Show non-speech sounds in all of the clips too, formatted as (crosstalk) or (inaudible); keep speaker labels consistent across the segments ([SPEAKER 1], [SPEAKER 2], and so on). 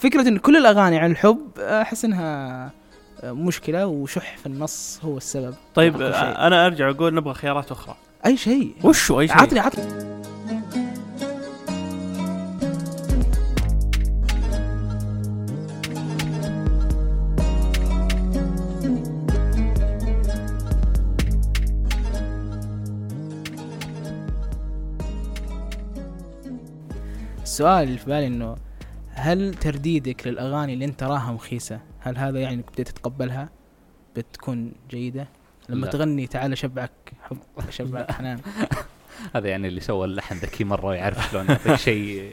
[SPEAKER 1] فكره ان كل الاغاني عن الحب احس انها مشكله وشح في النص هو السبب
[SPEAKER 2] طيب
[SPEAKER 1] أكثر شيء.
[SPEAKER 2] آه، انا ارجع اقول نبغى خيارات اخرى
[SPEAKER 1] اي شيء
[SPEAKER 2] وش هو اي شيء
[SPEAKER 1] عطني عطني السؤال اللي في بالي انه هل ترديدك للاغاني اللي انت تراها مخيسه هل هذا يعني انك بديت تتقبلها بتكون جيده لما
[SPEAKER 3] لا.
[SPEAKER 1] تغني تعال شبعك حب شبعك حنان
[SPEAKER 3] هذا يعني اللي سوى اللحن ذكي مره يعرف شلون يعطيك شيء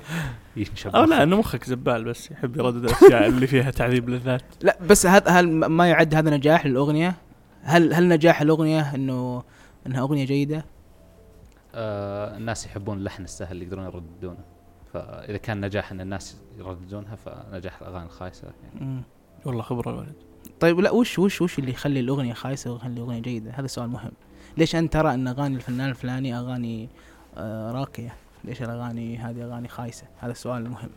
[SPEAKER 3] ينشب
[SPEAKER 2] او لا
[SPEAKER 3] مخك.
[SPEAKER 2] انه مخك زبال بس يحب يردد (laughs) الاشياء اللي فيها تعذيب للذات
[SPEAKER 1] لا بس هذا هل ما يعد هذا نجاح للاغنيه؟ هل هل نجاح الاغنيه انه انها اغنيه جيده؟
[SPEAKER 3] آه الناس يحبون اللحن السهل اللي يقدرون يرددونه فاذا كان نجاح ان الناس يرددونها فنجاح الاغاني الخايسه يعني
[SPEAKER 1] مم.
[SPEAKER 2] والله خبره الولد
[SPEAKER 1] طيب لا وش وش وش اللي يخلي الاغنيه خايسه ويخلي الاغنيه جيده؟ هذا سؤال مهم. ليش انت ترى ان اغاني الفنان الفلاني اغاني آه راقيه؟ ليش الاغاني هذه اغاني خايسه؟ هذا السؤال المهم.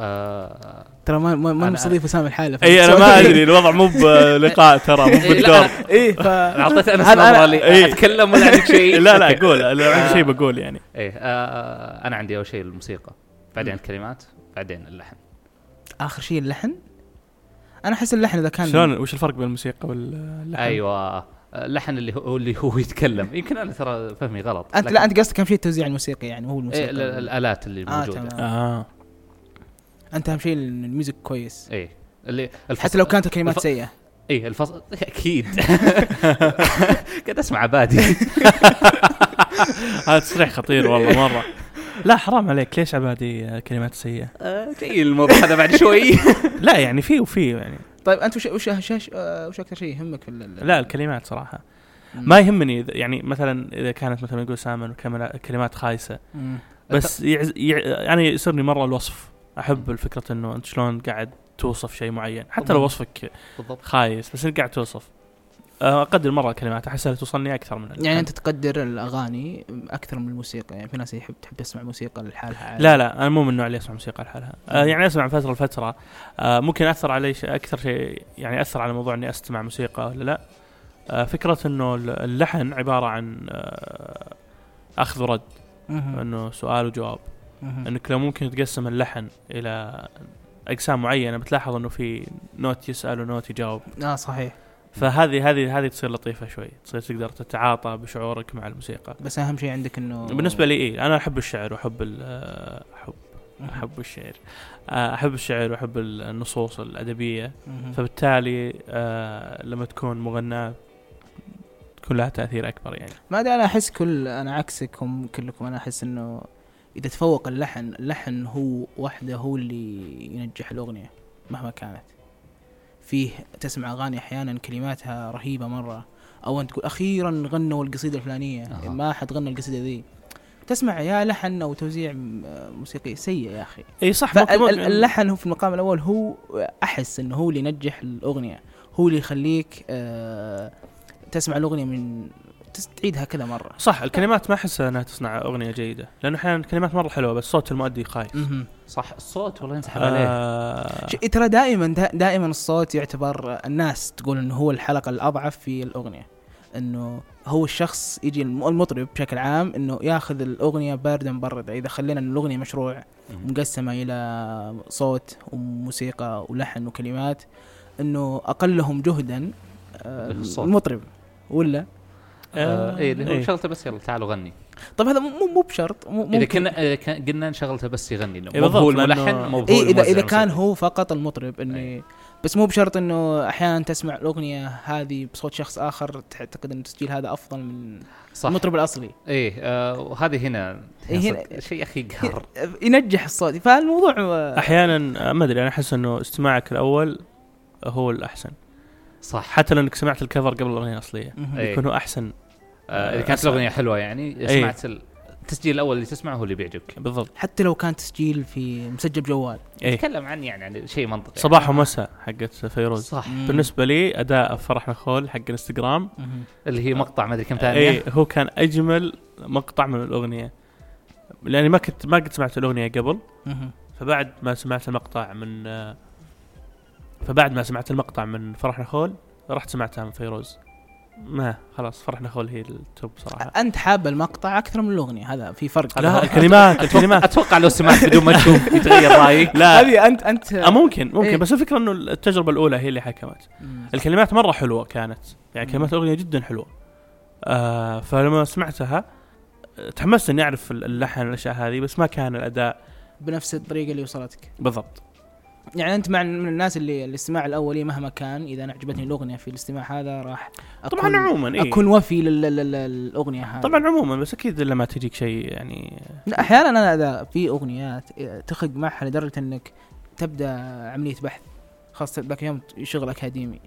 [SPEAKER 3] آه
[SPEAKER 1] ترى ما ما ما
[SPEAKER 3] أنا-
[SPEAKER 1] مستضيف وسام الحاله
[SPEAKER 2] اي انا (laughs)
[SPEAKER 1] (laughs)
[SPEAKER 2] ما ادري الوضع مو بلقاء ترى (laughs) مو
[SPEAKER 3] إيه، لا،
[SPEAKER 2] بالدور
[SPEAKER 1] اي ف
[SPEAKER 3] اعطيت انس
[SPEAKER 1] هذا أنا-
[SPEAKER 3] نظره لي
[SPEAKER 2] إيه.
[SPEAKER 3] اتكلم ولا عندك
[SPEAKER 1] (laughs)
[SPEAKER 3] شيء
[SPEAKER 2] لا
[SPEAKER 3] أوكي.
[SPEAKER 2] لا قول لو عندي شيء بقول (laughs) يعني
[SPEAKER 3] ايه آه انا عندي اول شيء الموسيقى بعدين الكلمات بعدين اللحن
[SPEAKER 1] اخر شيء اللحن؟ انا احس اللحن اذا كان
[SPEAKER 2] شلون وش الفرق بين الموسيقى واللحن؟
[SPEAKER 3] ايوه آه، اللحن اللي هو اللي هو يتكلم يمكن انا ترى فهمي غلط
[SPEAKER 1] انت
[SPEAKER 3] لكن-
[SPEAKER 1] لا انت قصدك كان شيء التوزيع الموسيقي يعني مو
[SPEAKER 3] إيه
[SPEAKER 1] الموسيقى
[SPEAKER 3] ال- ال- الالات اللي
[SPEAKER 1] آه،
[SPEAKER 3] موجوده
[SPEAKER 1] تمام.
[SPEAKER 2] اه
[SPEAKER 1] انت اهم شيء إن الميوزك كويس
[SPEAKER 3] ايه اللي الفصل
[SPEAKER 1] حتى لو كانت الكلمات
[SPEAKER 3] الف-
[SPEAKER 1] سيئه
[SPEAKER 2] إيه،
[SPEAKER 3] ايه الفصل
[SPEAKER 2] (laughs)
[SPEAKER 3] اكيد قاعد اسمع عبادي
[SPEAKER 2] هذا تصريح خطير والله مره (laughs) لا حرام عليك ليش عبادي كلمات سيئه؟
[SPEAKER 3] آه، جاي الموضوع هذا بعد
[SPEAKER 2] (laughs)
[SPEAKER 3] شوي
[SPEAKER 2] لا يعني في وفي يعني
[SPEAKER 1] طيب انت وش وش وش, وش, آه، وش اكثر شيء يهمك في ال-
[SPEAKER 2] لا الكلمات صراحه
[SPEAKER 1] مم.
[SPEAKER 2] ما يهمني إذا- يعني مثلا اذا كانت مثلا يقول سامر كملا- كلمات خايسه
[SPEAKER 1] مم.
[SPEAKER 2] بس يعز يع... يعني يسرني مره الوصف احب الفكره انه انت شلون قاعد توصف شيء معين حتى لو
[SPEAKER 3] طبعاً.
[SPEAKER 2] وصفك
[SPEAKER 3] بالضبط
[SPEAKER 2] خايس بس انت قاعد توصف آه، اقدر مره الكلمات احسها توصلني اكثر من اللحن.
[SPEAKER 1] يعني انت تقدر الاغاني اكثر من الموسيقى يعني في ناس يحب تحب تسمع موسيقى لحالها
[SPEAKER 2] لا لا انا مو من النوع اللي اسمع موسيقى لحالها آه يعني اسمع من فتره لفتره آه ممكن اثر علي ش- اكثر شيء يعني اثر على موضوع اني استمع موسيقى ولا لا آه فكره انه ال- اللحن عباره عن آه اخذ ورد
[SPEAKER 1] مهم.
[SPEAKER 2] انه سؤال وجواب
[SPEAKER 1] مهم.
[SPEAKER 2] انك لو ممكن تقسم اللحن الى اقسام معينه بتلاحظ انه في نوت يسال ونوت يجاوب
[SPEAKER 1] اه صحيح
[SPEAKER 2] فهذه هذه هذه تصير لطيفه شوي تصير تقدر تتعاطى بشعورك مع الموسيقى
[SPEAKER 1] بس اهم شيء عندك انه
[SPEAKER 2] بالنسبه لي إيه انا احب الشعر واحب ال- آه، احب
[SPEAKER 1] مهم.
[SPEAKER 2] احب الشعر آه، احب الشعر واحب النصوص الادبيه
[SPEAKER 1] مهم.
[SPEAKER 2] فبالتالي آه، لما تكون مغناه تكون لها تاثير اكبر يعني
[SPEAKER 1] ما ادري انا احس كل انا عكسكم كلكم انا احس انه اذا تفوق اللحن اللحن هو وحده هو اللي ينجح الاغنيه مهما كانت فيه تسمع اغاني احيانا كلماتها رهيبه مره او انت تقول اخيرا غنوا القصيده الفلانيه
[SPEAKER 3] أها.
[SPEAKER 1] ما حد غنى القصيده ذي تسمع يا لحن او توزيع م- موسيقي سيء يا اخي
[SPEAKER 2] اي صح ممكن- ممكن-
[SPEAKER 1] فاللحن هو في المقام الاول هو احس انه هو اللي ينجح الاغنيه هو اللي يخليك آه، تسمع الاغنيه من تس- تعيدها كذا مره
[SPEAKER 2] صح الكلمات ما احس انها تصنع اغنيه جيده لانه احيانا الكلمات مره حلوه بس صوت المؤدي خايف
[SPEAKER 1] مهم.
[SPEAKER 3] صح الصوت والله ينسحب عليه
[SPEAKER 2] آه
[SPEAKER 1] ش- ترى دائما دا- دائما الصوت يعتبر الناس تقول انه هو الحلقه الاضعف في الاغنيه انه هو الشخص يجي الم- المطرب بشكل عام انه ياخذ الاغنيه بارده مبرده اذا خلينا إن الاغنيه مشروع
[SPEAKER 3] مم.
[SPEAKER 2] آه،
[SPEAKER 1] مقسمه الى صوت وموسيقى ولحن وكلمات انه اقلهم جهدا آه،
[SPEAKER 3] الصوت.
[SPEAKER 1] المطرب ولا
[SPEAKER 3] آه، ايه اللي هو
[SPEAKER 2] إيه.
[SPEAKER 3] شغلته بس يلا تعالوا غني
[SPEAKER 1] طب هذا مو مو بشرط مو
[SPEAKER 3] اذا
[SPEAKER 1] ممكن-
[SPEAKER 3] كنا إذا كان- قلنا إن شغلته بس يغني مو
[SPEAKER 2] إيه
[SPEAKER 3] هو
[SPEAKER 2] بالضبط، لأنه-
[SPEAKER 3] الملحن مو هو أيوة.
[SPEAKER 1] اي اذا
[SPEAKER 3] الموزع
[SPEAKER 1] اذا إيه، كان
[SPEAKER 3] الموسيقي.
[SPEAKER 1] هو فقط المطرب اني
[SPEAKER 3] أي.
[SPEAKER 1] بس مو بشرط انه احيانا تسمع الاغنيه هذه بصوت شخص اخر تعتقد ان التسجيل هذا افضل من
[SPEAKER 3] صح
[SPEAKER 1] المطرب الاصلي
[SPEAKER 3] ايه آه، وهذه هنا
[SPEAKER 1] إيه، هنا-
[SPEAKER 3] صدق، شيء يا اخي قهر
[SPEAKER 1] ينجح الصوت فالموضوع آه،
[SPEAKER 2] احيانا آه، ما ادري انا احس انه استماعك الاول هو الاحسن
[SPEAKER 3] صح
[SPEAKER 2] حتى لو انك سمعت الكفر قبل الاغنيه الاصليه
[SPEAKER 1] مهم.
[SPEAKER 3] إيه.
[SPEAKER 2] يكون هو احسن
[SPEAKER 3] آه، اذا كانت
[SPEAKER 2] أسمع.
[SPEAKER 3] الاغنيه حلوه يعني
[SPEAKER 2] إيه.
[SPEAKER 3] سمعت ال- التسجيل الاول اللي تسمعه هو اللي بيعجبك
[SPEAKER 2] بالضبط
[SPEAKER 1] حتى لو كان تسجيل في مسجل جوال
[SPEAKER 2] إيه.
[SPEAKER 3] تكلم عن يعني عن شيء منطقي
[SPEAKER 2] صباح ومساء حقت فيروز
[SPEAKER 3] صح
[SPEAKER 1] مم.
[SPEAKER 2] بالنسبه لي اداء فرح نخول حق الانستغرام
[SPEAKER 1] مهم.
[SPEAKER 3] اللي هي مقطع ما ادري كم ثانيه
[SPEAKER 2] اي هو كان اجمل مقطع من الاغنيه لاني ما كنت ما قد سمعت الاغنيه قبل
[SPEAKER 1] مهم.
[SPEAKER 2] فبعد ما سمعت المقطع من آه، فبعد ما سمعت المقطع من فرح نخول رحت سمعتها من فيروز ما خلاص فرح نخول هي التوب صراحه
[SPEAKER 1] انت حاب المقطع اكثر من الاغنيه هذا في فرق
[SPEAKER 2] لا الكلمات (laughs)
[SPEAKER 3] اتوقع,
[SPEAKER 2] الكلمات
[SPEAKER 3] أتوقع لو سمعت بدون ما تشوف يتغير
[SPEAKER 1] (laughs)
[SPEAKER 3] رايك
[SPEAKER 2] لا
[SPEAKER 1] هذه انت انت
[SPEAKER 2] آه، ممكن
[SPEAKER 1] إيه.
[SPEAKER 2] ممكن بس الفكره انه التجربه الاولى هي اللي حكمت
[SPEAKER 1] مم.
[SPEAKER 2] الكلمات مره حلوه كانت يعني
[SPEAKER 1] مم.
[SPEAKER 2] كلمات الاغنيه جدا حلوه آه فلما سمعتها آه، تحمست اني اعرف اللحن والاشياء هذه بس ما كان الاداء
[SPEAKER 1] بنفس الطريقه اللي وصلتك
[SPEAKER 2] بالضبط
[SPEAKER 1] يعني انت مع من الناس اللي الاستماع الاولي مهما كان اذا أنا عجبتني الاغنيه في الاستماع هذا راح أكون
[SPEAKER 2] طبعا عموما إيه؟
[SPEAKER 1] اكون وفي لل- لل- لل- للاغنيه هذه
[SPEAKER 2] طبعا عموما بس اكيد لما تجيك شيء يعني
[SPEAKER 1] لا، احيانا انا اذا في اغنيات تخق معها لدرجه انك تبدا عمليه بحث خاصه ذاك اليوم شغل اكاديمي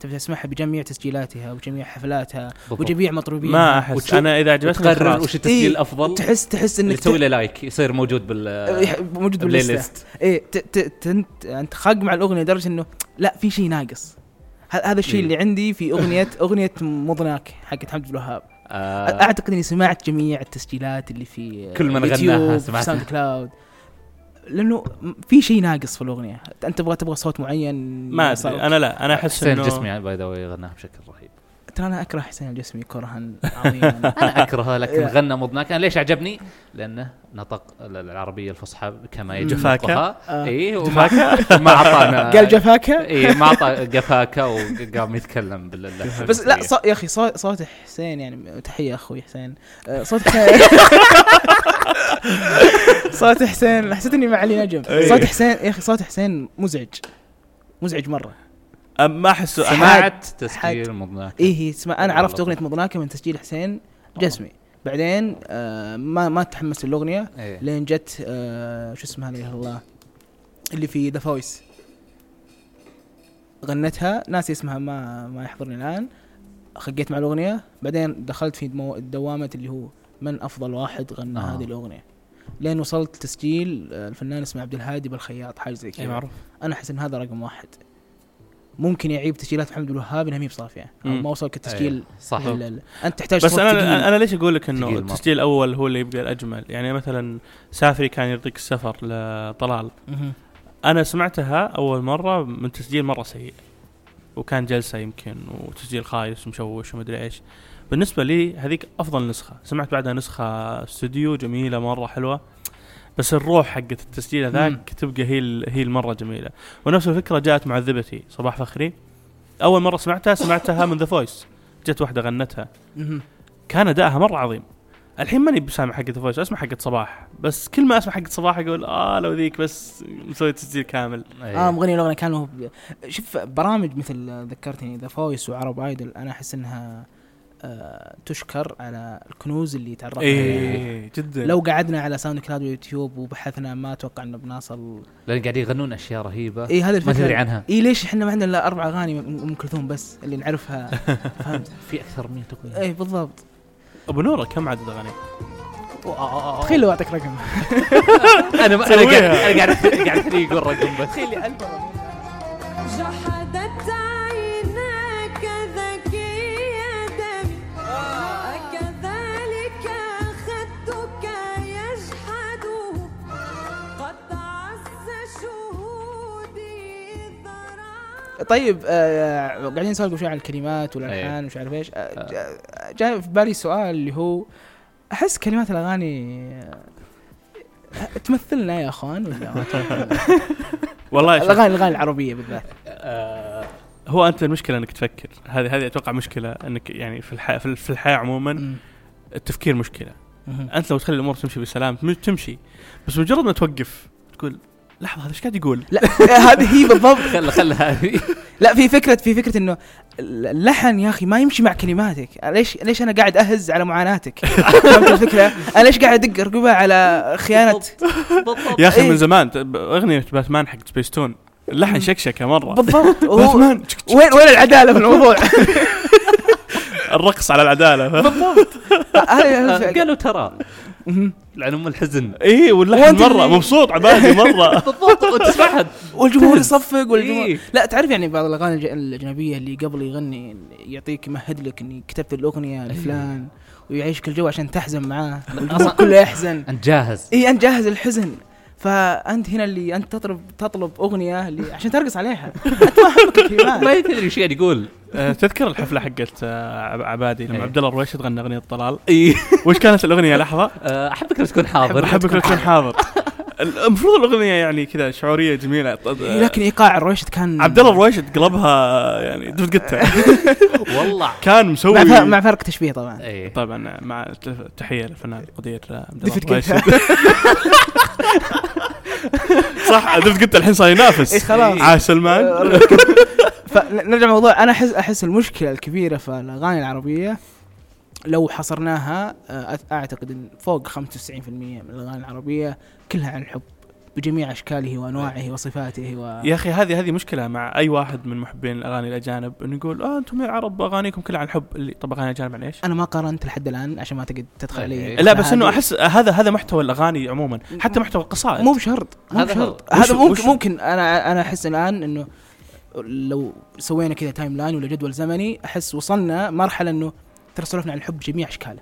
[SPEAKER 1] تبدا تسمعها بجميع تسجيلاتها وجميع حفلاتها وجميع مطربيها
[SPEAKER 2] ما احس
[SPEAKER 3] وتشوف-
[SPEAKER 2] انا اذا عجبتني
[SPEAKER 3] تقرر
[SPEAKER 2] خلاص
[SPEAKER 3] وش التسجيل
[SPEAKER 1] إيه.
[SPEAKER 3] الافضل
[SPEAKER 1] تحس آه، تحس
[SPEAKER 3] اللي
[SPEAKER 1] انك
[SPEAKER 3] تسوي له لايك يصير موجود بال
[SPEAKER 1] يح- موجود
[SPEAKER 3] بلاي
[SPEAKER 1] بالليست
[SPEAKER 3] ليست
[SPEAKER 1] ايه ت- ت- تنت انت خاق مع الاغنيه لدرجه انه لا في شيء ناقص ه- هذا الشيء
[SPEAKER 3] إيه.
[SPEAKER 1] اللي عندي في
[SPEAKER 3] (laughs)
[SPEAKER 1] اغنيه اغنيه مضناك حقت حمد بن الوهاب
[SPEAKER 3] آه،
[SPEAKER 1] اعتقد اني سمعت جميع التسجيلات اللي في
[SPEAKER 3] كل من
[SPEAKER 1] يوتيوب،
[SPEAKER 3] غناها
[SPEAKER 1] في
[SPEAKER 3] سمعتها.
[SPEAKER 1] ساوند كلاود لانه في شيء ناقص في الاغنيه انت تبغى تبغى صوت معين
[SPEAKER 2] ما
[SPEAKER 1] يوصلك.
[SPEAKER 2] ادري انا لا انا احس
[SPEAKER 3] حسين
[SPEAKER 2] انه
[SPEAKER 3] الجسمي باي ذا واي غناها بشكل رهيب
[SPEAKER 1] ترى انا اكره حسين الجسمي كرها
[SPEAKER 3] (laughs)
[SPEAKER 1] عظيما (laughs)
[SPEAKER 3] انا اكرهه لكن
[SPEAKER 1] إيه.
[SPEAKER 3] غنى مضناك انا ليش عجبني؟ لانه نطق ال- العربيه الفصحى كما يجب
[SPEAKER 2] جفاكة.
[SPEAKER 3] نطقها
[SPEAKER 1] آه.
[SPEAKER 3] اي وما (laughs) ما اعطانا
[SPEAKER 1] (laughs) قال جفاكة
[SPEAKER 3] اي ما اعطى جفاكه وقام يتكلم إيه. بالله
[SPEAKER 1] بس لا صو... يا اخي صوت صوت حسين يعني تحيه اخوي حسين آه، صوت حسين صوت حسين حسيت اني مع علي نجم
[SPEAKER 2] إيه.
[SPEAKER 1] صوت حسين يا اخي صوت حسين مزعج مزعج مره
[SPEAKER 2] أم- ما احس
[SPEAKER 3] سمعت
[SPEAKER 1] حد.
[SPEAKER 3] تسجيل مضناك
[SPEAKER 1] ايه هي اسمها انا
[SPEAKER 3] والله
[SPEAKER 1] عرفت اغنيه
[SPEAKER 3] لطيف.
[SPEAKER 1] مضناكه من تسجيل حسين جسمي بعدين آه ما ما تحمست الاغنيه
[SPEAKER 3] إيه.
[SPEAKER 1] لين جت آه شو اسمها لا إله إلا الله اللي في ذا فويس غنتها ناسي اسمها ما ما يحضرني الان خقيت مع الاغنيه بعدين دخلت في دمو- دوامه اللي هو من افضل واحد غنى
[SPEAKER 3] آه.
[SPEAKER 1] آه. هذه الاغنيه لين وصلت تسجيل آه، الفنان اسمه عبد الهادي بالخياط حاجه
[SPEAKER 3] إيه،
[SPEAKER 1] زي
[SPEAKER 2] اي
[SPEAKER 1] كذا
[SPEAKER 2] معروف
[SPEAKER 1] انا احس ان هذا رقم واحد ممكن يعيب تسجيلات محمد الوهاب انها ما هي بصافيه او
[SPEAKER 2] مم.
[SPEAKER 1] ما وصلك التسجيل
[SPEAKER 3] إيه. صح
[SPEAKER 1] ال- ال- انت تحتاج
[SPEAKER 2] بس
[SPEAKER 1] صوت
[SPEAKER 2] انا
[SPEAKER 1] ثقيل.
[SPEAKER 2] انا ليش اقول لك انه
[SPEAKER 3] ثقيل مرة.
[SPEAKER 2] التسجيل الاول هو اللي يبقى الاجمل يعني مثلا سافري كان يعطيك السفر لطلال
[SPEAKER 1] مهم.
[SPEAKER 2] انا سمعتها اول مره من تسجيل مره سيء وكان جلسه يمكن وتسجيل خايس ومشوش ومدري ايش بالنسبه لي هذيك افضل نسخه سمعت بعدها نسخه استوديو جميله مره حلوه بس الروح حقت التسجيل
[SPEAKER 1] مم.
[SPEAKER 2] هذاك تبقى هي ال- هي المره جميله ونفس الفكره جاءت معذبتي صباح فخري اول مره سمعتها سمعتها من ذا فويس جت واحده غنتها
[SPEAKER 1] مهم.
[SPEAKER 2] كان ادائها مره عظيم الحين ماني بسامع حقت فويس اسمع حقت صباح بس كل ما اسمع حقت صباح اقول اه لو ذيك بس مسوي تسجيل كامل
[SPEAKER 3] إيه.
[SPEAKER 1] اه مغني الاغنيه كان هو شوف برامج مثل آه، ذكرتني ذا فويس وعرب ايدل انا احس انها آه تشكر على الكنوز اللي تعرفنا
[SPEAKER 3] إيه.
[SPEAKER 1] عليها.
[SPEAKER 2] ايه جدا
[SPEAKER 1] إيه. لو قعدنا على ساوند كلاود ويوتيوب وبحثنا ما اتوقع انه بنصل
[SPEAKER 3] لان قاعدين يغنون اشياء رهيبه
[SPEAKER 1] اي هذا
[SPEAKER 3] ما تدري
[SPEAKER 1] الفكره
[SPEAKER 3] عنها
[SPEAKER 1] اي إيه، ليش احنا ما عندنا الا اربع اغاني من ام كلثوم بس اللي
[SPEAKER 3] (laughs)
[SPEAKER 1] نعرفها فهمت
[SPEAKER 3] في اكثر من تقنيه
[SPEAKER 1] اي بالضبط
[SPEAKER 2] ابو نوره كم عدد اغاني؟
[SPEAKER 1] تخيل لو اعطيك رقم
[SPEAKER 3] انا ما- انا قاعد
[SPEAKER 2] سويها.
[SPEAKER 3] انا قاعد قاعد فيني يقول رقم بس
[SPEAKER 1] تخيل البوم
[SPEAKER 4] جحدت عيناك ذكية دمي أكذلك أخذتك يجحده قد عز شهودي إذ رأى
[SPEAKER 1] طيب آه قاعدين نسولف قبل شوي عن الكلمات والالحان ومش عارف ايش آه جا- جاي في بالي سؤال اللي هو احس كلمات الاغاني آه، تمثلنا يا اخوان ولا ما تمثلنا؟ (laughs)
[SPEAKER 2] والله شوف،
[SPEAKER 1] الاغاني الاغاني العربيه بالذات
[SPEAKER 2] هو انت المشكله انك تفكر هذه هذه اتوقع مشكله انك يعني في الح... في ال- في الحياه عموما
[SPEAKER 1] مم.
[SPEAKER 2] التفكير مشكله
[SPEAKER 1] مم.
[SPEAKER 2] انت لو تخلي الامور تمشي بسلام تم- تمشي بس مجرد ما توقف تقول لحظه هذا ايش قاعد يقول؟
[SPEAKER 1] لا آه، هذه هي بالضبط
[SPEAKER 3] خل خل هذه
[SPEAKER 1] لا في فكره في فكره انه اللحن يا اخي ما يمشي مع كلماتك ليش ليش انا قاعد اهز على معاناتك فهمت الفكره انا ليش قاعد ادق رقبه على خيانه
[SPEAKER 3] (laughs)
[SPEAKER 2] يا اخي
[SPEAKER 1] إيه.
[SPEAKER 2] من زمان ت- ب- اغنيه باتمان حق سبيستون اللحن شكشكه مره
[SPEAKER 1] بالضبط هو-
[SPEAKER 2] باتمان تشك- تشك-
[SPEAKER 1] وين وين العداله في (laughs) الموضوع
[SPEAKER 2] الرقص على العداله
[SPEAKER 1] هذه الفكرة.
[SPEAKER 3] آه، قالوا ترى
[SPEAKER 1] مهم.
[SPEAKER 3] لعن ام الحزن
[SPEAKER 2] اي إيه، واللحن
[SPEAKER 1] وأنت
[SPEAKER 2] مره
[SPEAKER 1] اللي- (laughs)
[SPEAKER 2] مبسوط عبادي مره
[SPEAKER 3] بالضبط وتسمعها
[SPEAKER 1] والجمهور يصفق والجمهور
[SPEAKER 3] إيه.
[SPEAKER 1] لا تعرف يعني بعض الاغاني الج- الاجنبيه اللي قبل يغني يعطيك يمهد لك اني كتبت الاغنيه لفلان ويعيشك الجو عشان تحزن معاه والجمهور
[SPEAKER 3] أصلاً-
[SPEAKER 1] كله يحزن
[SPEAKER 3] (laughs) انت جاهز
[SPEAKER 1] اي انت جاهز الحزن فانت هنا اللي انت تطلب تطلب اغنيه اللي عشان ترقص عليها انت ما همك الكلمات
[SPEAKER 3] (laughs) والله تدري ايش قاعد يقول
[SPEAKER 2] آه، تذكر الحفله حقت آه، عب- عبادي لما
[SPEAKER 3] إيه.
[SPEAKER 2] عبد الله الرويشد غنى اغنيه طلال وش كانت الاغنيه لحظه
[SPEAKER 3] آه، احبك لو تكون حاضر
[SPEAKER 2] احبك لو تكون حاضر (laughs) المفروض الاغنيه يعني كذا شعوريه جميله طب-
[SPEAKER 1] إيه، لكن ايقاع الرويشد كان
[SPEAKER 2] عبد الله الرويشد قلبها يعني
[SPEAKER 1] (laughs)
[SPEAKER 2] دفت قته
[SPEAKER 3] والله
[SPEAKER 2] (laughs) كان مسوي
[SPEAKER 1] مع, فرق مع فرق تشبيه طبعا
[SPEAKER 3] ايه
[SPEAKER 2] طبعا مع التف- تحيه للفنان القدير آه، عبد الله
[SPEAKER 1] دفت قتة.
[SPEAKER 2] الرويشد (laughs) صح دفت قته الحين صار
[SPEAKER 1] إيه،
[SPEAKER 2] ينافس
[SPEAKER 1] خلاص.
[SPEAKER 2] عاش (laughs) سلمان
[SPEAKER 1] (laughs) فنرجع للموضوع انا احس احس المشكله الكبيره في الاغاني العربيه لو حصرناها آه، أت- اعتقد ان فوق 95% من الاغاني العربيه كلها عن الحب بجميع اشكاله وانواعه وصفاته و
[SPEAKER 2] يا اخي هذه هذه مشكله مع اي واحد من محبين الاغاني الاجانب انه يقول اه انتم يا عرب اغانيكم كلها عن الحب اللي طب اغاني اجانب عن ايش؟
[SPEAKER 1] انا ما قارنت لحد الان عشان ما تقعد تدخل علي
[SPEAKER 3] إيه.
[SPEAKER 2] لا بس انه
[SPEAKER 1] هذه-
[SPEAKER 2] احس هذا هذا محتوى الاغاني عموما حتى محتوى القصائد
[SPEAKER 1] مو بشرط مو
[SPEAKER 3] هذا هو.
[SPEAKER 1] بشرط هذا
[SPEAKER 2] وش-
[SPEAKER 1] ممكن
[SPEAKER 2] وش-
[SPEAKER 1] ممكن انا انا احس الان انه لو سوينا كذا تايم لاين ولا جدول زمني احس وصلنا مرحله انه ترى سولفنا عن الحب بجميع اشكاله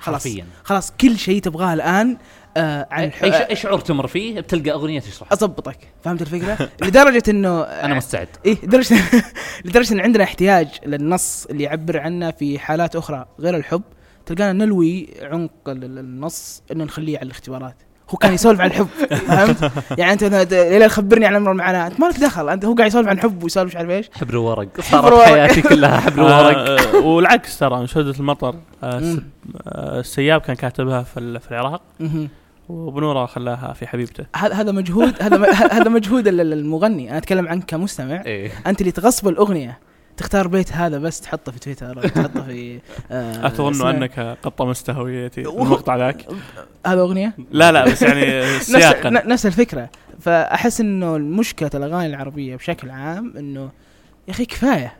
[SPEAKER 1] خلاص
[SPEAKER 3] حرفيا
[SPEAKER 1] خلاص كل شيء تبغاه الان آه عن
[SPEAKER 3] اي
[SPEAKER 1] الحب
[SPEAKER 3] ش- أي شعور تمر فيه بتلقى اغنيه تشرح
[SPEAKER 1] اضبطك فهمت (laughs) الفكره لدرجه انه
[SPEAKER 3] انا مستعد
[SPEAKER 1] ايه (laughs) لدرجه لدرجه ان عندنا احتياج للنص اللي يعبر عنا في حالات اخرى غير الحب تلقانا نلوي عمق ال- ال- النص انه نخليه على الاختبارات هو كان يسولف عن الحب فهمت؟ يعني انت مثلاً د- ليه لا تخبرني عن امر المعاناه انت مالك دخل انت هو قاعد يسولف عن حب ويسولف مش عارف ايش
[SPEAKER 3] حبر ورق
[SPEAKER 1] ورق.
[SPEAKER 3] صارت حياتي كلها حبر ورق
[SPEAKER 2] آه والعكس ترى شدة المطر آه س-
[SPEAKER 1] مم.
[SPEAKER 2] آه، السياب كان كاتبها في ال- في العراق
[SPEAKER 1] مهم.
[SPEAKER 2] وبنوره خلاها في حبيبته
[SPEAKER 1] هذا هذا مجهود هذا م- (laughs) هذا مجهود ال- ال- المغني انا اتكلم عنك كمستمع
[SPEAKER 3] ايه
[SPEAKER 1] انت اللي تغصب الاغنيه تختار بيت هذا بس تحطه في تويتر ولا تحطه في
[SPEAKER 2] (laughs)
[SPEAKER 1] آه،
[SPEAKER 2] اتظن
[SPEAKER 1] سناب.
[SPEAKER 2] انك قد طمست هويتي
[SPEAKER 1] و-
[SPEAKER 2] المقطع
[SPEAKER 1] (laughs)
[SPEAKER 2] ذاك
[SPEAKER 1] هذا اغنيه
[SPEAKER 2] لا لا بس يعني
[SPEAKER 1] (laughs) نفس
[SPEAKER 2] سياقا
[SPEAKER 1] ن- نفس الفكره فاحس انه المشكله الاغاني العربيه بشكل عام انه يا اخي كفايه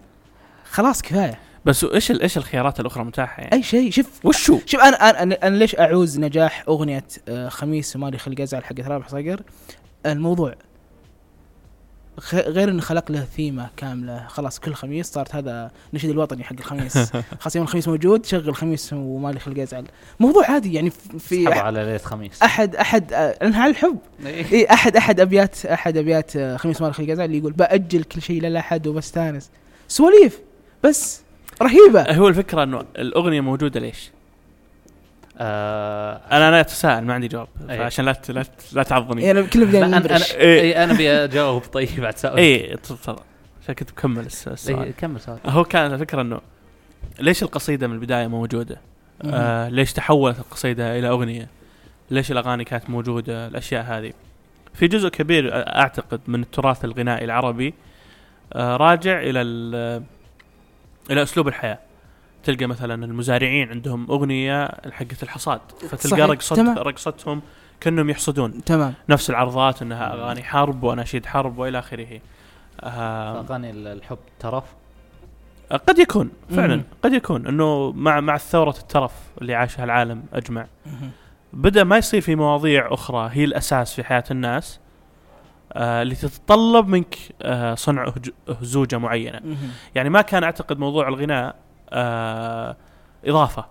[SPEAKER 1] خلاص كفايه
[SPEAKER 2] بس ايش ال- ايش الخيارات الاخرى متاحه يعني
[SPEAKER 1] اي شيء شوف
[SPEAKER 2] وشو
[SPEAKER 1] شوف انا انا أنا- انا ليش اعوز نجاح اغنيه آه، خميس ومالي خلق ازعل حقت رابح صقر الموضوع خ- غير انه خلق له ثيمه كامله خلاص كل خميس صارت هذا نشيد الوطني حق الخميس خلاص يوم الخميس موجود شغل خميس ومالي خلق ازعل موضوع عادي يعني في-
[SPEAKER 3] حبوا
[SPEAKER 1] في
[SPEAKER 3] على ليله خميس
[SPEAKER 1] احد احد آه، لانها على الحب
[SPEAKER 3] إيه.
[SPEAKER 1] اي احد احد ابيات احد ابيات آه، خميس مالك الجزاء اللي يقول باجل كل شيء للاحد وبستانس سواليف بس رهيبه
[SPEAKER 2] هو الفكره انه الاغنيه موجوده ليش؟
[SPEAKER 3] آه،
[SPEAKER 2] انا انا اتساءل ما عندي جواب
[SPEAKER 3] أي.
[SPEAKER 2] عشان لا ت- لا ت- لا تعضني
[SPEAKER 1] يعني كل
[SPEAKER 3] لا،
[SPEAKER 1] بدينا
[SPEAKER 3] انا انا
[SPEAKER 1] نبرش
[SPEAKER 2] إيه.
[SPEAKER 3] إيه، انا ابي اجاوب (laughs) طيب بعد سؤال
[SPEAKER 2] اي تفضل عشان كنت مكمل الس-
[SPEAKER 3] إيه،
[SPEAKER 2] السؤال
[SPEAKER 3] كمل سؤال
[SPEAKER 2] هو كان الفكره انه ليش القصيده من البدايه موجوده؟
[SPEAKER 1] مهم.
[SPEAKER 2] آه ليش تحولت القصيده الى اغنيه؟ ليش الاغاني كانت موجوده؟ الاشياء هذه. في جزء كبير آه، اعتقد من التراث الغنائي العربي آه راجع الى ال- آه، الى اسلوب الحياه. تلقى مثلا المزارعين عندهم اغنيه حقت الحصاد فتلقى
[SPEAKER 1] صحيح،
[SPEAKER 2] رقصت
[SPEAKER 1] تمام.
[SPEAKER 2] رقصتهم كانهم يحصدون
[SPEAKER 1] تمام
[SPEAKER 2] نفس العرضات انها اغاني حرب واناشيد حرب والى اخره. آه
[SPEAKER 3] اغاني الحب ترف
[SPEAKER 2] قد يكون فعلا
[SPEAKER 1] مم.
[SPEAKER 2] قد يكون انه مع مع ثوره الترف اللي عاشها العالم اجمع
[SPEAKER 1] مهم.
[SPEAKER 2] بدا ما يصير في مواضيع اخرى هي الاساس في حياه الناس آه اللي تتطلب منك آه صنع هج- هزوجه معينه
[SPEAKER 1] مهم.
[SPEAKER 2] يعني ما كان اعتقد موضوع الغناء آه اضافه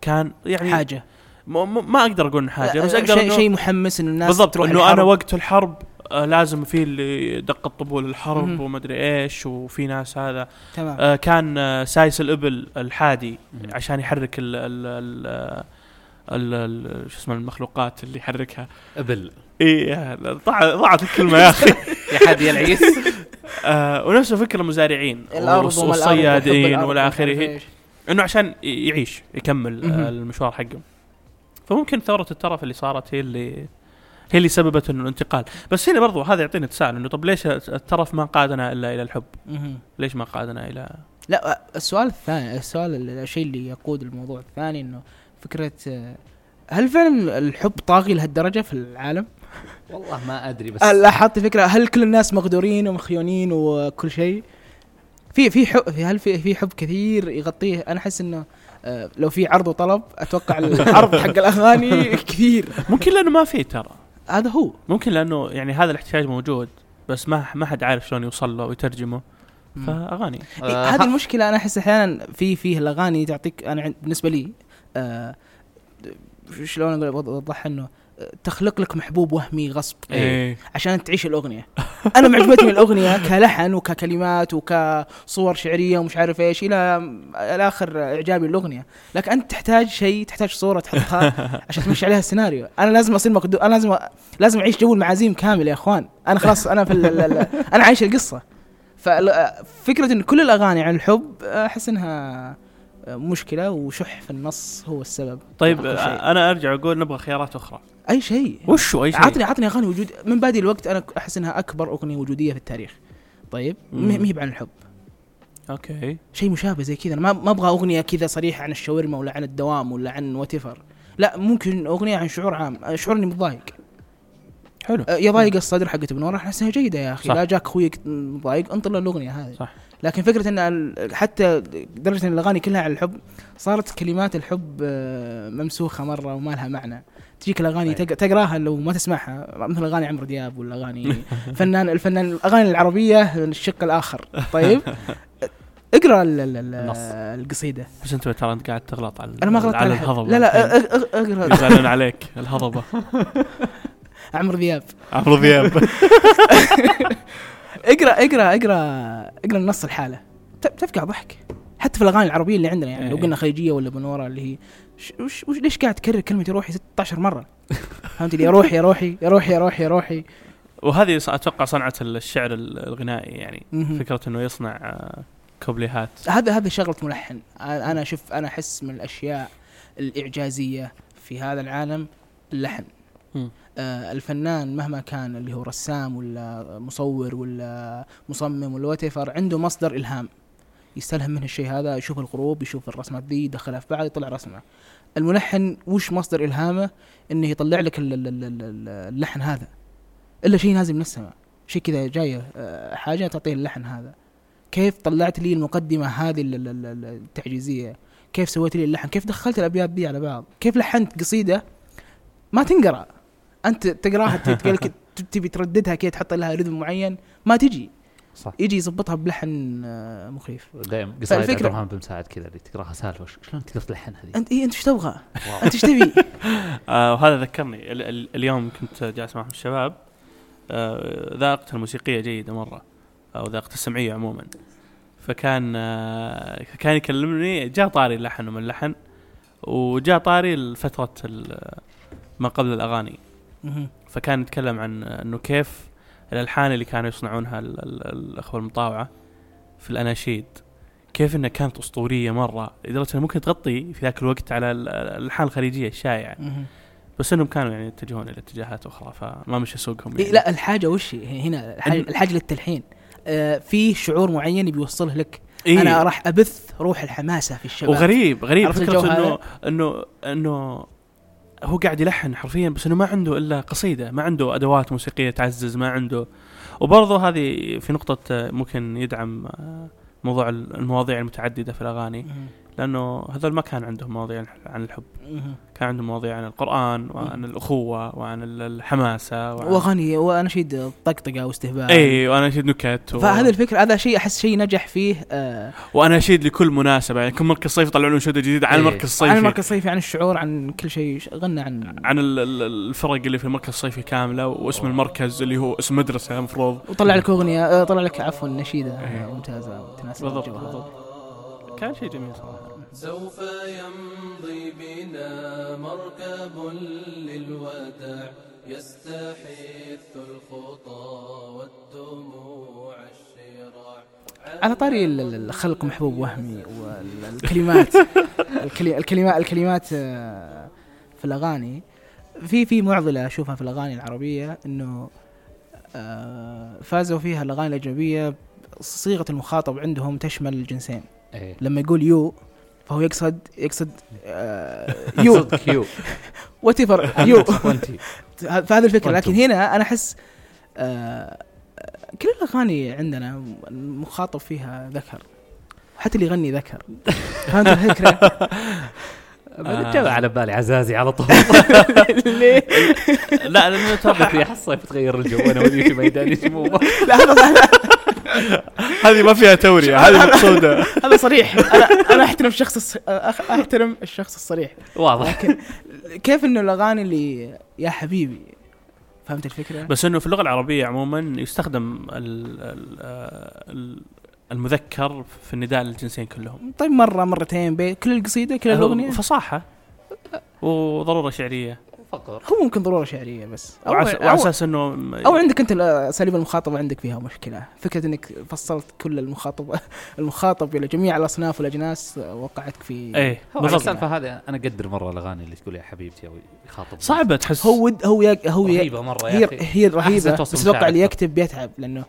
[SPEAKER 2] كان يعني
[SPEAKER 1] حاجه
[SPEAKER 2] م- م- ما اقدر اقول إنه حاجه بس
[SPEAKER 1] آه،
[SPEAKER 2] اقدر
[SPEAKER 1] شيء
[SPEAKER 2] إنه-
[SPEAKER 1] شيء محمس ان الناس
[SPEAKER 2] بالضبط
[SPEAKER 1] تروح
[SPEAKER 2] انه انا
[SPEAKER 1] الحرب.
[SPEAKER 2] وقت الحرب آه لازم في اللي دق الطبول الحرب
[SPEAKER 1] مم.
[SPEAKER 2] ومدري ايش وفي ناس هذا
[SPEAKER 1] تمام
[SPEAKER 2] آه، كان آه، سايس الابل الحادي
[SPEAKER 3] مم.
[SPEAKER 2] عشان يحرك ال ال ال ال- ال- شو اسمه المخلوقات اللي يحركها
[SPEAKER 3] ابل
[SPEAKER 2] اي ضاعت الكلمه
[SPEAKER 1] (laughs)
[SPEAKER 2] يا اخي
[SPEAKER 3] يا حد يا العيس (laughs)
[SPEAKER 2] آه، ونفس الفكره المزارعين
[SPEAKER 1] الارض وما الأرض وحب
[SPEAKER 2] والصيادين
[SPEAKER 1] الأرض
[SPEAKER 2] والى
[SPEAKER 1] ومش عارف
[SPEAKER 2] اخره
[SPEAKER 1] إيش.
[SPEAKER 2] انه عشان ي- يعيش يكمل
[SPEAKER 1] مهم.
[SPEAKER 2] آه، المشوار حقه فممكن ثوره الترف اللي صارت هي اللي هي اللي سببت انه الانتقال بس هنا برضو هذا يعطينا تساؤل انه طب ليش الترف ما قادنا الا الى الحب
[SPEAKER 1] مهم.
[SPEAKER 2] ليش ما قادنا الى
[SPEAKER 1] لا آه، السؤال الثاني السؤال ال- الشيء اللي يقود الموضوع الثاني انه فكره آه، هل فعلا الحب طاغي لهالدرجه في العالم؟
[SPEAKER 3] والله ما ادري بس
[SPEAKER 1] لاحظت فكره هل كل الناس مغدورين ومخيونين وكل شيء؟ في في حب في هل في في حب كثير يغطيه انا احس انه آه، لو في عرض وطلب اتوقع العرض حق الاغاني كثير
[SPEAKER 2] (laughs) ممكن لانه ما في ترى
[SPEAKER 1] هذا هو
[SPEAKER 2] ممكن لانه يعني هذا الاحتياج موجود بس ما ما حد عارف شلون يوصل له ويترجمه فاغاني
[SPEAKER 1] إيه،
[SPEAKER 3] آه،
[SPEAKER 1] هذه
[SPEAKER 3] ها-
[SPEAKER 1] المشكله انا احس احيانا في فيه الاغاني تعطيك انا عند- بالنسبه لي آه، شلون اقول اوضحها انه تخلق لك محبوب وهمي غصب
[SPEAKER 2] إيه.
[SPEAKER 1] عشان تعيش الاغنيه انا معجبتي من الاغنيه كلحن وككلمات وكصور شعريه ومش عارف ايش الى الاخر اعجابي الاغنيه لكن انت تحتاج شيء تحتاج صوره تحطها عشان تمشي عليها السيناريو انا لازم اصير مقدو انا لازم لازم اعيش جو المعازيم كامل يا اخوان انا خلاص انا في ال... ال... ال... انا عايش القصه ففكره ان كل الاغاني عن الحب احس انها مشكله وشح في النص هو السبب
[SPEAKER 2] طيب
[SPEAKER 1] أكثر شيء.
[SPEAKER 2] آه، انا ارجع اقول نبغى خيارات اخرى
[SPEAKER 1] اي شيء
[SPEAKER 2] وشو اي شيء
[SPEAKER 1] عطني عطني اغاني وجود من بادي الوقت انا احس انها اكبر اغنيه وجوديه في التاريخ طيب
[SPEAKER 2] مم.
[SPEAKER 1] ما هي عن الحب
[SPEAKER 2] اوكي
[SPEAKER 1] شيء مشابه زي كذا انا ما ما ابغى اغنيه كذا صريحه عن الشاورما ولا عن الدوام ولا عن وات لا ممكن اغنيه عن شعور عام شعور اني متضايق
[SPEAKER 2] حلو
[SPEAKER 1] أه، يا ضايق الصدر حقت ابن راح احسها جيده يا اخي
[SPEAKER 2] صح.
[SPEAKER 1] لا جاك اخويك مضايق انطر له الاغنيه هذه
[SPEAKER 2] صح.
[SPEAKER 1] لكن فكره ان ال- حتى درجه ان الاغاني كلها عن الحب صارت كلمات الحب آه، ممسوخه مره وما لها معنى تجيك الاغاني
[SPEAKER 2] طيب.
[SPEAKER 1] تق- تقراها لو ما تسمعها مثل اغاني عمرو دياب ولا اغاني (laughs) فنان الفنان الاغاني العربيه من الشق الاخر طيب اقرا ال- ال- ال-
[SPEAKER 3] النص.
[SPEAKER 1] القصيده
[SPEAKER 2] بس انت ترى انت قاعد تغلط على
[SPEAKER 1] انا ما غلطت
[SPEAKER 2] على
[SPEAKER 1] على أحد.
[SPEAKER 2] الهضبه
[SPEAKER 1] لا لا أ- أ- أ- اقرا
[SPEAKER 2] (laughs) يزعلون عليك الهضبه
[SPEAKER 1] (laughs) عمرو دياب
[SPEAKER 2] عمرو دياب
[SPEAKER 1] اقرا اقرا اقرا اقرا النص الحاله تفقع ضحك حتى في الاغاني العربيه اللي عندنا يعني لو
[SPEAKER 2] إيه.
[SPEAKER 1] قلنا خليجيه ولا بنوره اللي هي ش- وش وش ليش قاعد تكرر كلمه يا روحي 16 مره فهمت لي يا روحي يا روحي يا روحي يا روحي يا روحي
[SPEAKER 2] (laughs) وهذه ص- اتوقع صنعه الشعر ال- الغنائي يعني
[SPEAKER 1] مهم.
[SPEAKER 2] فكره انه يصنع آه، كوبليهات
[SPEAKER 1] هذا هذا شغله ملحن انا أنا شوف انا احس من الاشياء الاعجازيه في هذا العالم اللحن
[SPEAKER 2] مم.
[SPEAKER 1] آه الفنان مهما كان اللي هو رسام ولا مصور ولا مصمم ولا وتفر عنده مصدر الهام يستلهم منه الشيء هذا يشوف الغروب يشوف الرسمات دي يدخلها في بعض يطلع رسمه الملحن وش مصدر الهامه انه يطلع لك ال- ال- ال- ال- اللحن هذا الا شيء نازل من السماء شيء كذا جايه آه، حاجه تعطيه اللحن هذا كيف طلعت لي المقدمه هذه ال- ال- ال- التعجيزيه كيف سويت لي اللحن كيف دخلت الابيات دي على بعض كيف لحنت قصيده ما تنقرا انت
[SPEAKER 2] (laughs)
[SPEAKER 1] تقراها ت- تقول لك- ت- تبي ترددها كذا تحط لها رذم معين ما تجي
[SPEAKER 3] صح
[SPEAKER 1] يجي يظبطها بلحن آه، مخيف
[SPEAKER 3] دائما قصائد عبد
[SPEAKER 1] فالفكرة-
[SPEAKER 3] الرحمن بن مساعد كذا اللي تقراها سالفه ش- شلون تقدر تلحن هذه؟
[SPEAKER 1] انت إيه انت ايش تبغى؟
[SPEAKER 3] واو.
[SPEAKER 1] انت ايش تبي؟
[SPEAKER 2] (laughs) آه وهذا ذكرني ال- ال- اليوم كنت جالس مع أحد الشباب آه، ذائقته الموسيقيه جيده مره او ذائقته السمعيه عموما فكان آه، كان يكلمني جاء طاري اللحن وما اللحن وجاء طاري فتره ما قبل الاغاني
[SPEAKER 1] مهم.
[SPEAKER 2] فكان يتكلم عن انه كيف الالحان اللي كانوا يصنعونها ال- ال- الاخوه المطاوعه في الاناشيد كيف انها كانت اسطوريه مره لدرجه انها ممكن تغطي في ذاك الوقت على ال- الالحان الخليجيه الشائعه
[SPEAKER 1] مهم.
[SPEAKER 2] بس انهم كانوا يعني يتجهون الى اتجاهات اخرى فما مشى سوقهم يعني.
[SPEAKER 1] إيه لا الحاجه وش هي؟ هنا الحاجه,
[SPEAKER 2] إن-
[SPEAKER 1] الحاجة للتلحين آه في شعور معين بيوصله لك
[SPEAKER 2] إيه؟
[SPEAKER 1] انا راح ابث روح الحماسه في الشباب
[SPEAKER 2] وغريب غريب
[SPEAKER 1] عرفت الجو
[SPEAKER 2] فكره انه
[SPEAKER 1] هذا؟
[SPEAKER 2] انه انه هو قاعد يلحن حرفيا بس انه ما عنده الا قصيده ما عنده ادوات موسيقيه تعزز ما عنده وبرضه هذه في نقطه آه، ممكن يدعم آه، موضوع ال- المواضيع المتعدده في الاغاني
[SPEAKER 1] مهم.
[SPEAKER 2] لانه هذول ما كان عندهم مواضيع عن- عن الحب
[SPEAKER 1] مهم.
[SPEAKER 2] كان عندهم مواضيع عن القران وعن
[SPEAKER 1] مم.
[SPEAKER 2] الاخوه وعن ال- الحماسه وعن
[SPEAKER 1] واغاني واناشيد طقطقه واستهبال
[SPEAKER 2] اي وانا اشيد نكت و...
[SPEAKER 1] فهذا الفكر هذا شيء احس شيء نجح فيه آه
[SPEAKER 2] وانا اشيد لكل مناسبه يعني كل مركز صيفي يطلعون لهم شده جديده عن
[SPEAKER 3] إيه.
[SPEAKER 2] المركز الصيفي
[SPEAKER 1] عن المركز الصيفي عن الشعور عن كل شيء ش- غنى عن
[SPEAKER 2] عن ال- ال- الفرق اللي في المركز الصيفي كامله واسم المركز اللي هو اسم مدرسه المفروض
[SPEAKER 1] وطلع لك اغنيه آه طلع لك عفوا نشيده
[SPEAKER 2] إيه.
[SPEAKER 1] آه، ممتازه تناسب
[SPEAKER 2] بالضبط
[SPEAKER 1] الجو هذا.
[SPEAKER 2] بالضبط كان شيء جميل صراحه
[SPEAKER 5] سوف يمضي بنا مركب للوداع يستحث الخطى والدموع الشراع
[SPEAKER 1] على طاري ال- ال- الخلق محبوب وهمي والكلمات الكلمات الكلمات آه، في الاغاني في في معضله اشوفها في الاغاني العربيه انه آه، فازوا فيها الاغاني الاجنبيه صيغه المخاطب عندهم تشمل الجنسين
[SPEAKER 3] ايه
[SPEAKER 1] لما يقول يو فهو يقصد يقصد آه، يو
[SPEAKER 3] يو
[SPEAKER 1] (laughs) وات يو
[SPEAKER 3] وانتي
[SPEAKER 1] فهذا الفكره
[SPEAKER 3] وأنتم.
[SPEAKER 1] لكن هنا انا احس آه كل الاغاني عندنا المخاطب فيها ذكر حتى اللي يغني (laughs) ذكر فهمت الفكره؟
[SPEAKER 3] بعدين جاب على بالي عزازي على (laughs) طول
[SPEAKER 1] (laughs) ليه؟
[SPEAKER 2] لا لانه
[SPEAKER 3] قلت
[SPEAKER 2] ترى
[SPEAKER 3] لي حصه بتغير الجو انا ودي في ميدان (laughs) يشمومه
[SPEAKER 1] لا هذا
[SPEAKER 2] هذه ما فيها توريه هذه مقصوده
[SPEAKER 1] آه، هذا صريح انا انا احترم الشخص الص... أخ- احترم الشخص الصريح
[SPEAKER 3] واضح
[SPEAKER 1] لكن كيف انه الاغاني اللي يا حبيبي فهمت الفكره؟
[SPEAKER 2] بس انه في اللغه العربيه عموما يستخدم ال ال آه، ال المذكر في النداء للجنسين كلهم
[SPEAKER 1] طيب مره مرتين بي كل القصيده كل الاغنيه
[SPEAKER 2] فصاحه وضروره شعريه
[SPEAKER 3] فقر
[SPEAKER 1] هو ممكن ضروره شعريه بس او,
[SPEAKER 2] وعس- وعلى
[SPEAKER 1] أو,
[SPEAKER 2] اساس انه
[SPEAKER 1] أو عندك انت اساليب المخاطبه عندك فيها مشكله فكره انك فصلت كل المخاطب (laughs) المخاطب الى جميع الاصناف والاجناس وقعتك في
[SPEAKER 2] ايه
[SPEAKER 3] هو
[SPEAKER 2] بالضبط
[SPEAKER 3] السالفه هذه انا اقدر مره الاغاني اللي تقول يا حبيبتي او يخاطب
[SPEAKER 2] صعبه تحس
[SPEAKER 1] هو هو يا هو يا
[SPEAKER 3] رهيبه مره يا
[SPEAKER 1] هي
[SPEAKER 3] اخي
[SPEAKER 1] هي رهيبه
[SPEAKER 3] أحسن توصل
[SPEAKER 1] بس اتوقع اللي
[SPEAKER 3] مشاعرك.
[SPEAKER 1] يكتب بيتعب لانه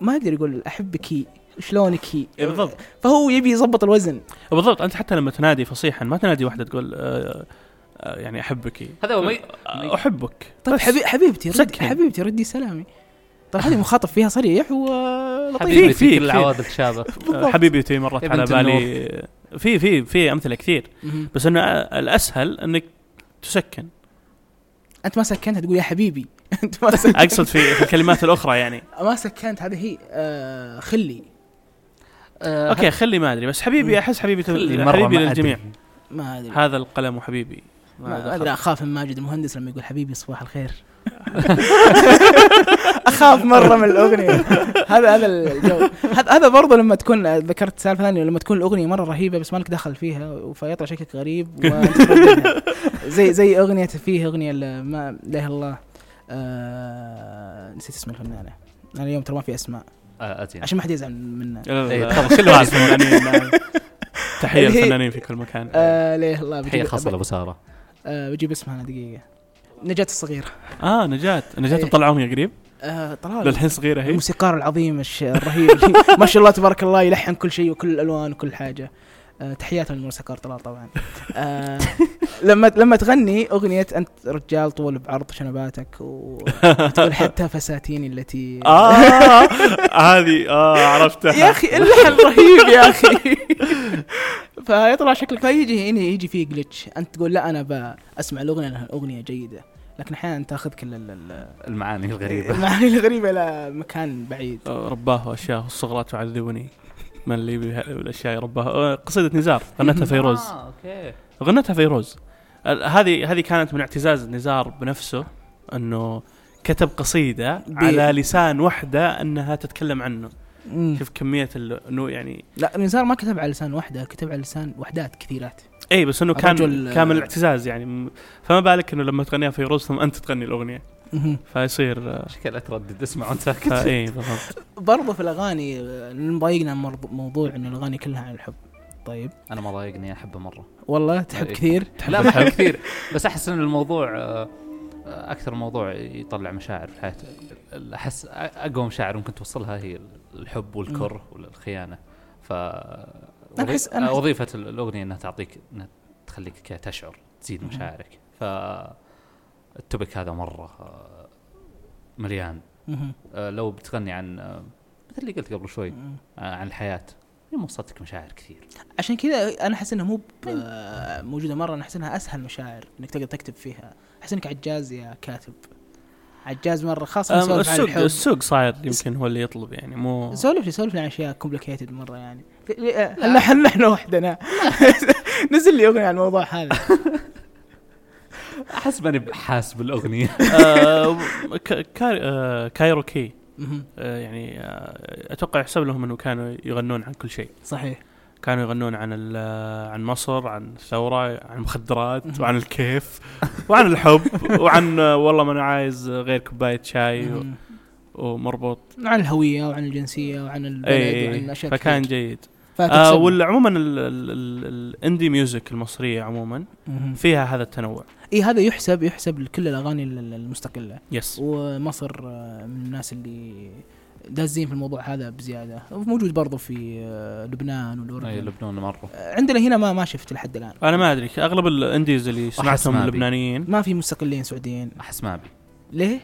[SPEAKER 1] ما يقدر يقول احبك هي شلونك هي
[SPEAKER 2] إيه بالضبط
[SPEAKER 1] فهو يبي يظبط الوزن
[SPEAKER 2] بالضبط انت حتى لما تنادي فصيحا ما تنادي واحده تقول آه، آه، يعني آه، احبك
[SPEAKER 3] هذا هو ما ي- ما ي-
[SPEAKER 2] احبك
[SPEAKER 1] طيب حبي حبيبتي رد
[SPEAKER 2] سكن.
[SPEAKER 1] حبيبتي ردي سلامي طيب هذه مخاطب فيها صريح ولطيف
[SPEAKER 2] فيك- فيك-
[SPEAKER 3] حبيبتي كل
[SPEAKER 2] فيك.
[SPEAKER 3] العواذل
[SPEAKER 2] (laughs)
[SPEAKER 3] شابه
[SPEAKER 1] بالضبط.
[SPEAKER 2] حبيبتي مرت
[SPEAKER 3] يا
[SPEAKER 2] على
[SPEAKER 3] بنت
[SPEAKER 2] بالي في في في امثله كثير
[SPEAKER 1] مهم.
[SPEAKER 2] بس انه الاسهل انك تسكن
[SPEAKER 1] انت ما سكنت تقول يا حبيبي (laughs) انت ما سكنت
[SPEAKER 2] اقصد في في الكلمات الاخرى يعني
[SPEAKER 1] ما سكنت هذه هي آه خلي
[SPEAKER 3] آه،
[SPEAKER 2] اوكي خلي ما ادري بس حبيبي احس حبيبي
[SPEAKER 3] خلي مرة
[SPEAKER 2] حبيبي
[SPEAKER 3] ما
[SPEAKER 2] للجميع
[SPEAKER 3] أدري.
[SPEAKER 1] ما ادري
[SPEAKER 2] هذا القلم حبيبي
[SPEAKER 1] ما
[SPEAKER 2] هذا
[SPEAKER 1] ادري اخاف من ماجد المهندس لما يقول حبيبي صباح الخير اخاف مره من الاغنيه (laughs) هذا هذا الجو هذا هذا برضه لما تكون ذكرت سالفه ثانيه لما تكون الاغنيه مره رهيبه بس مالك دخل فيها فيطلع شكلك غريب وأنت ترددها. زي زي اغنيه فيه اغنيه ل- ما لا إله إلا الله آه نسيت اسم الفنانه انا اليوم ترى ما في اسماء
[SPEAKER 3] آه، اتينا
[SPEAKER 1] عشان ما حد يزعل منا
[SPEAKER 2] لا،
[SPEAKER 3] إيه،
[SPEAKER 2] لا،
[SPEAKER 3] (laughs) تفضل، كل
[SPEAKER 2] لا،
[SPEAKER 3] واحد
[SPEAKER 2] الفنانين، نعم. تحيه
[SPEAKER 1] اللي هي-
[SPEAKER 2] للفنانين في كل مكان
[SPEAKER 1] آه لا إله إلا
[SPEAKER 3] (laughs)
[SPEAKER 1] الله
[SPEAKER 3] تحيه
[SPEAKER 1] بجيب-
[SPEAKER 3] خاصه لابو ساره
[SPEAKER 1] آه بجيب اسمها انا دقيقه نجاة الصغيرة
[SPEAKER 2] اه نجاة نجاة
[SPEAKER 1] إيه.
[SPEAKER 2] مطلعهم يا قريب
[SPEAKER 1] آه طلال
[SPEAKER 2] للحين صغيره هي
[SPEAKER 1] الموسيقار العظيم الش- الرهيب (laughs) اللي ما شاء الله تبارك الله يلحن كل شيء وكل الالوان وكل حاجه آه، تحياتنا للموسيقار طلال طبعا آه، لما لما تغني اغنيه انت رجال طول بعرض شنباتك وتقول حتى فساتيني التي
[SPEAKER 2] اه (laughs) هذه اه عرفتها
[SPEAKER 1] يا اخي اللحن رهيب يا اخي (laughs) فيطلع شكلك فيجي هنا يجي فيه جلتش انت تقول لا انا بسمع الاغنيه لانها اغنيه جيده لكن احيانا تاخذك ال- ال-
[SPEAKER 3] المعاني الغريبه
[SPEAKER 1] (laughs) المعاني الغريبه الى مكان بعيد
[SPEAKER 2] آه، رباه اشياء الصغرى تعذبني من اللي بها الاشياء يرباها آه، قصيده نزار غنتها فيروز
[SPEAKER 3] اه اوكي
[SPEAKER 2] غنتها فيروز ال- هذه هذه كانت من اعتزاز نزار بنفسه انه كتب قصيده
[SPEAKER 1] ب-
[SPEAKER 2] على لسان وحده انها تتكلم عنه
[SPEAKER 1] مم.
[SPEAKER 2] شوف كميه ال- انه يعني
[SPEAKER 1] لا نزار ما كتب على لسان واحده كتب على لسان وحدات كثيرات
[SPEAKER 2] اي إيه، بس انه كان
[SPEAKER 1] الرجل-
[SPEAKER 2] كان من الاعتزاز يعني م- فما بالك انه لما تغنيها فيروز ثم انت تغني الاغنيه فيصير آه،
[SPEAKER 3] شكلها اتردد اسمع وانت ساكت
[SPEAKER 2] فا- اي بالضبط
[SPEAKER 1] برضو في الاغاني آه، مضايقنا مرض- موضوع ان الاغاني كلها عن الحب طيب
[SPEAKER 3] انا ما ضايقني احبه مره
[SPEAKER 1] والله تحب
[SPEAKER 3] إيه.
[SPEAKER 1] كثير
[SPEAKER 3] لا ما أحب (laughs) كثير بس احس ان الموضوع آه، آه، اكثر موضوع يطلع مشاعر في حياتي احس أ- اقوى مشاعر ممكن توصلها هي الحب والكره والخيانه ف
[SPEAKER 1] أحس- أنا
[SPEAKER 3] آه،
[SPEAKER 1] أحس-
[SPEAKER 3] وظيفه ال- الاغنيه انها تعطيك انها تخليك كده تشعر تزيد مشاعرك ف التوبيك هذا مره آه، مليان
[SPEAKER 1] مهم.
[SPEAKER 3] آه، لو بتغني عن آه، مثل اللي قلت قبل شوي
[SPEAKER 1] مم.
[SPEAKER 3] آه، عن الحياه ما وصلتك مشاعر كثير
[SPEAKER 1] عشان كذا انا احس انها مو ب- آه، موجوده مره انا احس انها اسهل مشاعر انك تقدر تكتب فيها احس انك عجاز يا كاتب عجاز مره خاصه
[SPEAKER 2] آه،
[SPEAKER 1] نسولف عن
[SPEAKER 2] السوق
[SPEAKER 1] الحب
[SPEAKER 2] السوق صاير يمكن هو اللي يطلب يعني مو
[SPEAKER 1] سولف لي سولف لي عن اشياء كومبليكيتد مره يعني نحن نحن وحدنا (laughs) نزل لي اغنيه عن الموضوع هذا
[SPEAKER 3] احس ماني بحاسب الاغنيه
[SPEAKER 2] آه، ك- كار- آه، كايروكي
[SPEAKER 1] مهم.
[SPEAKER 2] آه، يعني آه، اتوقع يحسب لهم انه كانوا يغنون عن كل شيء
[SPEAKER 1] صحيح
[SPEAKER 2] كانوا يغنون عن ال- عن مصر عن الثوره عن المخدرات وعن الكيف وعن الحب وعن آه، والله ما انا عايز غير كوبايه شاي و-
[SPEAKER 1] مهم.
[SPEAKER 2] ومربوط
[SPEAKER 1] عن الهويه وعن الجنسيه وعن البلد
[SPEAKER 2] اي
[SPEAKER 1] وعن
[SPEAKER 2] أي،
[SPEAKER 1] اشياء
[SPEAKER 2] إيه، فكان
[SPEAKER 1] كثير.
[SPEAKER 2] جيد آه
[SPEAKER 1] فتكسب.
[SPEAKER 2] ولا عموما ال- ال- ال- الاندي ميوزك المصريه عموما
[SPEAKER 1] مهم.
[SPEAKER 2] فيها هذا التنوع
[SPEAKER 1] اي هذا يحسب يحسب لكل الاغاني ال- ال- المستقله
[SPEAKER 2] يس
[SPEAKER 1] ومصر آه، من الناس اللي دازين في الموضوع هذا بزياده موجود برضو في آه، لبنان
[SPEAKER 3] (laughs)
[SPEAKER 2] أيوة،
[SPEAKER 3] أي،
[SPEAKER 1] والاردن
[SPEAKER 3] لبنان مره
[SPEAKER 1] آه، عندنا هنا ما ما شفت لحد الان
[SPEAKER 2] انا ما ادري اغلب الانديز اللي سمعتهم
[SPEAKER 3] ما بي.
[SPEAKER 2] اللبنانيين
[SPEAKER 1] ما في مستقلين سعوديين
[SPEAKER 3] احس ما ابي
[SPEAKER 1] ليه؟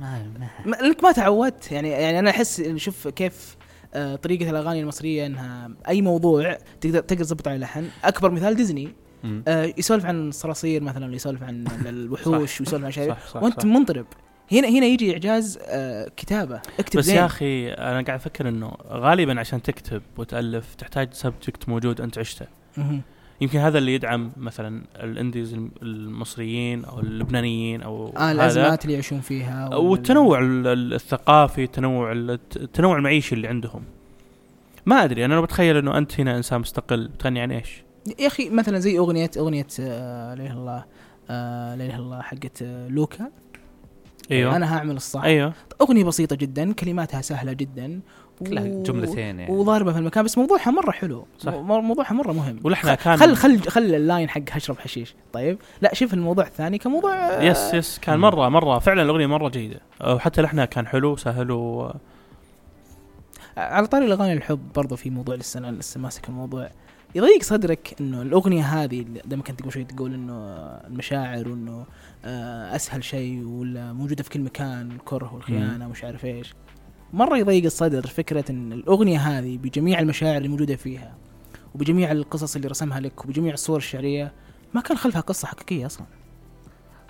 [SPEAKER 3] ما ما
[SPEAKER 1] ما لانك ما تعودت يعني يعني انا احس إن شوف كيف آه، طريقة الأغاني المصرية أنها أي موضوع تقدر تقدر تضبط على لحن، أكبر مثال ديزني
[SPEAKER 3] مم.
[SPEAKER 1] آه، يسولف عن الصراصير مثلا ولا يسولف
[SPEAKER 2] (laughs)
[SPEAKER 1] عن ال- الوحوش ويسولف عن شيء
[SPEAKER 2] صح صح,
[SPEAKER 1] وانت
[SPEAKER 2] صح.
[SPEAKER 1] منضرب هنا هنا يجي اعجاز آه، كتابه اكتب
[SPEAKER 2] بس
[SPEAKER 1] زين.
[SPEAKER 2] يا اخي انا قاعد افكر انه غالبا عشان تكتب وتالف تحتاج سبجكت موجود انت عشته
[SPEAKER 1] مهم.
[SPEAKER 2] يمكن هذا اللي يدعم مثلا الانديز الم- المصريين او اللبنانيين او
[SPEAKER 1] آه
[SPEAKER 2] هذا
[SPEAKER 1] الازمات اللي يعيشون فيها وال-
[SPEAKER 2] والتنوع ال- ال- الثقافي التنوع ال- التنوع المعيشي اللي عندهم ما ادري انا لو بتخيل انه انت هنا انسان مستقل بتغني عن ايش؟
[SPEAKER 1] يا اخي مثلا زي اغنيه اغنيه آه، لا اله الا الله آه، لا اله الا الله حقت آه، لوكا
[SPEAKER 2] أيوه.
[SPEAKER 1] انا هعمل الصح
[SPEAKER 2] ايوه
[SPEAKER 1] اغنيه بسيطه جدا كلماتها سهله جدا و-
[SPEAKER 3] كلها جملتين يعني
[SPEAKER 1] وضاربه في المكان بس موضوعها مره حلو
[SPEAKER 2] صح.
[SPEAKER 1] صح. موضوعها مره مهم
[SPEAKER 2] ولحنها كان
[SPEAKER 1] خل خل خل اللاين حق هشرب حشيش طيب لا شوف الموضوع الثاني كموضوع آه،
[SPEAKER 2] يس يس كان مره مره فعلا الاغنيه مره جيده أه، وحتى لحنها كان حلو سهل و
[SPEAKER 1] على طاري الاغاني الحب برضو في موضوع لسه انا لسه ماسك الموضوع يضيق صدرك انه الاغنيه هذه اللي دائما كنت قبل شوي تقول انه آه، المشاعر وانه آه، اسهل شيء ولا موجوده في كل مكان الكره والخيانه ومش عارف ايش مره يضيق الصدر فكره ان الاغنيه هذه بجميع المشاعر اللي موجوده فيها وبجميع القصص اللي رسمها لك وبجميع الصور الشعريه ما كان خلفها قصه حقيقيه اصلا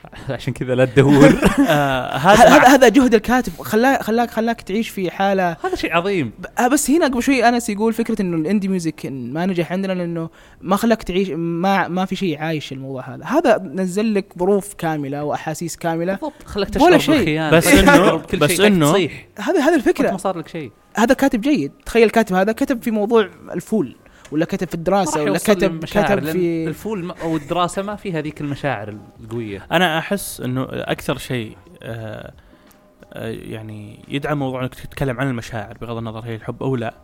[SPEAKER 3] (laughs) عشان كذا لا تدور
[SPEAKER 2] آه
[SPEAKER 1] (laughs) هذا
[SPEAKER 2] هذا
[SPEAKER 1] هذا هذا جهد الكاتب خلاك خلاك خلاك تعيش في حاله
[SPEAKER 3] هذا شيء عظيم
[SPEAKER 1] ب- آه بس هنا قبل شوي انس يقول فكره انه الاندي ميوزك ما نجح عندنا لانه ما خلاك تعيش ما ما في شيء عايش الموضوع هذا هذا نزل لك ظروف كامله واحاسيس كامله
[SPEAKER 3] بالضبط خلاك
[SPEAKER 1] ولا
[SPEAKER 3] تشعر
[SPEAKER 1] شيء.
[SPEAKER 3] بالخيانه
[SPEAKER 2] بس
[SPEAKER 3] خلاك
[SPEAKER 2] إنه-
[SPEAKER 3] تشعر بكل
[SPEAKER 2] بس
[SPEAKER 3] شيء، خلاك
[SPEAKER 2] إنه-
[SPEAKER 3] تصيح
[SPEAKER 1] هذا هذا
[SPEAKER 3] كنت ما
[SPEAKER 1] الفكره
[SPEAKER 3] صار لك شيء
[SPEAKER 1] هذا كاتب جيد تخيل الكاتب هذا كتب في موضوع الفول ولا كتب في
[SPEAKER 3] ما راح
[SPEAKER 1] الدراسه ولا
[SPEAKER 3] يوصل
[SPEAKER 1] كتب
[SPEAKER 3] للمشاعر،
[SPEAKER 1] كتب
[SPEAKER 3] لأن
[SPEAKER 1] في
[SPEAKER 3] الفول ما- او الدراسه ما في هذيك المشاعر القويه
[SPEAKER 2] انا احس انه اكثر شيء آه آه، يعني يدعم موضوع انك تتكلم عن المشاعر بغض النظر هي الحب او لا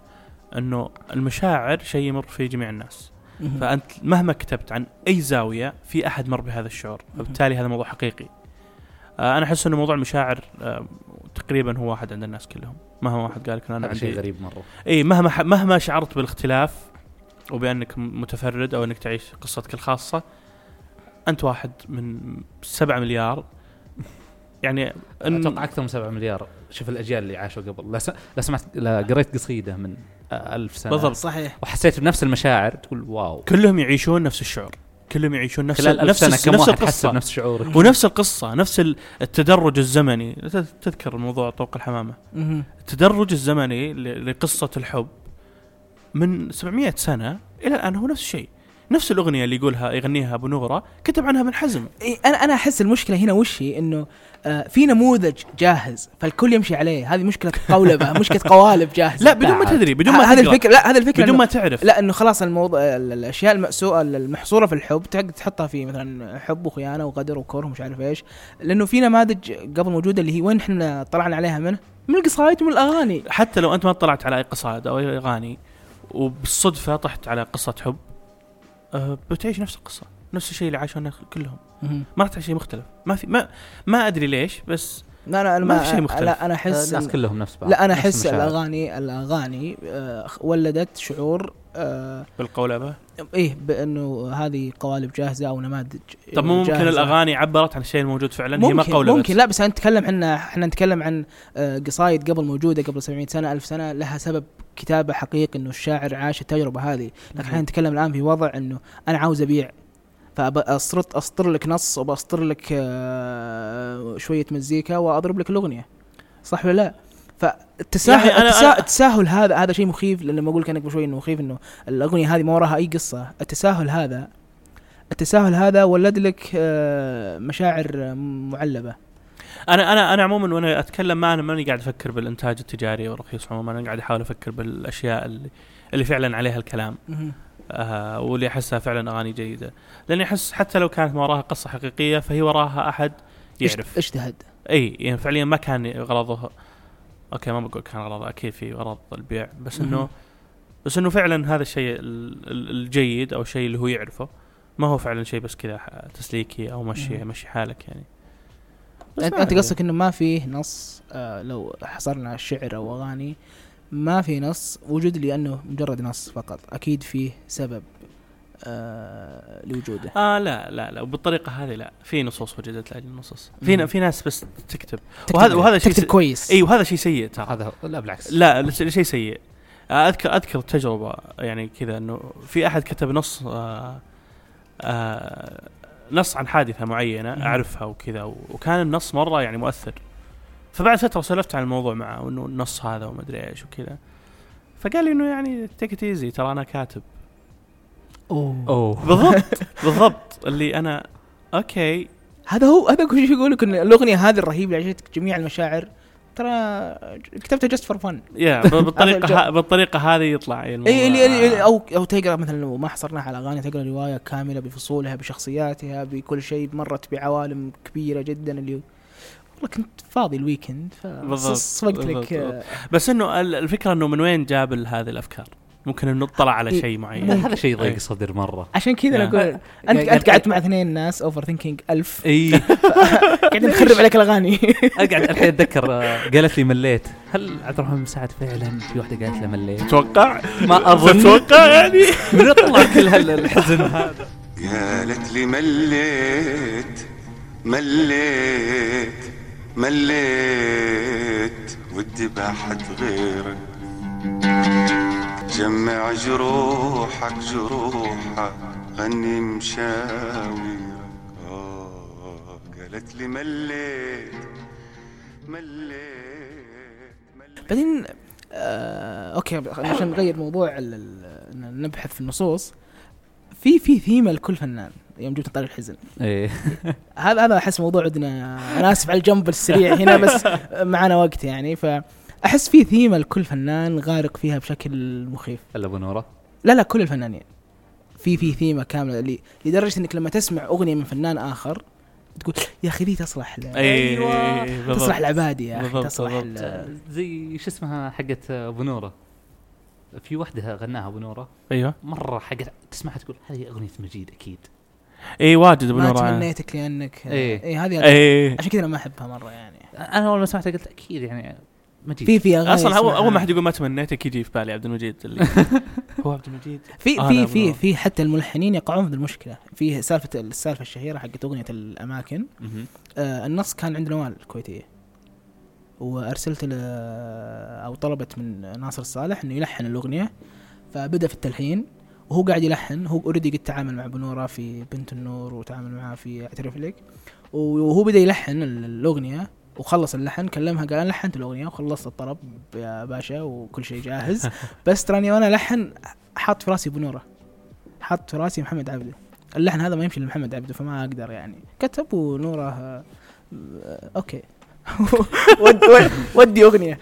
[SPEAKER 2] انه المشاعر شيء يمر في جميع الناس
[SPEAKER 1] مهم.
[SPEAKER 2] فانت مهما كتبت عن اي زاويه في احد مر بهذا الشعور
[SPEAKER 1] مهم.
[SPEAKER 2] فبالتالي هذا موضوع حقيقي آه انا احس انه موضوع المشاعر آه تقريبا هو واحد عند الناس كلهم مهما واحد قال لك إنه انا
[SPEAKER 3] هذا شيء
[SPEAKER 2] عندي
[SPEAKER 3] غريب مره
[SPEAKER 2] اي إيه، مهما ح- مهما شعرت بالاختلاف وبانك م- متفرد او انك تعيش قصتك الخاصه انت واحد من سبعة مليار يعني
[SPEAKER 3] اتوقع اكثر من 7 مليار شوف الاجيال اللي عاشوا قبل لا, س... لا سمعت لا قريت قصيده من ألف سنه
[SPEAKER 2] بالضبط.
[SPEAKER 1] صحيح
[SPEAKER 3] وحسيت بنفس المشاعر تقول واو
[SPEAKER 2] كلهم يعيشون نفس الشعور كلهم يعيشون نفس
[SPEAKER 3] خلال ألف
[SPEAKER 2] نفس
[SPEAKER 3] سنه
[SPEAKER 2] الس-
[SPEAKER 3] كم
[SPEAKER 2] نفس
[SPEAKER 3] واحد حس
[SPEAKER 2] القصه
[SPEAKER 3] بنفس شعورك
[SPEAKER 2] ونفس القصه نفس ال- التدرج الزمني ت- تذكر موضوع طوق الحمامه
[SPEAKER 1] مهم.
[SPEAKER 2] التدرج الزمني ل- لقصه الحب من 700 سنه الى الان هو نفس الشيء نفس الاغنيه اللي يقولها يغنيها ابو نوره كتب عنها ابن حزم
[SPEAKER 1] إيه، انا انا احس المشكله هنا وش هي انه آه، في نموذج جاهز فالكل يمشي عليه هذه مشكله قولبه مشكله قوالب جاهزه
[SPEAKER 2] لا بدون ما تدري بدون ما
[SPEAKER 1] هذه
[SPEAKER 2] تقرأ.
[SPEAKER 1] الفكره لا هذه الفكره
[SPEAKER 2] بدون
[SPEAKER 1] إنه-
[SPEAKER 2] ما تعرف
[SPEAKER 1] لا انه خلاص الموضوع ال- الاشياء المأسوءه المحصوره في الحب تقعد تحطها في مثلا حب وخيانه وغدر وكره ومش عارف ايش لانه في نماذج قبل موجوده اللي هي وين احنا طلعنا عليها منه من القصايد ومن الاغاني
[SPEAKER 2] حتى لو انت ما طلعت على اي قصائد او اي اغاني وبالصدفه طحت على قصه حب أه بتعيش نفس القصه نفس الشيء اللي عاشوا الناس كلهم ما راح تعيش شيء مختلف ما في ما ما ادري ليش بس
[SPEAKER 1] لا انا أنا
[SPEAKER 2] ما
[SPEAKER 1] ما
[SPEAKER 2] في شيء مختلف.
[SPEAKER 1] لا انا احس
[SPEAKER 3] الناس
[SPEAKER 1] إن-
[SPEAKER 3] كلهم نفس بعض
[SPEAKER 1] لا انا
[SPEAKER 3] نفس
[SPEAKER 1] احس
[SPEAKER 3] المشاعر.
[SPEAKER 1] الاغاني الاغاني آه، خ- ولدت شعور آه،
[SPEAKER 2] بالقولبه
[SPEAKER 1] ايه بانه هذه قوالب جاهزه او نماذج
[SPEAKER 2] طب مو ممكن
[SPEAKER 1] جاهزة.
[SPEAKER 2] الاغاني عبرت عن الشيء الموجود فعلا هي ما
[SPEAKER 1] ممكن
[SPEAKER 2] قولبه
[SPEAKER 1] ممكن لا بس احنا نتكلم احنا احنا نتكلم عن آه، قصايد قبل موجوده قبل 700 سنه 1000 سنه لها سبب كتابه حقيقي انه الشاعر عاش التجربه هذه لكن
[SPEAKER 2] نعم.
[SPEAKER 1] احنا نتكلم الان في وضع انه انا عاوز ابيع فأصرت أسطر لك نص وبأسطر لك آه، شوية مزيكا وأضرب لك الأغنية صح ولا لا؟ فالتساهل
[SPEAKER 2] يعني أنا-
[SPEAKER 1] التسا...
[SPEAKER 2] أنا-
[SPEAKER 1] التساهل هذا هذا شيء مخيف لأن لما أقول لك أنا قبل شوي إنه مخيف إنه الأغنية هذه ما وراها أي قصة التساهل هذا التساهل هذا ولد لك آه، مشاعر آه، معلبة
[SPEAKER 2] انا انا انا عموما وانا اتكلم ما انا ماني قاعد افكر بالانتاج التجاري والرخيص عموما انا قاعد احاول افكر بالاشياء اللي اللي فعلا عليها الكلام آه واللي احسها فعلا اغاني جيده لاني احس حتى لو كانت ما وراها قصه حقيقيه فهي وراها احد يعرف
[SPEAKER 1] اجت- اجتهد
[SPEAKER 2] اي يعني فعليا ما كان غرضه اوكي ما بقول كان غرضه اكيد في غرض البيع بس انه
[SPEAKER 1] مهم.
[SPEAKER 2] بس انه فعلا هذا الشيء ال- ال- الجيد او الشيء اللي هو يعرفه ما هو فعلا شيء بس كذا ح- تسليكي او مشي
[SPEAKER 1] مهم.
[SPEAKER 2] مشي حالك يعني بس
[SPEAKER 1] انت
[SPEAKER 2] ما
[SPEAKER 1] انت
[SPEAKER 2] أدري.
[SPEAKER 1] قصدك انه ما فيه نص آه لو حصرنا الشعر او اغاني ما في نص وجود لانه مجرد نص فقط اكيد فيه سبب آه لوجوده
[SPEAKER 2] اه لا لا لا وبالطريقه هذه لا في نصوص وجدت لاجل النصوص في ن-
[SPEAKER 1] مهم.
[SPEAKER 2] في ناس بس تكتب
[SPEAKER 1] تكتب-
[SPEAKER 2] وهذا- وهذا شيء
[SPEAKER 1] تكتب
[SPEAKER 2] س-
[SPEAKER 1] كويس
[SPEAKER 2] اي وهذا شيء سيء ترى
[SPEAKER 3] هذا هو- لا بالعكس
[SPEAKER 2] لا لا، شيء سيء آه، اذكر اذكر تجربه يعني كذا انه في احد كتب نص آه آه نص عن حادثه معينه
[SPEAKER 1] مم.
[SPEAKER 2] اعرفها وكذا و- وكان النص مره يعني مؤثر فبعد فتره سولفت عن الموضوع معه وانه النص هذا وما ادري ايش وكذا فقال لي انه يعني تيك ايزي ترى انا كاتب
[SPEAKER 1] اوه
[SPEAKER 3] اوه
[SPEAKER 2] بالضبط (laughs) بالضبط اللي انا اوكي
[SPEAKER 1] هذا هو هذا كل شيء يقول لك ان الاغنيه هذه الرهيبه اللي عجبتك جميع المشاعر ترى كتبتها جست فور فن
[SPEAKER 2] يا ب- بالطريقه ها- بالطريقه هذه يطلع الموضوع.
[SPEAKER 1] اي اللي- اللي- او او تقرا مثلا لو ما حصرناها على اغاني تقرا روايه كامله بفصولها بشخصياتها بكل شيء مرت بعوالم كبيره جدا اللي والله كنت فاضي الويكند
[SPEAKER 2] بالضبط،
[SPEAKER 1] فصفقت لك
[SPEAKER 2] بالضبط.
[SPEAKER 1] آه،
[SPEAKER 2] بس انه ال- الفكره انه من وين جاب ال- هذه الافكار؟ ممكن انه اطلع على
[SPEAKER 1] إيه.
[SPEAKER 2] شيء معين
[SPEAKER 3] هذا شيء
[SPEAKER 2] أي.
[SPEAKER 3] ضيق صدر يعني مره
[SPEAKER 1] عشان كذا انا
[SPEAKER 2] يا.
[SPEAKER 1] اقول انت انت قعدت مع اثنين ناس اوفر ثينكينج ألف
[SPEAKER 3] اي
[SPEAKER 1] قاعدين نخرب عليك
[SPEAKER 2] (laughs)
[SPEAKER 1] الاغاني
[SPEAKER 3] اقعد إيه، الحين اتذكر آه، قالت لي مليت هل عبد الرحمن مساعد فعلا في واحده قالت له مليت
[SPEAKER 2] تتوقع؟
[SPEAKER 3] ما اظن
[SPEAKER 2] تتوقع يعني؟
[SPEAKER 3] من طلع كل هالحزن هذا
[SPEAKER 6] قالت لي مليت مليت مليت ودي بحد غيرك جمع جروحك جروحك غني مشاويرك آه، قالت لي مليت مليت مليت
[SPEAKER 1] بعدين آه اوكي عشان نغير موضوع ال- ال- إن نبحث في النصوص في في ثيمه لكل فنان يوم جبت طاري الحزن
[SPEAKER 3] ايه
[SPEAKER 1] هذا هذا احس موضوع عندنا انا اسف على الجنب السريع هنا بس معنا وقت يعني فاحس في ثيمه لكل فنان غارق فيها بشكل مخيف
[SPEAKER 3] هلا ابو نوره
[SPEAKER 1] لا لا كل الفنانين في في ثيمه كامله اللي لدرجه انك لما تسمع اغنيه من فنان اخر تقول يا اخي ذي تصلح ل- أيوة.
[SPEAKER 2] ايوه
[SPEAKER 1] تصلح العبادي يا اخي
[SPEAKER 2] بالضبط،
[SPEAKER 1] تصلح
[SPEAKER 2] بالضبط.
[SPEAKER 1] ل-
[SPEAKER 3] آه، زي شو اسمها حقت ابو نوره في واحده غناها ابو نوره
[SPEAKER 2] ايوه
[SPEAKER 3] مره حقت تسمعها تقول هذه اغنيه مجيد اكيد
[SPEAKER 2] اي إيه، واجد ابو
[SPEAKER 1] ما
[SPEAKER 2] نور
[SPEAKER 1] تمنيتك لانك
[SPEAKER 3] إيه.
[SPEAKER 1] اي هذه
[SPEAKER 2] اي
[SPEAKER 1] عشان كذا انا ما احبها مره يعني
[SPEAKER 3] انا اول ما سمعتها قلت اكيد يعني مجيد
[SPEAKER 1] في في اغاني
[SPEAKER 2] اصلا اول
[SPEAKER 1] اسمعها.
[SPEAKER 2] اول ما حد يقول ما تمنيتك يجي في بالي عبد المجيد اللي
[SPEAKER 1] (laughs)
[SPEAKER 2] هو عبد المجيد
[SPEAKER 1] في
[SPEAKER 2] آه، لا،
[SPEAKER 1] في
[SPEAKER 2] بالضبط.
[SPEAKER 1] في في حتى الملحنين يقعون في المشكله في سالفه السالفه الشهيره حقت اغنيه الاماكن
[SPEAKER 3] مهم.
[SPEAKER 1] آه النص كان عند نوال الكويتيه وارسلت ل او طلبت من ناصر الصالح انه يلحن الاغنيه فبدا في التلحين وهو قاعد يلحن هو اوريدي قد تعامل مع بنوره في بنت النور وتعامل معها في اعترف لك وهو بدا يلحن ال- الاغنيه وخلص اللحن كلمها قال انا لحنت الاغنيه وخلصت الطرب يا باشا وكل شيء جاهز بس تراني وانا لحن حاط في راسي بنوره حاط في راسي محمد عبده اللحن هذا ما يمشي لمحمد عبده فما اقدر يعني كتب ونوره آه، آه، اوكي (laughs) ود ود- ودي اغنيه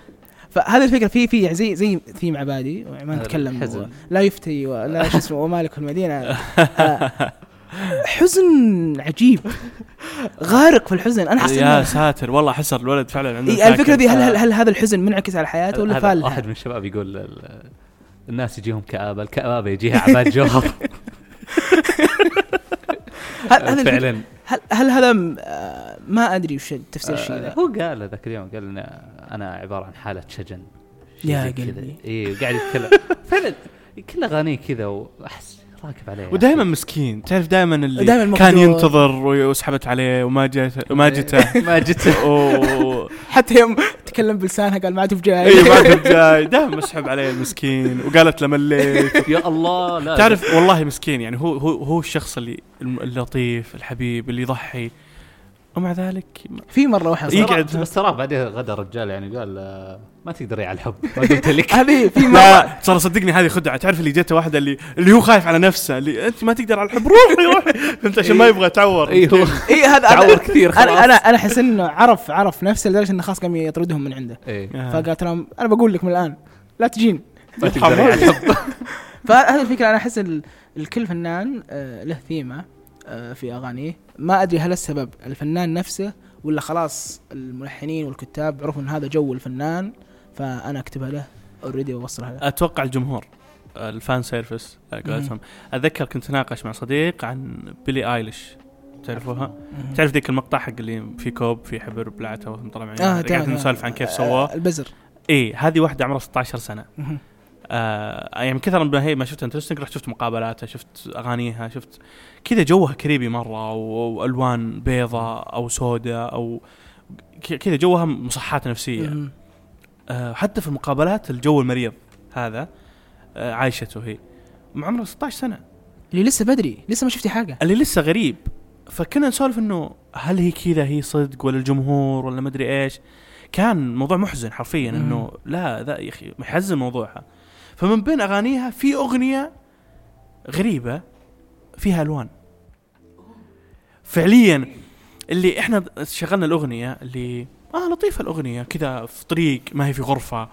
[SPEAKER 1] فهذه الفكره في في زي زي ثيم عبادي يعني ما نتكلم
[SPEAKER 3] الحزن.
[SPEAKER 1] و- لا يفتي ولا شو اسمه ومالك المدينه آه، حزن عجيب غارق في الحزن انا حسيت
[SPEAKER 2] يا
[SPEAKER 1] إنه-
[SPEAKER 2] ساتر والله حسر الولد فعلا عنده
[SPEAKER 1] إيه، الفكره
[SPEAKER 2] مشاكل.
[SPEAKER 1] دي هل, هل هل هذا الحزن منعكس على حياته ولا
[SPEAKER 3] آه. هذا واحد
[SPEAKER 1] فالها؟
[SPEAKER 3] من الشباب يقول ال- الناس يجيهم كآبة الكآبة يجيها عباد جوهر
[SPEAKER 1] هل هذا الفكرة-
[SPEAKER 3] فعلا
[SPEAKER 1] هل, هل هذا م- آه، ما ادري وش تفسير الشيء
[SPEAKER 3] آه،
[SPEAKER 1] ذا
[SPEAKER 3] هو قال ذاك اليوم قال إن انا عبارة عن حالة شجن شيء
[SPEAKER 1] يا
[SPEAKER 3] زي كذا.
[SPEAKER 1] قلبي.
[SPEAKER 3] اي وقاعد
[SPEAKER 1] (laughs)
[SPEAKER 3] يتكلم فعلا كل اغانيه كذا واحس راكب عليه
[SPEAKER 2] ودائما مسكين تعرف دائما اللي
[SPEAKER 1] دايماً
[SPEAKER 2] دايماً
[SPEAKER 1] مخدوع.
[SPEAKER 2] كان ينتظر وي- وسحبت عليه وما جت وما جته
[SPEAKER 3] (laughs) ما جت
[SPEAKER 1] (laughs)
[SPEAKER 2] و-
[SPEAKER 1] حتى يوم تكلم بلسانها قال ما عاد بجاي
[SPEAKER 3] إيه.
[SPEAKER 2] اي ما كنت جاي دائما مسحب عليه المسكين وقالت له مليت
[SPEAKER 3] يا الله آه، لا
[SPEAKER 2] تعرف والله مسكين يعني هو هو هو الشخص اللي الم- اللطيف الحبيب اللي يضحي ومع ذلك
[SPEAKER 1] في مره واحده
[SPEAKER 3] إيه.
[SPEAKER 1] صار-
[SPEAKER 2] يقعد-
[SPEAKER 3] يقعد بس تراه بعدين غدا الرجال يعني قال آه، ما تقدري على الحب ما قلت لك
[SPEAKER 1] هذه في مره
[SPEAKER 2] لا ترى صدقني هذه خدعه تعرف اللي جته واحده اللي اللي هو خايف على نفسه اللي انت ما تقدر على الحب روحي
[SPEAKER 1] (laughs)
[SPEAKER 2] روحي فهمت (laughs) عشان
[SPEAKER 1] إيه.
[SPEAKER 2] ما يبغى يتعور
[SPEAKER 3] اي إيه،
[SPEAKER 2] (laughs)
[SPEAKER 3] هو
[SPEAKER 1] اي إيه، هذا
[SPEAKER 3] تعور كثير خلاص
[SPEAKER 1] انا انا انا احس انه عرف عرف نفسه لدرجه انه خلاص قام يطردهم من عنده
[SPEAKER 3] إيه.
[SPEAKER 2] آه.
[SPEAKER 1] فقال ترى انا بقول لك من الان لا تجين
[SPEAKER 3] ما تقدري على الحب
[SPEAKER 1] فهذه الفكره انا احس ال- الكل فنان آه، له ثيمه آه، في اغانيه ما ادري هل السبب الفنان نفسه ولا خلاص الملحنين والكتاب عرفوا ان هذا جو الفنان فانا اكتبها له اوريدي واوصلها له
[SPEAKER 2] اتوقع الجمهور آه، الفان سيرفيس على قولتهم اتذكر كنت اناقش مع صديق عن بيلي ايليش تعرفوها؟ تعرف ذيك المقطع حق اللي في كوب في حبر بلعته وهم طلع معي
[SPEAKER 1] آه،
[SPEAKER 2] قاعد
[SPEAKER 1] تعرف.
[SPEAKER 2] نسولف عن كيف
[SPEAKER 1] آه،
[SPEAKER 2] سواه
[SPEAKER 1] البزر
[SPEAKER 2] اي إيه، هذه واحده عمرها 16 سنه
[SPEAKER 1] مهم.
[SPEAKER 2] آه يعني كثر ما هي ما شفت انترستنج رحت شفت مقابلاتها شفت اغانيها شفت كذا جوها كريبي مره و- والوان بيضة او سوداء او ك- كذا جوها مصحات نفسيه
[SPEAKER 1] مهم.
[SPEAKER 2] آه حتى في المقابلات الجو المريض هذا آه عايشته هي مع عمرها 16 سنه
[SPEAKER 1] اللي لسه بدري لسه ما شفتي حاجه
[SPEAKER 2] اللي لسه غريب فكنا نسولف انه هل هي كذا هي صدق ولا الجمهور ولا مدري ايش كان موضوع محزن حرفيا
[SPEAKER 1] مم.
[SPEAKER 2] انه لا ذا يا اخي محزن موضوعها فمن بين اغانيها في اغنيه غريبه فيها الوان فعليا اللي احنا شغلنا الاغنيه اللي اه لطيفه الاغنيه كذا في طريق ما هي في غرفه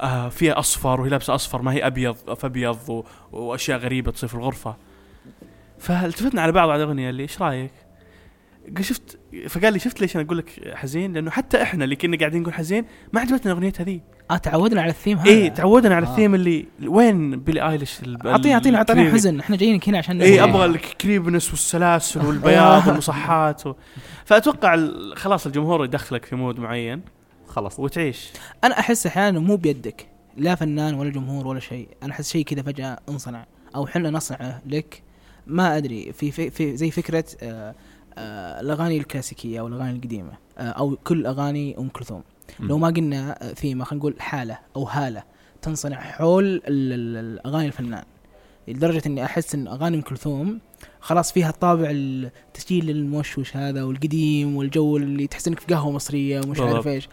[SPEAKER 2] آه فيها اصفر وهي لابسه اصفر ما هي ابيض فابيض و... واشياء غريبه تصير في الغرفه فالتفتنا على بعض على الاغنيه اللي ايش رايك؟ قال شفت فقال لي شفت ليش انا اقول لك حزين؟ لانه حتى احنا اللي كنا قاعدين نقول حزين ما عجبتنا الاغنيه هذه
[SPEAKER 1] اه تعودنا على الثيم هذا
[SPEAKER 2] اي تعودنا على
[SPEAKER 1] آه.
[SPEAKER 2] الثيم اللي وين بيلي ايليش الب-
[SPEAKER 1] اعطينا اعطينا اعطينا
[SPEAKER 2] الكريبي.
[SPEAKER 1] حزن احنا جايينك هنا عشان
[SPEAKER 2] اي
[SPEAKER 1] نزعل.
[SPEAKER 2] ابغى الكريبنس إيه، والسلاسل
[SPEAKER 1] آه.
[SPEAKER 2] والبياض والمصحات و... فاتوقع ال- خلاص الجمهور يدخلك في مود معين
[SPEAKER 3] خلص
[SPEAKER 2] وتعيش
[SPEAKER 1] انا احس احيانا مو بيدك لا فنان ولا جمهور ولا شيء انا احس شيء كذا فجاه انصنع او حنا نصنعه لك ما ادري في في, في زي فكره آه آه الاغاني الكلاسيكيه او الاغاني القديمه آه او كل اغاني ام كلثوم
[SPEAKER 3] مم.
[SPEAKER 1] لو ما قلنا آه، ثيمه خلينا نقول حاله او هاله تنصنع حول ال- ال- الاغاني الفنان لدرجه اني احس ان اغاني ام كلثوم خلاص فيها طابع التسجيل الموشوش هذا والقديم والجو اللي تحس انك في قهوه مصريه ومش عارف
[SPEAKER 2] بالضبط.
[SPEAKER 1] ايش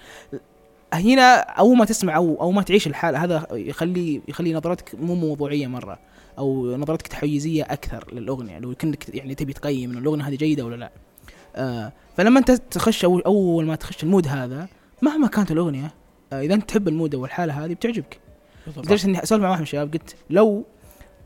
[SPEAKER 1] هنا اول ما تسمع او او ما تعيش الحال هذا يخلي يخلي نظرتك مو موضوعيه مره او نظرتك تحيزيه اكثر للاغنيه لو كنت يعني تبي تقيم انه الاغنيه هذه جيده ولا لا آه فلما انت تخش أول, اول ما تخش المود هذا مهما كانت الاغنيه آه اذا انت تحب المود او الحاله هذه بتعجبك لدرجه اني اسولف مع واحد من الشباب قلت لو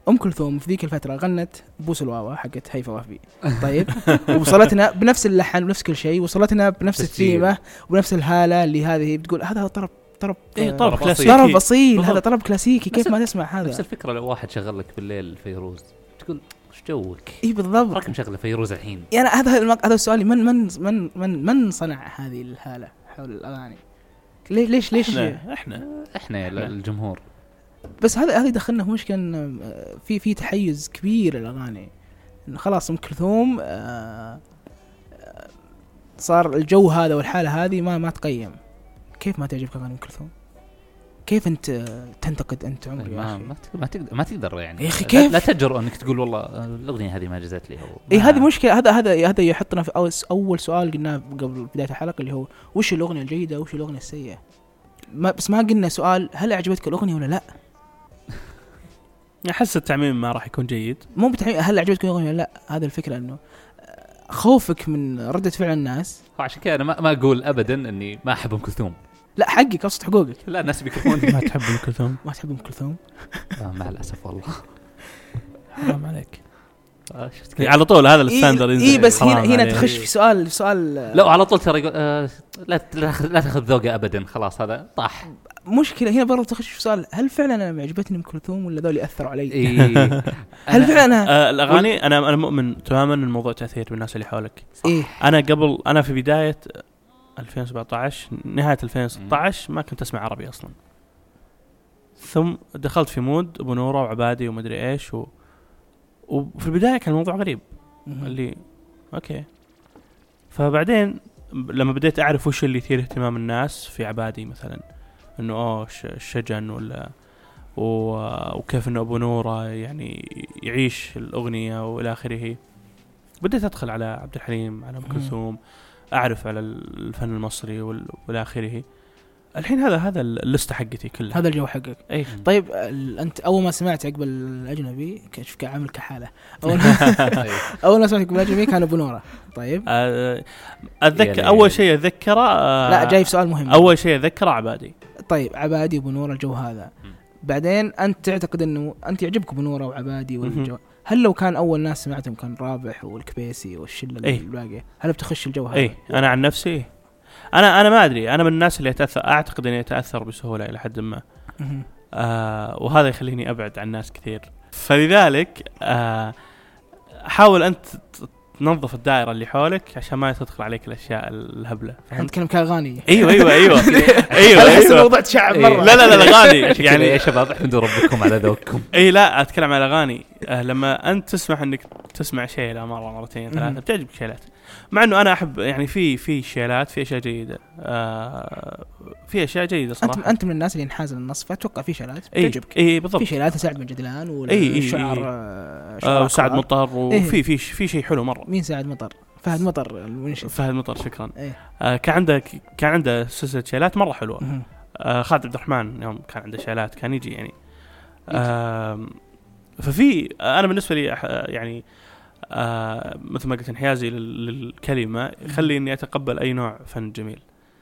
[SPEAKER 1] ام كلثوم في ذيك الفتره غنت بوس الواوا حقت هيفا وهبي طيب ووصلتنا بنفس اللحن ونفس كل شيء وصلتنا بنفس
[SPEAKER 3] تسجيل.
[SPEAKER 1] الثيمه وبنفس الهاله اللي هذه بتقول هذا طرب طرب
[SPEAKER 2] اي
[SPEAKER 1] آه،
[SPEAKER 2] طرب
[SPEAKER 3] طرب
[SPEAKER 2] كلاسيكي
[SPEAKER 1] طرب اصيل هذا
[SPEAKER 2] بالضبط.
[SPEAKER 1] طرب كلاسيكي كيف
[SPEAKER 3] نفس
[SPEAKER 1] ما تسمع
[SPEAKER 3] نفس
[SPEAKER 1] هذا
[SPEAKER 3] الفكره لو واحد شغل لك بالليل فيروز تقول ايش جوك؟
[SPEAKER 1] اي إيه، بالضبط
[SPEAKER 3] راك مشغله فيروز الحين
[SPEAKER 1] يعني هذا المق... هذا السؤال من من من من من صنع هذه الهاله حول الاغاني؟ ليش ليش ليش
[SPEAKER 2] احنا احنا
[SPEAKER 3] احنا يا
[SPEAKER 2] إحنا.
[SPEAKER 3] الجمهور
[SPEAKER 1] بس هذا هذا دخلنا في مشكله إن، آه، في في تحيز كبير للاغاني إن خلاص ام كلثوم آه، آه، صار الجو هذا والحاله هذه ما ما تقيم كيف ما تعجبك اغاني ام كلثوم؟ كيف انت آه، تنتقد انت عمري يا
[SPEAKER 3] طيب، ما
[SPEAKER 1] اخي؟
[SPEAKER 3] ما تقدر ما تقدر, ما تقدر يعني
[SPEAKER 1] يا أخي
[SPEAKER 3] لا-
[SPEAKER 1] كيف؟
[SPEAKER 3] لا تجرؤ انك تقول والله الاغنيه هذه ما جزت لي او
[SPEAKER 1] اي
[SPEAKER 3] ما-
[SPEAKER 1] إيه، هذه مشكله هذا هذا هذا يحطنا في أول- اول سؤال قلناه قبل بدايه الحلقه اللي هو وش الاغنيه الجيده وش الاغنيه السيئه ما بس ما قلنا سؤال هل عجبتك الاغنيه ولا لا
[SPEAKER 2] احس التعميم ما راح يكون جيد
[SPEAKER 1] مو بتحميل هل عجبتك الاغنيه ولا لا هذا الفكره انه آه، خوفك من رده فعل الناس
[SPEAKER 3] عشان كذا انا ما, ما اقول ابدا اني ما احب ام كلثوم
[SPEAKER 1] لا حقك اقصد حقوقك
[SPEAKER 3] لا الناس بيكرهون
[SPEAKER 1] (laughs)
[SPEAKER 2] ما تحب ام كلثوم
[SPEAKER 1] ما تحب ام كلثوم
[SPEAKER 3] آه، مع الاسف والله
[SPEAKER 2] حرام عليك
[SPEAKER 3] آه، شفت كيف؟
[SPEAKER 2] على طول هذا
[SPEAKER 1] إي-
[SPEAKER 2] الستاندر ينزل
[SPEAKER 1] اي إيه، بس هنا
[SPEAKER 2] حرام
[SPEAKER 1] هنا
[SPEAKER 2] عليك.
[SPEAKER 1] تخش في سؤال سؤال آه،
[SPEAKER 3] لا وعلى طول ترى يقول آه، لا ت- لا تاخذ- لا تاخذ ذوقه ابدا خلاص هذا
[SPEAKER 1] (laughs)
[SPEAKER 3] طاح
[SPEAKER 1] مشكله هنا برضه تخش في سؤال هل فعلا انا معجبتني ام كلثوم ولا ذول اثروا
[SPEAKER 2] إيه،
[SPEAKER 1] علي
[SPEAKER 3] إي.
[SPEAKER 1] هل
[SPEAKER 3] إيه. أنا-
[SPEAKER 1] فعلا انا
[SPEAKER 2] آه الاغاني انا انا مؤمن تماما ان الموضوع تاثير بالناس اللي حولك
[SPEAKER 1] ايه
[SPEAKER 2] انا قبل انا في بدايه 2017 نهايه 2016 ما كنت اسمع عربي اصلا ثم دخلت في مود ابو نوره وعبادي ومدري ايش و... وفي البدايه كان الموضوع غريب اللي اوكي فبعدين ب- لما بديت اعرف وش اللي يثير اهتمام الناس في عبادي مثلا انه اوه ش- الشجن ولا و- وكيف انه ابو نوره يعني يعيش الاغنيه والى اخره بديت ادخل على عبد الحليم على ام
[SPEAKER 1] مم.
[SPEAKER 2] كلثوم اعرف على الفن المصري وال- والى اخره الحين هذا هذا اللسته حقتي كلها
[SPEAKER 1] هذا الجو حقك
[SPEAKER 2] اي
[SPEAKER 1] طيب ال- انت اول ما سمعت عقب الاجنبي كشف عامل كحاله اول
[SPEAKER 2] (laughs)
[SPEAKER 3] إي.
[SPEAKER 1] اول ما سمعت عقب الاجنبي كان ابو نوره طيب
[SPEAKER 2] آه،
[SPEAKER 3] يعني-
[SPEAKER 2] اتذكر اول شيء اتذكره آه،
[SPEAKER 1] لا جاي في سؤال مهم
[SPEAKER 2] اول شيء اتذكره عبادي
[SPEAKER 1] طيب عبادي ابو نوره الجو هذا
[SPEAKER 3] مم.
[SPEAKER 1] بعدين انت تعتقد انه انت يعجبك ابو نوره وعبادي والجو
[SPEAKER 2] مهم.
[SPEAKER 1] هل لو كان اول ناس سمعتهم كان رابح والكبيسي والشله
[SPEAKER 2] إيه.
[SPEAKER 1] الباقيه هل بتخش الجو هذا؟
[SPEAKER 2] اي انا عن نفسي إيه. انا انا ما ادري انا من الناس اللي اتاثر اعتقد اني اتاثر بسهوله الى حد ما
[SPEAKER 1] مهم.
[SPEAKER 2] آه وهذا يخليني ابعد عن ناس كثير فلذلك آه حاول انت ت- تنظف الدائره اللي حولك عشان ما تدخل عليك الاشياء الهبله
[SPEAKER 1] احنا
[SPEAKER 2] فهمت؟
[SPEAKER 1] نتكلم كاغاني
[SPEAKER 2] ايوه ايوه ايوه ايوه,
[SPEAKER 1] انا احس
[SPEAKER 2] أيوة.
[SPEAKER 1] الموضوع تشعب
[SPEAKER 3] إيه.
[SPEAKER 1] مره
[SPEAKER 2] لا لا لا لا
[SPEAKER 1] (laughs)
[SPEAKER 2] غالي
[SPEAKER 3] يعني
[SPEAKER 2] يعني
[SPEAKER 3] يا شباب احمدوا ربكم على ذوقكم
[SPEAKER 2] اي لا اتكلم عن الاغاني آه لما انت تسمح انك تسمع شيله مره مرتين
[SPEAKER 1] مهم.
[SPEAKER 2] ثلاثه بتعجبك شيلات مع انه انا احب يعني في في شيلات في اشياء جيده آه في اشياء جيده
[SPEAKER 1] انت
[SPEAKER 2] صراحه
[SPEAKER 1] انت من الناس اللي ينحاز للنص فاتوقع في شغلات
[SPEAKER 2] اي
[SPEAKER 1] بتعجبك
[SPEAKER 2] اي بالضبط
[SPEAKER 1] في شيلات سعد بن جدلان
[SPEAKER 2] إي، إي،
[SPEAKER 1] والشعر
[SPEAKER 2] إي.
[SPEAKER 1] آه، شعراء
[SPEAKER 2] إيه، آه وسعد
[SPEAKER 1] كبار.
[SPEAKER 2] مطر
[SPEAKER 1] إيه.
[SPEAKER 2] وفي في ش- في شيء حلو مره
[SPEAKER 1] مين سعد مطر؟ فهد مطر المنشد
[SPEAKER 2] فهد مطر شكرا
[SPEAKER 1] إيه.
[SPEAKER 2] آه كان عنده كان عنده سلسله شيلات مره حلوه
[SPEAKER 1] مهم.
[SPEAKER 2] آه خالد عبد الرحمن يوم كان عنده شيلات كان يجي يعني آه ففي آه، انا بالنسبه لي أح- آه، يعني آه مثل ما قلت انحيازي لل- للكلمه يخلي اني اتقبل اي نوع فن جميل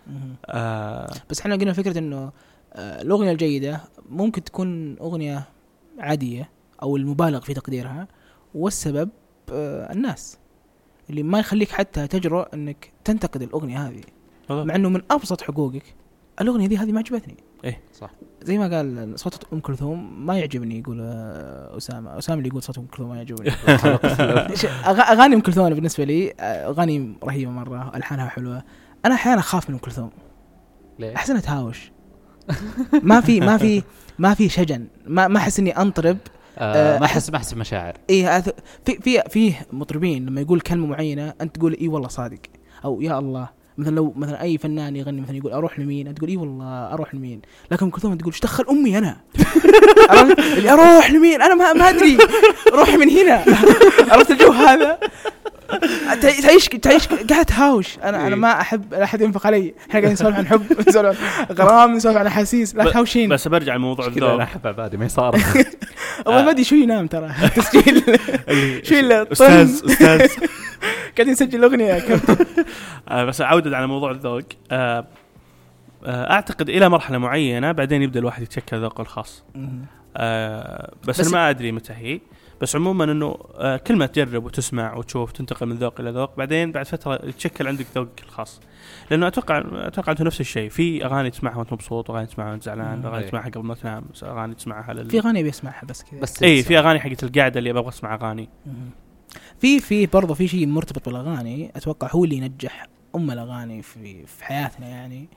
[SPEAKER 1] مهم.
[SPEAKER 2] آه
[SPEAKER 1] بس احنا قلنا فكره انه آه، الاغنيه الجيده ممكن تكون اغنيه عاديه او المبالغ في تقديرها والسبب آه، الناس اللي ما يخليك حتى تجرؤ انك تنتقد الاغنيه هذه
[SPEAKER 2] بالضبط.
[SPEAKER 1] مع انه من ابسط حقوقك الاغنيه دي هذه ما عجبتني
[SPEAKER 2] إيه،
[SPEAKER 3] صح.
[SPEAKER 1] زي ما قال صوت ام كلثوم ما يعجبني يقول آه، اسامه اسامه اللي يقول صوت ام كلثوم ما يعجبني ش- أغ- اغاني ام كلثوم أنا بالنسبه لي آه، اغاني رهيبه مره الحانها حلوه انا احيانا اخاف من ام كلثوم
[SPEAKER 3] ليه؟
[SPEAKER 1] احس انها تهاوش ما في ما في ما في شجن ما ما احس اني انطرب
[SPEAKER 3] آه،
[SPEAKER 1] آه،
[SPEAKER 3] ما احس ما احس بمشاعر
[SPEAKER 1] اي إيه، هذا- في في في مطربين لما يقول كلمه معينه انت تقول اي والله صادق او يا الله مثلا لو مثلا اي فنان يغني مثلا يقول اروح لمين انت تقول اي والله اروح لمين لكن ام كلثوم تقول ايش دخل امي انا (laughs) عرفت؟ اللي اروح لمين انا ما, ما ادري روح من هنا (laughs) عرفت الجو هذا تعي- تعيش تعيش قاعد تهاوش انا
[SPEAKER 2] إيه.
[SPEAKER 1] انا ما احب لا احد ينفق علي احنا قاعدين نسولف عن حب (laughs) نسولف عن غرام نسولف عن احاسيس لا
[SPEAKER 2] ب-
[SPEAKER 1] تهاوشين
[SPEAKER 2] بس برجع لموضوع
[SPEAKER 3] كذا
[SPEAKER 2] (laughs)
[SPEAKER 3] انا
[SPEAKER 2] الذوق
[SPEAKER 3] احب عبادي ما يصار
[SPEAKER 2] آه.
[SPEAKER 1] اول ما ادري شو ينام ترى (laughs) تسجيل
[SPEAKER 2] اللي-
[SPEAKER 1] شو اللي-
[SPEAKER 2] استاذ استاذ
[SPEAKER 1] قاعدين نسجل اغنيه كابتن
[SPEAKER 2] (laughs) آه، بس اعود على موضوع الذوق آه، آه، اعتقد الى مرحله معينه بعدين يبدا الواحد يتشكل ذوقه الخاص آه، بس,
[SPEAKER 1] بس-
[SPEAKER 2] بس ما ادري متى هي بس عموما انه آه، كل ما تجرب وتسمع وتشوف تنتقل من ذوق الى ذوق بعدين بعد فتره يتشكل عندك ذوق الخاص لانه اتوقع اتوقع انتم نفس الشيء في اغاني تسمعها وانت مبسوط واغاني تسمعها وانت زعلان
[SPEAKER 1] مم.
[SPEAKER 2] اغاني
[SPEAKER 3] إيه.
[SPEAKER 2] تسمعها قبل ما تنام اغاني تسمعها لل...
[SPEAKER 1] في اغنيه بيسمعها (laughs) بس كذا
[SPEAKER 3] بس
[SPEAKER 2] اي في اغاني حقت القعده اللي ابغى اسمع اغاني
[SPEAKER 1] مهم. في في برضه في شيء مرتبط بالاغاني اتوقع هو اللي ينجح ام الاغاني في في حياتنا يعني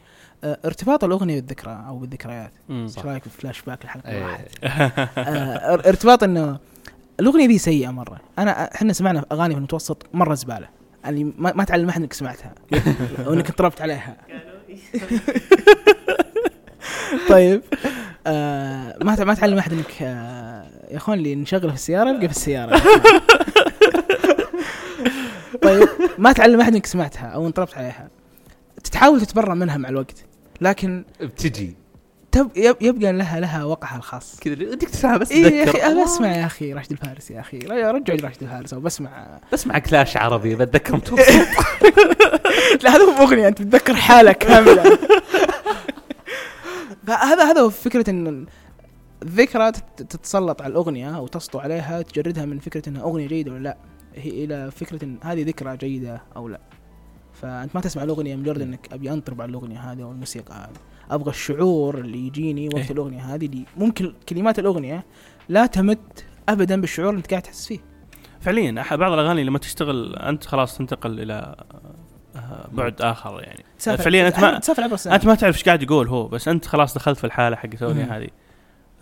[SPEAKER 1] آه، ارتباط الاغنيه بالذكرى او بالذكريات ايش رايك في الفلاش باك الحلقه
[SPEAKER 3] إيه.
[SPEAKER 1] الواحد
[SPEAKER 2] (laughs)
[SPEAKER 1] آه، ار- ارتباط انه الاغنيه دي سيئه مره انا احنا سمعنا اغاني في المتوسط مره زباله يعني ما, ما تعلم احد انك سمعتها وانك اضطربت عليها طيب آه ما تع- ما تعلم احد انك آه يا اخوان اللي نشغله في السياره يبقى في السياره طيب ما تعلم احد انك سمعتها او انطربت عليها تحاول تتبرى منها مع الوقت لكن
[SPEAKER 3] بتجي
[SPEAKER 1] تب يب- يبقى لها لها وقعها الخاص
[SPEAKER 3] كذا اللي ودك تسمعها بس
[SPEAKER 1] إيه يا اخي
[SPEAKER 3] تذكر
[SPEAKER 1] انا اسمع يا اخي راشد الفارس يا اخي لا رجعوا راشد الفارس او بسمع
[SPEAKER 3] بسمع كلاش عربي بتذكر
[SPEAKER 1] (laughs) لا هذا مو اغنيه انت بتتذكر حاله كامله (laughs) فهذا هذا هو فكره ان الذكرى تت- تتسلط على الاغنيه او تسطو عليها تجردها من فكره انها اغنيه جيده ولا لا هي الى فكره ان هذه ذكرى جيده او لا فانت ما تسمع الاغنيه مجرد انك ابي انطرب على الاغنيه هذه او الموسيقى هذه ابغى الشعور اللي يجيني وقت
[SPEAKER 2] إيه.
[SPEAKER 1] الاغنيه هذه اللي ممكن كلمات الاغنيه لا تمت ابدا بالشعور اللي انت قاعد تحس فيه
[SPEAKER 2] فعليا أح- بعض الاغاني لما تشتغل انت خلاص تنتقل الى آه، بعد اخر يعني
[SPEAKER 1] تسافر
[SPEAKER 2] فعلياً أنت ما-
[SPEAKER 1] تسافر عبر السنه
[SPEAKER 2] انت ما تعرف ايش قاعد يقول هو بس انت خلاص دخلت في الحاله حقت
[SPEAKER 1] مم.
[SPEAKER 2] الاغنيه هذه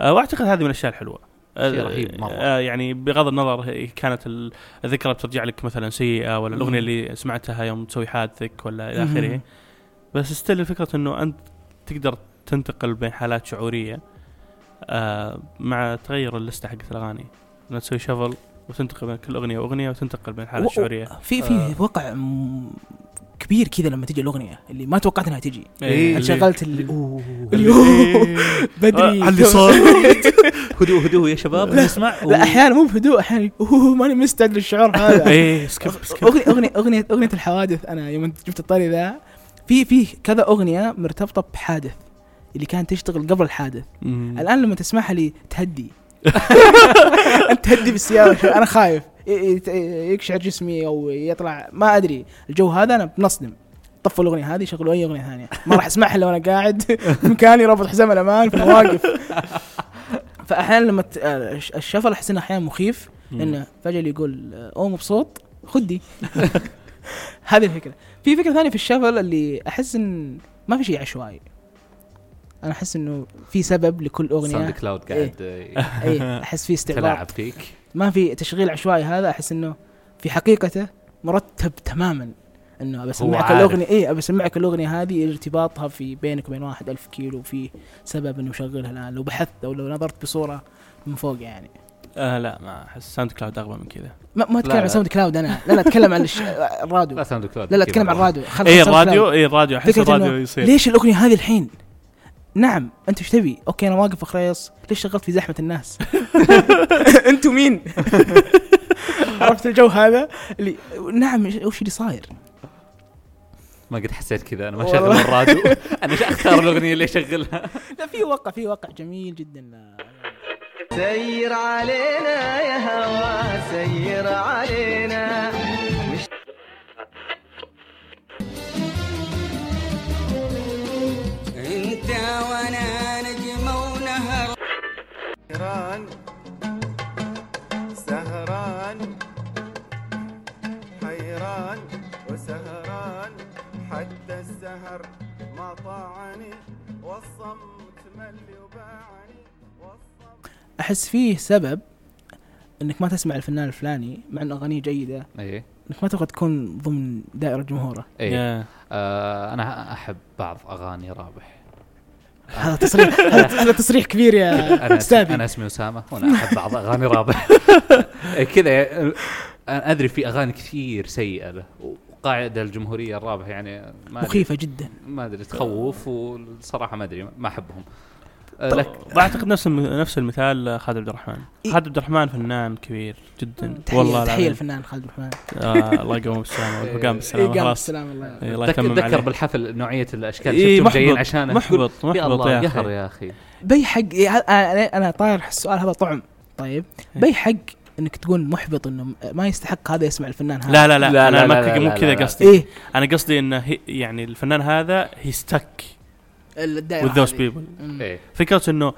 [SPEAKER 2] آه، واعتقد هذه من الاشياء الحلوه
[SPEAKER 3] شيء رهيب مرة.
[SPEAKER 2] آه، يعني بغض النظر هي كانت ال- الذكرى بترجع لك مثلا سيئه ولا
[SPEAKER 1] مم.
[SPEAKER 2] الاغنيه اللي سمعتها يوم تسوي حادثك ولا الى
[SPEAKER 1] مم.
[SPEAKER 2] اخره بس ستيل فكره انه انت تقدر تنتقل بين حالات شعوريه آه، مع تغير اللسته حقت الاغاني انك تسوي شفل وتنتقل بين كل اغنيه واغنيه وتنتقل بين
[SPEAKER 1] و-
[SPEAKER 2] حالات
[SPEAKER 1] و- (laughs)
[SPEAKER 2] شعوريه
[SPEAKER 1] في
[SPEAKER 2] آه.
[SPEAKER 1] في وقع م- كبير كذا لما تجي الاغنيه اللي ما توقعت انها تجي
[SPEAKER 2] إيه، اللي-
[SPEAKER 1] شغلت اللي
[SPEAKER 3] أوه.
[SPEAKER 1] اللي- بدري
[SPEAKER 2] آه، على اللي
[SPEAKER 1] (laughs)
[SPEAKER 2] صار
[SPEAKER 3] هدوء هدوء يا شباب نسمع
[SPEAKER 1] لا احيانا مو بهدوء احيانا اوه ماني مستعد للشعور
[SPEAKER 2] (laughs)
[SPEAKER 1] هذا
[SPEAKER 2] ايه سكيب سكيب
[SPEAKER 1] اغنيه اغنيه اغنيه اغنيه الحوادث انا يوم أنت جبت الطاري ذا في في كذا اغنيه مرتبطه بحادث اللي كانت تشتغل قبل الحادث
[SPEAKER 2] مم.
[SPEAKER 1] الان لما تسمعها لي تهدي انت تهدي بالسياره انا خايف ي- يت- يقشعر جسمي او يطلع ما ادري الجو هذا انا بنصدم طفوا الاغنيه هذه شغلوا اي اغنيه ثانيه ما راح اسمعها الا وانا قاعد في مكاني رابط حزام الامان في مواقف فاحيانا لما ت- آه، الش- الشفل احس انه احيانا مخيف انه فجاه اللي يقول او مبسوط
[SPEAKER 3] (laughs)
[SPEAKER 1] خدي هذه الفكره في فكره ثانيه في الشفل اللي احس ان ما في شيء عشوائي انا احس انه في سبب لكل
[SPEAKER 3] ساوند
[SPEAKER 1] (laughs) اغنيه
[SPEAKER 3] كلاود قاعد آه، (laughs)
[SPEAKER 1] اي احس في استعراض
[SPEAKER 3] يتلاعب فيك
[SPEAKER 1] ما في تشغيل عشوائي هذا احس انه في حقيقته مرتب تماما انه ابى اسمعك
[SPEAKER 3] عارف.
[SPEAKER 1] الاغنيه اي ابى اسمعك الاغنيه هذه ارتباطها في بينك وبين واحد ألف كيلو في سبب انه مشغلها الان لو بحثت او لو نظرت بصوره من فوق يعني
[SPEAKER 2] آه لا ما احس ساوند كلاود اغبى من كذا
[SPEAKER 1] ما, ما اتكلم
[SPEAKER 3] لا.
[SPEAKER 1] عن ساوند كلاود انا لا لا اتكلم عن
[SPEAKER 3] (laughs)
[SPEAKER 1] الش... الراديو
[SPEAKER 3] لا ساوند كلاود
[SPEAKER 1] لا لا اتكلم عن الراديو خلص
[SPEAKER 2] اي
[SPEAKER 1] عن ساوند
[SPEAKER 2] الراديو
[SPEAKER 1] كلاود.
[SPEAKER 2] اي الراديو احس
[SPEAKER 1] فكرة
[SPEAKER 2] الراديو
[SPEAKER 1] إنه
[SPEAKER 2] يصير
[SPEAKER 1] ليش الاغنيه هذه الحين؟ نعم انت ايش تبي؟ اوكي (laughs) انا واقف في خريص ليش شغلت في زحمه الناس؟ انتوا مين؟ عرفت الجو هذا اللي نعم وش اللي صاير
[SPEAKER 3] ما قد حسيت كذا انا ما
[SPEAKER 1] والله.
[SPEAKER 3] شغل الراديو
[SPEAKER 1] (laughs)
[SPEAKER 3] انا شا- اختار الاغنيه اللي اشغلها
[SPEAKER 1] لا في واقع في واقع جميل جدا لا.
[SPEAKER 7] سير علينا يا هوا سير علينا
[SPEAKER 8] انت وانا نجم ونهر
[SPEAKER 6] سهران سهران حيران وسهران حتى السهر ما طاعني والصمت ملي وباعني والصمت
[SPEAKER 1] احس فيه سبب انك ما تسمع الفنان الفلاني مع انه اغانيه جيده
[SPEAKER 3] اي
[SPEAKER 1] انك ما تبغى تكون ضمن دائره جمهوره
[SPEAKER 3] اي
[SPEAKER 2] يا.
[SPEAKER 3] إيه. آه انا احب بعض اغاني
[SPEAKER 1] (laughs)
[SPEAKER 3] رابح
[SPEAKER 1] هذا (laughs) تصريح هذا هذا تصريح كبير يا
[SPEAKER 3] انا اسمي
[SPEAKER 1] استاذي
[SPEAKER 3] انا اسمي اسامه وانا احب بعض اغاني
[SPEAKER 1] (laughs)
[SPEAKER 3] رابح إيه، كذا انا ادري في اغاني كثير سيئه له وقاعده الجمهوريه الرابح يعني ما أدري-
[SPEAKER 1] مخيفه جدا
[SPEAKER 3] ما ادري تخوف والصراحه ما ادري ما احبهم
[SPEAKER 1] طيب.
[SPEAKER 3] آه، لك
[SPEAKER 2] طب- اعتقد نفس الم- نفس المثال آه، خالد عبد الرحمن
[SPEAKER 1] إي.
[SPEAKER 2] خالد عبد الرحمن فنان كبير جدا
[SPEAKER 1] تحيه
[SPEAKER 2] والله
[SPEAKER 1] تحيه
[SPEAKER 2] العظيم.
[SPEAKER 1] الفنان خالد الرحمن
[SPEAKER 2] آه، الله يقومه بالسلامه هو
[SPEAKER 1] (laughs)
[SPEAKER 2] قام
[SPEAKER 1] إيه،
[SPEAKER 2] بالسلامه
[SPEAKER 1] قام
[SPEAKER 2] خلاص
[SPEAKER 1] السلام الله يرحمه.
[SPEAKER 2] إيه، الله يتمم
[SPEAKER 3] تذكر
[SPEAKER 2] عليه
[SPEAKER 3] بالحفل نوعيه الاشكال
[SPEAKER 2] إيه،
[SPEAKER 3] شفتهم
[SPEAKER 2] محبط-
[SPEAKER 3] جايين عشان
[SPEAKER 2] محبط
[SPEAKER 3] يا
[SPEAKER 2] محبط
[SPEAKER 3] الله
[SPEAKER 2] يا
[SPEAKER 3] قهر
[SPEAKER 2] اخي
[SPEAKER 3] يا اخي
[SPEAKER 1] بي حق إيه، ه- انا أنا طاير السؤال هذا طعم طيب بي حق انك تكون محبط انه م- ما يستحق هذا يسمع الفنان هذا
[SPEAKER 2] لا لا لا
[SPEAKER 3] لا،
[SPEAKER 2] انا
[SPEAKER 3] لا،
[SPEAKER 2] ما
[SPEAKER 3] لا،
[SPEAKER 2] ك-
[SPEAKER 3] لا،
[SPEAKER 2] مو
[SPEAKER 3] لا،
[SPEAKER 2] كذا
[SPEAKER 3] لا.
[SPEAKER 2] قصدي
[SPEAKER 1] ايه
[SPEAKER 2] انا قصدي انه هي- يعني الفنان هذا هي ستك
[SPEAKER 1] الدائره
[SPEAKER 2] with those
[SPEAKER 1] هذه.
[SPEAKER 2] people إيه.
[SPEAKER 1] مم.
[SPEAKER 3] ايه
[SPEAKER 2] فكره انه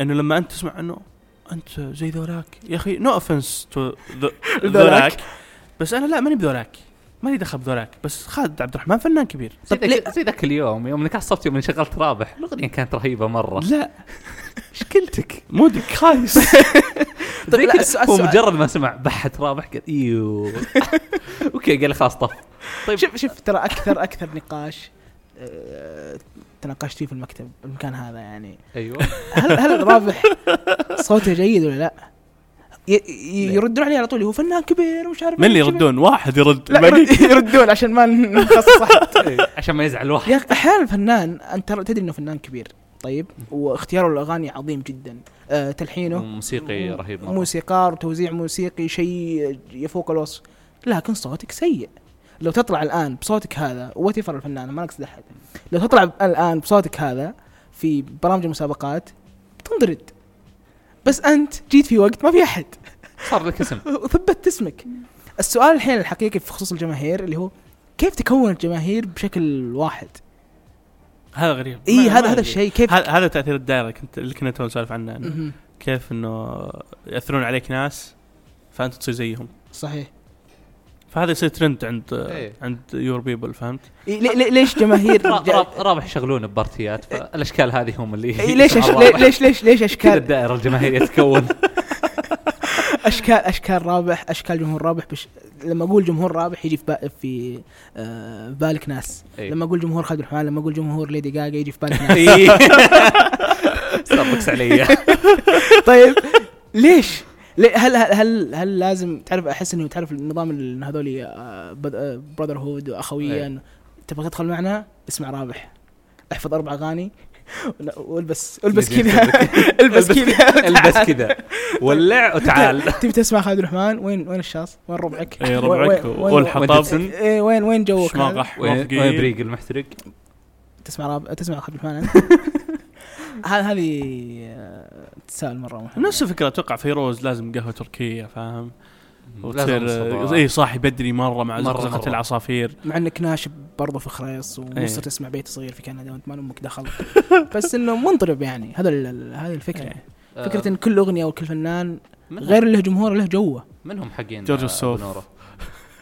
[SPEAKER 2] انه لما انت تسمع انه انت زي ذولاك يا اخي نو اوفنس
[SPEAKER 1] (laughs)
[SPEAKER 2] تو ذولاك بس انا لا ماني بذولاك ماني دخل بذولاك بس خالد عبد الرحمن فنان كبير
[SPEAKER 3] زي
[SPEAKER 1] طيب،
[SPEAKER 3] ذاك- زي ذاك اليوم يوم انك عصبت يوم انشغلت رابح الاغنيه كانت رهيبه مره
[SPEAKER 2] لا مشكلتك مودك خايس
[SPEAKER 1] طيب
[SPEAKER 3] زي
[SPEAKER 1] لا،
[SPEAKER 3] كذا،
[SPEAKER 1] السؤال-
[SPEAKER 3] هو
[SPEAKER 1] السؤال-
[SPEAKER 3] مجرد ما سمع بحت رابح قال (laughs) ايوه اوكي قال لي خلاص طف طيب
[SPEAKER 1] شوف شوف ترى اكثر اكثر نقاش آه، تناقشت فيه في المكتب المكان هذا يعني
[SPEAKER 3] ايوه
[SPEAKER 1] هل هل رابح صوته جيد ولا لا؟ ي- ي- يردون عليه على طول هو فنان كبير ومش عارف
[SPEAKER 2] (laughs) من اللي
[SPEAKER 1] إيش.
[SPEAKER 2] يردون واحد يرد
[SPEAKER 1] لا
[SPEAKER 2] الباقي-
[SPEAKER 1] يرد- يردون عشان ما نخصص أحد.
[SPEAKER 3] طيب. عشان ما يزعل واحد
[SPEAKER 1] يا اخي احيانا الفنان انت ترى تدري انه فنان كبير طيب واختياره للاغاني عظيم جدا آه، تلحينه
[SPEAKER 3] موسيقي رهيب مره
[SPEAKER 1] موسيقار وتوزيع موسيقي شيء يفوق الوصف لكن صوتك سيء لو تطلع الان بصوتك هذا وتفر الفنان ما نقصد احد لو تطلع الان بصوتك هذا في برامج المسابقات تنضرد بس انت جيت في وقت ما في احد
[SPEAKER 3] صار لك اسم
[SPEAKER 1] (laughs) وثبت اسمك السؤال الحين الحقيقي في خصوص الجماهير اللي هو كيف تكون الجماهير بشكل واحد
[SPEAKER 2] هذا غريب ما-
[SPEAKER 1] اي
[SPEAKER 2] ما
[SPEAKER 1] إيه، هذا هذا
[SPEAKER 2] أدري.
[SPEAKER 1] الشيء كيف
[SPEAKER 2] هذا هذا تاثير الدائره اللي كنت اللي كنا تو نسولف عنه إنه
[SPEAKER 1] مهم.
[SPEAKER 2] كيف انه ياثرون عليك ناس فانت تصير زيهم
[SPEAKER 1] صحيح
[SPEAKER 2] فهذا يصير ترند عند
[SPEAKER 3] إيه.
[SPEAKER 2] عند يور بيبل فهمت؟
[SPEAKER 1] إي إيه، لي- لي- ليش
[SPEAKER 2] (laughs)
[SPEAKER 1] جماهير
[SPEAKER 3] را-
[SPEAKER 1] جا-
[SPEAKER 3] را- رابح يشغلون ببارتيات فالاشكال هذه هم اللي
[SPEAKER 1] إي إيه، ليش
[SPEAKER 3] يسمعوا
[SPEAKER 1] أش-
[SPEAKER 3] رابح.
[SPEAKER 1] ليش ليش
[SPEAKER 2] (laughs)
[SPEAKER 1] ليش
[SPEAKER 3] كذا
[SPEAKER 1] اشكال
[SPEAKER 3] الدائره الجماهيريه
[SPEAKER 1] (laughs)
[SPEAKER 3] تتكون
[SPEAKER 1] اشكال اشكال رابح اشكال جمهور رابح بش لما اقول جمهور رابح يجي في با- في آه، بالك ناس
[SPEAKER 2] إيه.
[SPEAKER 3] إي.
[SPEAKER 1] لما اقول جمهور خالد الرحمن لما اقول جمهور ليدي جاجا يجي في
[SPEAKER 2] (laughs)
[SPEAKER 1] بالك ناس (laughs)
[SPEAKER 3] إي. صبكس إيه. علي
[SPEAKER 1] طيب ليش؟ ليه- هل هل هل, هل لازم تعرف احس انه تعرف النظام اللي هذول آه، براذر هود واخويه
[SPEAKER 3] إيه.
[SPEAKER 1] إنه تبغى تدخل معنا اسمع رابح احفظ اربع اغاني ون- والبس البس كذا (laughs) البس كذا
[SPEAKER 3] (laughs) البس كذا
[SPEAKER 1] (laughs)
[SPEAKER 3] ولع وتعال
[SPEAKER 1] تبي تسمع خالد الرحمن وين وين الشاص؟ وين ربعك؟
[SPEAKER 2] اي
[SPEAKER 1] وين-
[SPEAKER 2] ربعك
[SPEAKER 1] وين-
[SPEAKER 2] والحطب
[SPEAKER 1] وين- إيه، وين وين جوك؟ هذا؟
[SPEAKER 2] شماغح
[SPEAKER 3] وين وين بريق المحترق
[SPEAKER 1] تسمع راب تسمع خالد الرحمن انت؟ هذه هذه آه، تساؤل مره مهم.
[SPEAKER 2] نفس الفكره اتوقع فيروز لازم قهوه تركيه فاهم؟
[SPEAKER 3] لازم
[SPEAKER 2] وتصير آه، إيه.
[SPEAKER 3] صباح.
[SPEAKER 2] اي صاحي بدري مره مع
[SPEAKER 3] مرة
[SPEAKER 2] زقزقه
[SPEAKER 3] مرة.
[SPEAKER 2] العصافير
[SPEAKER 1] مع انك ناشب برضه في خريص ومصر
[SPEAKER 2] إيه.
[SPEAKER 1] تسمع بيت صغير في كندا وانت ما امك دخل (laughs) بس انه منضرب يعني هذا ال- ال- هذه الفكره
[SPEAKER 2] إيه.
[SPEAKER 3] آه،
[SPEAKER 1] فكره ان كل اغنيه وكل فنان
[SPEAKER 3] منهم-
[SPEAKER 1] غير اللي له جمهوره له جوه
[SPEAKER 3] منهم حقين
[SPEAKER 2] جورج
[SPEAKER 3] آه،
[SPEAKER 2] السوف.
[SPEAKER 3] بنورة.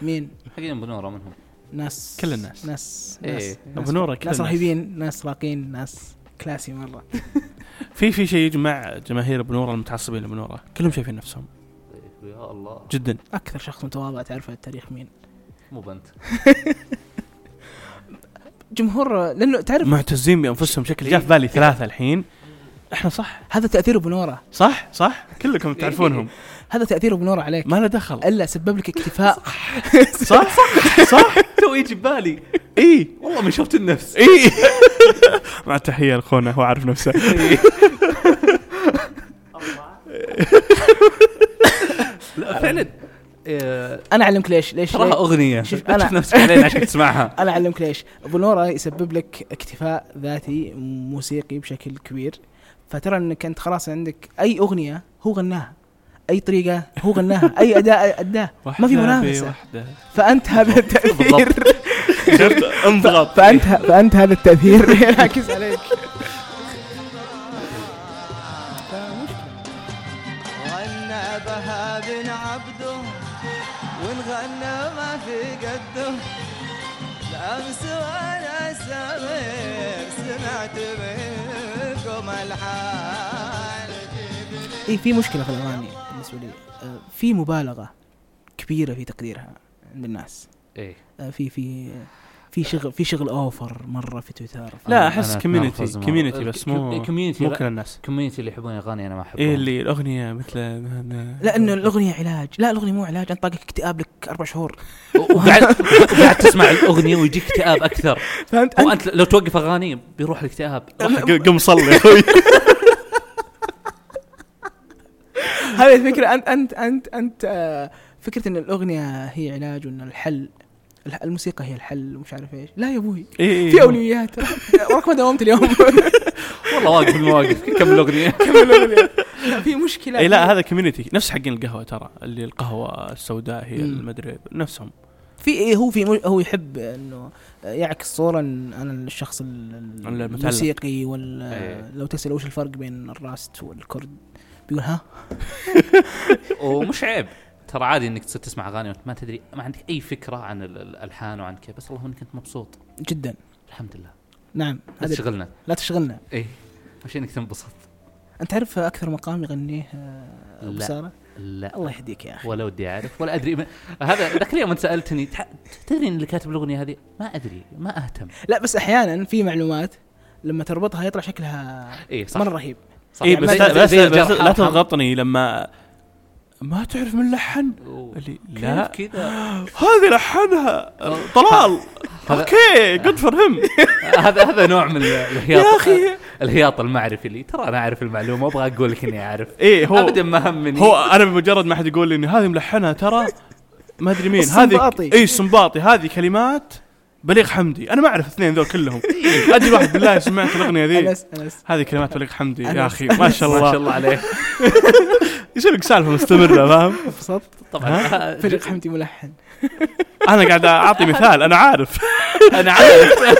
[SPEAKER 1] مين
[SPEAKER 3] حقين ابو نوره منهم
[SPEAKER 1] ناس
[SPEAKER 2] كل الناس.
[SPEAKER 1] ناس
[SPEAKER 3] إيه.
[SPEAKER 1] ناس,
[SPEAKER 2] أبو نورة كل
[SPEAKER 1] ناس
[SPEAKER 2] الناس.
[SPEAKER 1] رهيبين ناس راقين ناس كلاسي مره
[SPEAKER 2] في في شيء يجمع جماهير بنوره المتعصبين لبنوره كلهم شايفين نفسهم
[SPEAKER 3] يا الله
[SPEAKER 2] جدا
[SPEAKER 1] اكثر شخص متواضع تعرفه في التاريخ مين
[SPEAKER 3] مو بنت
[SPEAKER 1] جمهور لانه تعرف
[SPEAKER 2] معتزين بانفسهم شكل جاء في بالي ثلاثه الحين احنا صح
[SPEAKER 1] هذا تاثير ابو نوره
[SPEAKER 2] صح صح كلكم
[SPEAKER 3] (laughs)
[SPEAKER 2] تعرفونهم
[SPEAKER 1] هذا تاثير ابو نوره عليك
[SPEAKER 2] ما له دخل
[SPEAKER 1] الا سبب لك اكتفاء
[SPEAKER 2] صح صح صح
[SPEAKER 3] (laughs) تو يجي ببالي
[SPEAKER 2] اي
[SPEAKER 3] والله من شفت النفس
[SPEAKER 2] اي (laughs) مع تحيه لاخونا هو عارف
[SPEAKER 3] (laughs)
[SPEAKER 2] نفسه إيه،
[SPEAKER 3] لا فعلا
[SPEAKER 1] انا اعلمك ليش ليش
[SPEAKER 3] آه، تراها
[SPEAKER 1] ليه-
[SPEAKER 3] اغنيه
[SPEAKER 1] شوف،
[SPEAKER 3] لا
[SPEAKER 1] أنا-
[SPEAKER 3] تشوف نفسك علينا عشان
[SPEAKER 1] (laughs)
[SPEAKER 3] تسمعها
[SPEAKER 1] انا اعلمك ليش ابو نوره يسبب لك اكتفاء ذاتي موسيقي بشكل كبير فترى انك انت خلاص عندك اي اغنيه هو غناها اي طريقه هو غناها اي اداء اداه ما في منافسه
[SPEAKER 2] واحده
[SPEAKER 1] فانت هذا التاثير
[SPEAKER 2] (laughs) شفت انضغط
[SPEAKER 1] فانت فانت هذا التاثير (laughs) ينعكس عليك
[SPEAKER 7] غنى بها بن عبده وان غنى ما في قده الامس وانا سمير سمعت منكم الحال
[SPEAKER 1] اي إيه، في مشكله في الاغاني بالنسبه لي آه، في مبالغه كبيره في تقديرها عند الناس
[SPEAKER 3] ايه
[SPEAKER 1] آه، في في في شغل في شغل اوفر مره في تويتر
[SPEAKER 2] لا
[SPEAKER 3] أنا-
[SPEAKER 2] احس
[SPEAKER 3] أنا أتنرفز
[SPEAKER 2] كوميونتي
[SPEAKER 3] مرة.
[SPEAKER 2] كوميونتي بس مو
[SPEAKER 3] إيه، community
[SPEAKER 2] مو
[SPEAKER 3] لا.
[SPEAKER 2] كل الناس
[SPEAKER 3] كوميونتي اللي يحبون اغاني انا ما احبها
[SPEAKER 2] ايه اللي الاغنيه مثل نا- نا-
[SPEAKER 1] لا انه الاغنيه علاج لا الاغنيه مو علاج انت طاقك اكتئاب لك اربع شهور
[SPEAKER 3] وقاعد قاعد تسمع الاغنيه ويجيك اكتئاب اكثر
[SPEAKER 1] فهمت
[SPEAKER 3] وانت لو توقف اغاني بيروح الاكتئاب
[SPEAKER 2] روح قم- قم صلي
[SPEAKER 3] (laughs)
[SPEAKER 2] يا اخوي
[SPEAKER 1] هذه الفكره انت انت انت انت آه، فكره ان الاغنيه هي علاج وان الحل الح- الموسيقى هي الحل ومش عارف ايش لا يا ابوي
[SPEAKER 2] إيه،
[SPEAKER 1] في
[SPEAKER 2] إيه.
[SPEAKER 1] اولويات (laughs) وراك ما داومت اليوم (laughs)
[SPEAKER 3] والله واقف المواقف كمل
[SPEAKER 2] (laughs)
[SPEAKER 3] الاغنيه
[SPEAKER 1] لا، في مشكله
[SPEAKER 2] اي إيه، لا هذا كوميونتي نفس حقين القهوه ترى اللي القهوه السوداء هي
[SPEAKER 1] مم.
[SPEAKER 2] المدري نفسهم
[SPEAKER 1] في إيه هو في مج... هو يحب انه يعكس صوره إن انا الشخص ال- ال-
[SPEAKER 2] المتألق.
[SPEAKER 1] الموسيقي ولا
[SPEAKER 3] إيه.
[SPEAKER 1] لو تسال وش الفرق بين الراست والكرد بيقول ها
[SPEAKER 3] ومش عيب ترى عادي انك تصير تسمع اغاني وانت ما تدري ما عندك اي فكره عن ال- الالحان وعن كيف بس اللهم انك انت مبسوط
[SPEAKER 1] جدا
[SPEAKER 3] الحمد لله
[SPEAKER 1] نعم
[SPEAKER 3] لا
[SPEAKER 1] هذا-
[SPEAKER 3] تشغلنا إيه.
[SPEAKER 1] لا تشغلنا
[SPEAKER 3] اي مش انك تنبسط
[SPEAKER 1] انت تعرف اكثر مقام يغنيه آه، ابو
[SPEAKER 3] لا.
[SPEAKER 1] ساره
[SPEAKER 3] لا
[SPEAKER 1] الله يهديك يا اخي
[SPEAKER 3] ولا ودي اعرف ولا ادري ما- هذا ذاك اليوم انت سالتني تح- تدري ان اللي كاتب الاغنيه هذه ما ادري ما اهتم
[SPEAKER 1] لا بس احيانا في معلومات لما تربطها يطلع شكلها
[SPEAKER 3] اي إيه، صح
[SPEAKER 1] مره رهيب
[SPEAKER 3] صح
[SPEAKER 2] اي إيه، بس
[SPEAKER 3] زي-
[SPEAKER 2] لا, بس,
[SPEAKER 3] زي
[SPEAKER 2] لا, بس
[SPEAKER 3] الجرح
[SPEAKER 2] لا
[SPEAKER 3] أرحم.
[SPEAKER 2] تضغطني لما ما تعرف من لحن
[SPEAKER 3] أوه.
[SPEAKER 2] اللي
[SPEAKER 3] لا
[SPEAKER 2] لا
[SPEAKER 3] كذا
[SPEAKER 2] هذه لحنها طلال
[SPEAKER 3] هذا-
[SPEAKER 2] اوكي جود فور هيم
[SPEAKER 3] هذا هذا نوع من ال-
[SPEAKER 2] (laughs)
[SPEAKER 3] الهياط
[SPEAKER 2] يا أخي.
[SPEAKER 3] الهياط المعرفي اللي ترى انا اعرف المعلومه وابغى اقول لك اني اعرف
[SPEAKER 2] ايه هو
[SPEAKER 3] ابدا ما همني
[SPEAKER 2] هو انا بمجرد ما حد يقول لي ان هذه ملحنها ترى ما ادري مين هذه
[SPEAKER 1] السنباطي.
[SPEAKER 2] اي السنباطي هذه كلمات بليغ حمدي انا ما اعرف اثنين ذول كلهم ادري واحد بالله سمعت الاغنيه ذي
[SPEAKER 1] انس
[SPEAKER 2] (laughs)
[SPEAKER 1] انس
[SPEAKER 2] هذه كلمات بليغ حمدي
[SPEAKER 1] أنس-
[SPEAKER 2] يا اخي ما شاء
[SPEAKER 3] ما شاء
[SPEAKER 2] الله
[SPEAKER 3] الله عليه
[SPEAKER 2] ايش لك سالفه مستمره فاهم
[SPEAKER 1] انبسطت
[SPEAKER 3] طبعا
[SPEAKER 1] فريق حمدي ملحن
[SPEAKER 2] انا قاعد (laughs) اعطي مثال انا عارف (laughs)
[SPEAKER 3] انا عارف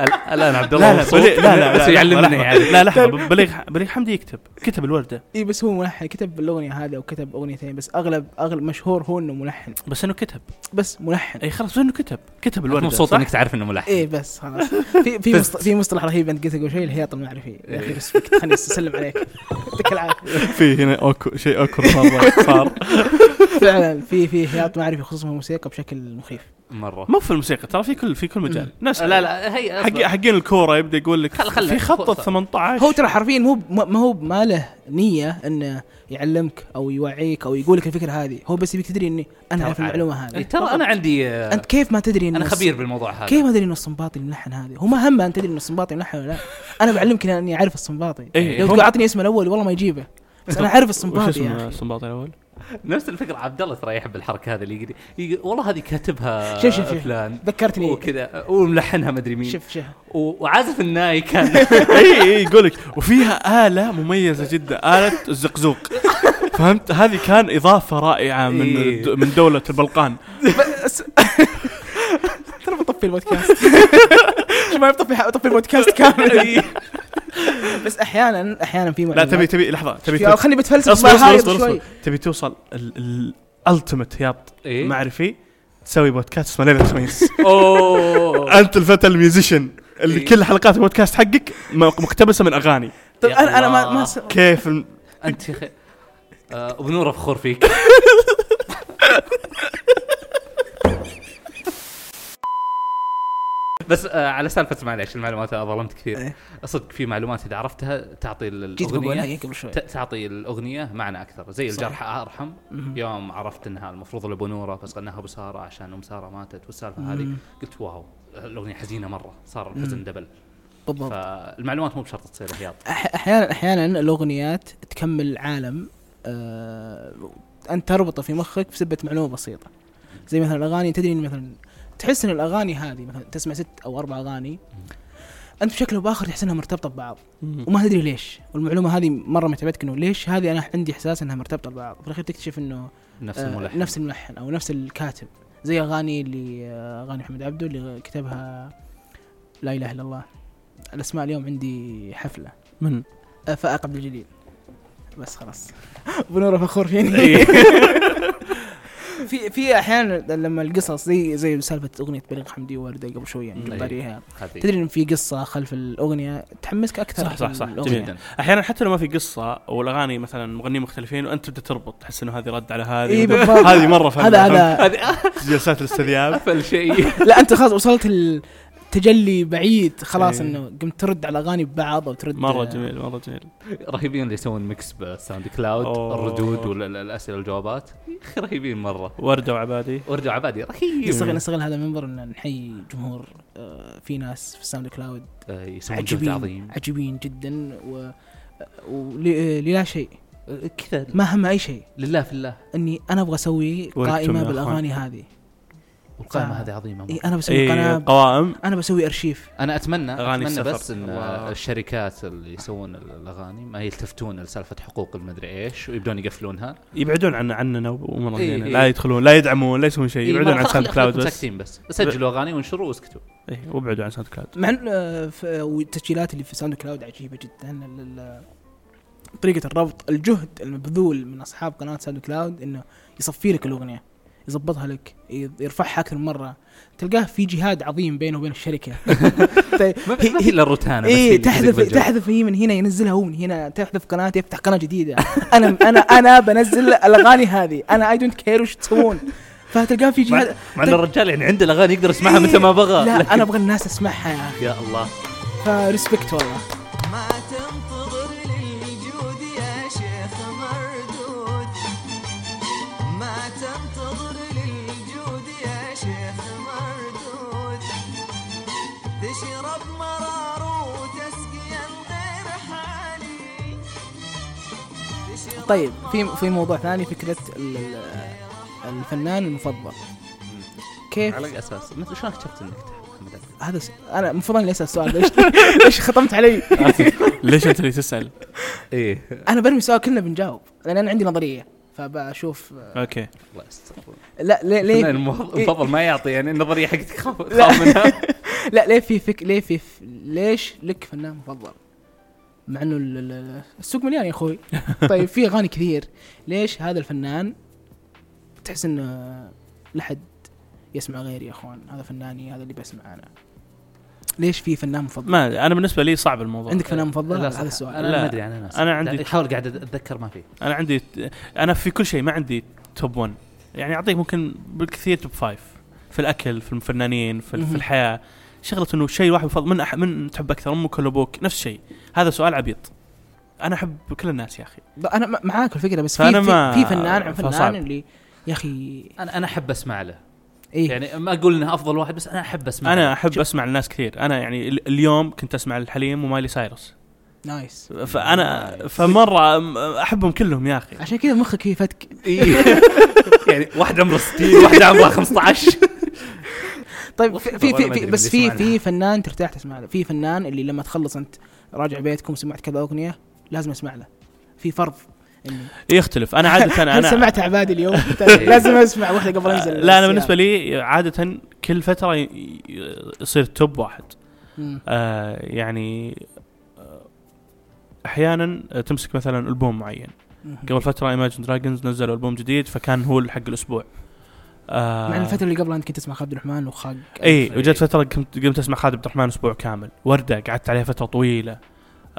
[SPEAKER 3] ال- الان عبد الله
[SPEAKER 2] لا لا
[SPEAKER 3] مبسوط
[SPEAKER 2] بليغ- لا لا
[SPEAKER 3] بس
[SPEAKER 2] لا طيب.
[SPEAKER 3] يعلمني يعني
[SPEAKER 2] لا لحظه بليغ بليغ حمدي يكتب كتب الورده
[SPEAKER 1] اي إيه، بس هو ملحن كتب الاغنيه هذه وكتب اغنيتين بس اغلب اغلب مشهور هو انه ملحن
[SPEAKER 2] بس انه كتب
[SPEAKER 1] بس ملحن
[SPEAKER 2] اي خلاص بس انه كتب كتب الورده
[SPEAKER 3] مبسوط
[SPEAKER 2] صح؟ إيه.
[SPEAKER 3] انك تعرف انه ملحن
[SPEAKER 1] ايه بس خلاص في في مصط- في مصطلح رهيب انت قلت قبل شوي الهياط المعرفي يا اخي بس فيك، خليني اسلم عليك يعطيك العافيه
[SPEAKER 2] (laughs) في هنا اوكو شيء اوكو (laughs) مره صار
[SPEAKER 1] فعلا في في هياط معرفي خصوصا في الموسيقى بشكل مخيف
[SPEAKER 3] مره
[SPEAKER 2] مو في الموسيقى ترى في كل في كل مجال ناس
[SPEAKER 3] لا لا إيه، هي
[SPEAKER 2] حق حقين الكوره يبدا يقول لك
[SPEAKER 3] خل- خل-
[SPEAKER 2] في خط ال
[SPEAKER 3] خل-
[SPEAKER 2] 18
[SPEAKER 1] هو ترى حرفيا مو ب- ما ما هو ما له نيه انه يعلمك او يوعيك او يقول لك الفكره هذه هو بس يبيك تدري اني انا اعرف المعلومه هذه
[SPEAKER 3] إيه، ترى انا عندي آه،
[SPEAKER 1] انت كيف ما تدري إن
[SPEAKER 3] انا
[SPEAKER 1] الص-
[SPEAKER 3] خبير بالموضوع هذا
[SPEAKER 1] كيف ما تدري انه الصنباطي الملحن هذه هو ما همه ان تدري انه الصنباطي ملحن ولا لا انا بعلمك إن- اني اعرف الصنباطي
[SPEAKER 2] إيه،
[SPEAKER 1] لو
[SPEAKER 2] هو-
[SPEAKER 1] تقول اعطني اسمه الاول والله ما يجيبه بس انا اعرف
[SPEAKER 2] وش
[SPEAKER 1] الصنباطي
[SPEAKER 2] اسمه
[SPEAKER 1] يا اخي
[SPEAKER 2] الصنباطي (laughs) الاول؟
[SPEAKER 3] نفس الفكره عبد الله ترى يحب الحركه هذه اللي يقول- يقول والله هذه كاتبها
[SPEAKER 1] شوف شوف شوف
[SPEAKER 3] فلان
[SPEAKER 1] ذكرتني
[SPEAKER 3] وكذا وملحنها مدري مين
[SPEAKER 1] شوف شوف
[SPEAKER 3] و- وعازف الناي
[SPEAKER 2] (laughs) إيه.
[SPEAKER 3] كان
[SPEAKER 2] اي اي يقول لك وفيها اله مميزه جدا اله الزقزوق (laughs) فهمت هذه كان اضافه رائعه من
[SPEAKER 3] إيه.
[SPEAKER 2] الد- من دوله البلقان
[SPEAKER 1] (laughs) ترى بطفي البودكاست (laughs) شو ما بطفي بطفي البودكاست
[SPEAKER 2] (laughs)
[SPEAKER 1] كامل بس احيانا احيانا في
[SPEAKER 2] إيه. لا
[SPEAKER 1] معلومات.
[SPEAKER 2] تبي تبي لحظه تبي
[SPEAKER 1] في-
[SPEAKER 2] توصل
[SPEAKER 1] خلني بتفلسف
[SPEAKER 2] طيب، اصبر
[SPEAKER 1] مع
[SPEAKER 2] اصبر
[SPEAKER 1] هاي
[SPEAKER 2] اصبر
[SPEAKER 1] شوي
[SPEAKER 2] اصبر تبي توصل الالتيمت هياط
[SPEAKER 3] إيه.
[SPEAKER 2] معرفي تسوي بودكاست اسمه ليله (laughs) الخميس
[SPEAKER 3] (laughs) اوه
[SPEAKER 2] انت الفتى الميوزيشن اللي
[SPEAKER 3] إيه.
[SPEAKER 2] كل حلقات البودكاست حقك م- مقتبسه من اغاني
[SPEAKER 1] طيب
[SPEAKER 3] يا
[SPEAKER 1] انا انا ما
[SPEAKER 3] الله.
[SPEAKER 1] ما س-
[SPEAKER 2] كيف الم-
[SPEAKER 3] انت يا اخي آه، ابو نوره فخور فيك (laughs) بس آه على سالفه معليش المعلومات انا ظلمت كثير
[SPEAKER 1] إيه.
[SPEAKER 3] صدق في معلومات اذا عرفتها تعطي ال-
[SPEAKER 1] جيت
[SPEAKER 3] الاغنيه
[SPEAKER 1] بقولها قبل شوي
[SPEAKER 3] ت- تعطي الاغنيه معنى اكثر زي
[SPEAKER 1] صح.
[SPEAKER 3] الجرح ارحم
[SPEAKER 1] مهم.
[SPEAKER 3] يوم عرفت انها المفروض لابو نوره بس غناها ابو ساره عشان ام ساره ماتت والسالفه هذه
[SPEAKER 1] مم.
[SPEAKER 3] قلت واو الاغنيه حزينه مره صار الحزن دبل
[SPEAKER 1] بالضبط
[SPEAKER 3] فالمعلومات مو بشرط تصير احياط
[SPEAKER 1] أح- احيانا احيانا الاغنيات تكمل عالم آه، انت تربطه في مخك بسبه معلومه بسيطه زي مثلا الاغاني تدري إن مثلا تحس ان الاغاني هذه مثلا تسمع ست او اربع اغاني انت بشكل او باخر تحس انها مرتبطه ببعض وما تدري ليش والمعلومه هذه مره متعبتك انه ليش هذه انا عندي احساس انها مرتبطه ببعض في الاخير تكتشف انه
[SPEAKER 3] نفس
[SPEAKER 1] آه،
[SPEAKER 3] الملحن
[SPEAKER 1] نفس الملحن او نفس الكاتب زي اغاني اللي آه، اغاني محمد عبده اللي كتبها لا اله الا الله الاسماء اليوم عندي حفله
[SPEAKER 2] من
[SPEAKER 1] آه، فائق عبد الجليل بس خلاص (laughs) بنوره فخور فيني
[SPEAKER 2] إيه.
[SPEAKER 1] (laughs) في في احيانا لما القصص زي زي سالفه اغنيه بليغ حمدي وورده قبل شوي يعني
[SPEAKER 2] إيه.
[SPEAKER 3] مم.
[SPEAKER 1] جباريها
[SPEAKER 3] هذه
[SPEAKER 1] تدري ان في قصه خلف الاغنيه تحمسك اكثر
[SPEAKER 2] صح- صح- صح.
[SPEAKER 1] الأغنية.
[SPEAKER 2] جميل. احيانا حتى لو ما في قصه والاغاني مثلا مغنيين مختلفين وانت تبدا تربط تحس انه هذه رد على هذه
[SPEAKER 1] إيه،
[SPEAKER 2] وده-
[SPEAKER 1] بالضبط.
[SPEAKER 2] (laughs) هذه مره فن
[SPEAKER 1] هذا
[SPEAKER 2] فهمت؟
[SPEAKER 1] هذا
[SPEAKER 2] جلسات الاستذياب
[SPEAKER 3] قفل شيء
[SPEAKER 1] لا انت خلاص وصلت التجلي بعيد خلاص
[SPEAKER 2] إيه.
[SPEAKER 1] انه قمت ترد على الاغاني ببعض او ترد
[SPEAKER 2] مره جميل مره جميل
[SPEAKER 3] (laughs) رهيبين اللي يسوون ميكس بالساوند كلاود
[SPEAKER 2] أوه.
[SPEAKER 3] الردود والاسئله والجوابات يا أخي (laughs) رهيبين مره
[SPEAKER 2] ورده وعبادي
[SPEAKER 3] وارجع عبادي
[SPEAKER 1] نستغل
[SPEAKER 3] رهيب
[SPEAKER 1] نستغل هذا المنبر ان نحيي جمهور آه، في ناس في الساوند كلاود
[SPEAKER 3] آه، يسوون جهد
[SPEAKER 1] عجيبين
[SPEAKER 3] عظيم
[SPEAKER 1] عجيبين جدا و ولا شيء
[SPEAKER 3] آه، كذا
[SPEAKER 1] ما هم اي شيء
[SPEAKER 3] لله في الله
[SPEAKER 1] اني انا ابغى اسوي
[SPEAKER 2] ولكم يا
[SPEAKER 1] قائمه
[SPEAKER 2] أخوان.
[SPEAKER 1] بالاغاني هذه
[SPEAKER 3] والقائمه
[SPEAKER 1] آه.
[SPEAKER 3] هذه عظيمه مرة.
[SPEAKER 1] إيه، انا بسوي
[SPEAKER 2] إيه،
[SPEAKER 1] قناه
[SPEAKER 2] قوائم
[SPEAKER 1] انا بسوي ارشيف
[SPEAKER 3] انا اتمنى
[SPEAKER 2] أغاني
[SPEAKER 3] اتمنى
[SPEAKER 2] السفر.
[SPEAKER 3] بس ان
[SPEAKER 2] الله.
[SPEAKER 3] الشركات اللي يسوون الاغاني ما يلتفتون لسالفه حقوق المدري ايش ويبدون يقفلونها
[SPEAKER 2] يبعدون عن عننا وامورنا
[SPEAKER 3] إيه،
[SPEAKER 2] إيه
[SPEAKER 3] إيه.
[SPEAKER 2] لا يدخلون لا يدعمون لا يسوون شيء
[SPEAKER 3] إيه،
[SPEAKER 2] يبعدون
[SPEAKER 3] ما-
[SPEAKER 2] عن
[SPEAKER 3] خل-
[SPEAKER 2] ساوند
[SPEAKER 3] خليكم
[SPEAKER 2] كلاود بس
[SPEAKER 3] ساكتين بس سجلوا اغاني وانشروا واسكتوا
[SPEAKER 2] إيه، وابعدوا عن ساوند كلاود
[SPEAKER 1] مع إن- آه، ف- والتسجيلات اللي في ساوند كلاود عجيبه جدا ال- ال- طريقه الربط الجهد المبذول من اصحاب قناه ساوند كلاود انه يصفي لك الاغنيه يظبطها لك ي- يرفعها اكثر من مره تلقاه في جهاد عظيم بينه وبين
[SPEAKER 3] (laughs)
[SPEAKER 1] الشركه طيب،
[SPEAKER 3] ما في ما في الا الروتانا بس هي
[SPEAKER 1] ايه
[SPEAKER 3] اللي تدق
[SPEAKER 1] تحذف
[SPEAKER 3] بالجو.
[SPEAKER 1] تحذف هي من هنا ينزلها هو من هنا تحذف قناه يفتح قناه
[SPEAKER 3] (laughs)
[SPEAKER 1] جديده انا انا انا بنزل الاغاني هذه انا اي دونت كير وش تسوون فتلقاه في
[SPEAKER 3] مع-
[SPEAKER 1] جهاد
[SPEAKER 3] مع ان الرجال يعني عنده الاغاني يقدر يسمعها متى ما بغى
[SPEAKER 1] لا
[SPEAKER 3] لكن-
[SPEAKER 1] انا ابغى الناس تسمعها يا اخي
[SPEAKER 3] يا الله
[SPEAKER 1] فريسبكت والله
[SPEAKER 7] ما تنتظر للوجود يا شيخ مردود ما تنتظر للوجود يا شيخ مردود تشرب مرار وتسقي الغير حالي تشرب
[SPEAKER 1] طيب في في موضوع ثاني فكره ال- ال- الفنان المفضل
[SPEAKER 2] إيه.
[SPEAKER 1] كيف
[SPEAKER 3] على اساس مثل شلون اكتشفت انك تحب محمد عبد؟
[SPEAKER 1] هذا س... انا المفروض اني اسال السؤال ليش (laughs) ليش خطمت علي؟
[SPEAKER 2] ليش انت اللي تسال؟ إيه.
[SPEAKER 3] ايه
[SPEAKER 1] انا برمي سؤال كلنا بنجاوب لان انا عندي نظريه فبشوف
[SPEAKER 2] اوكي
[SPEAKER 3] الله يستر
[SPEAKER 1] لا ليه
[SPEAKER 3] (laughs) الفنان
[SPEAKER 1] ليه
[SPEAKER 3] المف- المفضل ما يعطي يعني النظريه حقتك خاف خاف منها
[SPEAKER 1] لا ليه في فك ليه في ف- ليش لك فنان مفضل؟ مع انه ال- ال- ال- السوق مليان يا اخوي طيب في اغاني كثير ليش هذا الفنان تحس انه لحد يسمع غيري يا اخوان هذا فناني هذا اللي بسمع انا ليش في فنان مفضل؟
[SPEAKER 2] ما انا بالنسبه لي صعب الموضوع
[SPEAKER 1] عندك فنان مفضل؟
[SPEAKER 3] لا،
[SPEAKER 1] هذا
[SPEAKER 3] صح.
[SPEAKER 1] السؤال
[SPEAKER 3] انا
[SPEAKER 2] لا.
[SPEAKER 3] ما ادري عن ناس
[SPEAKER 2] أنا عندي-
[SPEAKER 3] حاول قاعد اتذكر ما في
[SPEAKER 2] انا عندي انا في كل شيء ما عندي توب 1 يعني اعطيك ممكن بالكثير توب 5 في الاكل في الفنانين في, ال-
[SPEAKER 1] مهم.
[SPEAKER 2] في الحياه شغله انه شيء واحد يفضل من أح من تحب اكثر امك ولا ابوك نفس الشيء هذا سؤال عبيط انا احب كل الناس يا اخي
[SPEAKER 1] ب- انا م- معاك الفكره بس
[SPEAKER 2] فأنا
[SPEAKER 1] في
[SPEAKER 2] ما-
[SPEAKER 1] في, في فنان عن
[SPEAKER 2] فصعب.
[SPEAKER 1] فنان اللي يا اخي
[SPEAKER 3] انا انا احب اسمع له
[SPEAKER 1] ايه يعني
[SPEAKER 3] يعني ما اقول انه افضل واحد بس انا احب
[SPEAKER 1] نعم.
[SPEAKER 3] اسمع
[SPEAKER 2] انا
[SPEAKER 3] له.
[SPEAKER 2] احب اسمع الناس كثير انا يعني ال- اليوم كنت اسمع الحليم ومايلي سايرس
[SPEAKER 1] نايس
[SPEAKER 2] فانا
[SPEAKER 1] نعم.
[SPEAKER 2] فمره أم- احبهم كلهم يا اخي
[SPEAKER 1] عشان كذا مخك فيه فتك
[SPEAKER 3] (laughs) إيه. (laughs) يعني واحد عمره 60 واحد عمره 15
[SPEAKER 1] طيب
[SPEAKER 3] والله
[SPEAKER 1] في في,
[SPEAKER 3] ما أدري
[SPEAKER 1] في,
[SPEAKER 3] باللي
[SPEAKER 1] في بس في
[SPEAKER 3] يسمعنا.
[SPEAKER 1] في فنان ترتاح تسمع له في فنان اللي لما تخلص انت راجع بيتكم سمعت كذا اغنيه لازم اسمع له في فرض اني
[SPEAKER 2] يختلف انا
[SPEAKER 1] (laughs)
[SPEAKER 2] عاده
[SPEAKER 1] هل
[SPEAKER 2] انا
[SPEAKER 1] سمعت عبادي
[SPEAKER 2] (laughs)
[SPEAKER 1] اليوم طيب، لازم اسمع واحده قبل انزل
[SPEAKER 2] آه، لا انا بالنسبه لي عاده كل فتره ي- ي- يصير توب واحد
[SPEAKER 1] مم.
[SPEAKER 2] آه يعني آه، احيانا تمسك مثلا البوم معين
[SPEAKER 1] مم.
[SPEAKER 2] قبل فتره ايماجن دراجونز نزلوا البوم جديد فكان هو حق الاسبوع آه
[SPEAKER 1] مع إن الفتره اللي قبلها انت كنت تسمع عبد الرحمن وخاق
[SPEAKER 2] اي إيه، وجت فتره كنت قمت اسمع خالد عبد الرحمن اسبوع كامل ورده قعدت عليها فتره طويله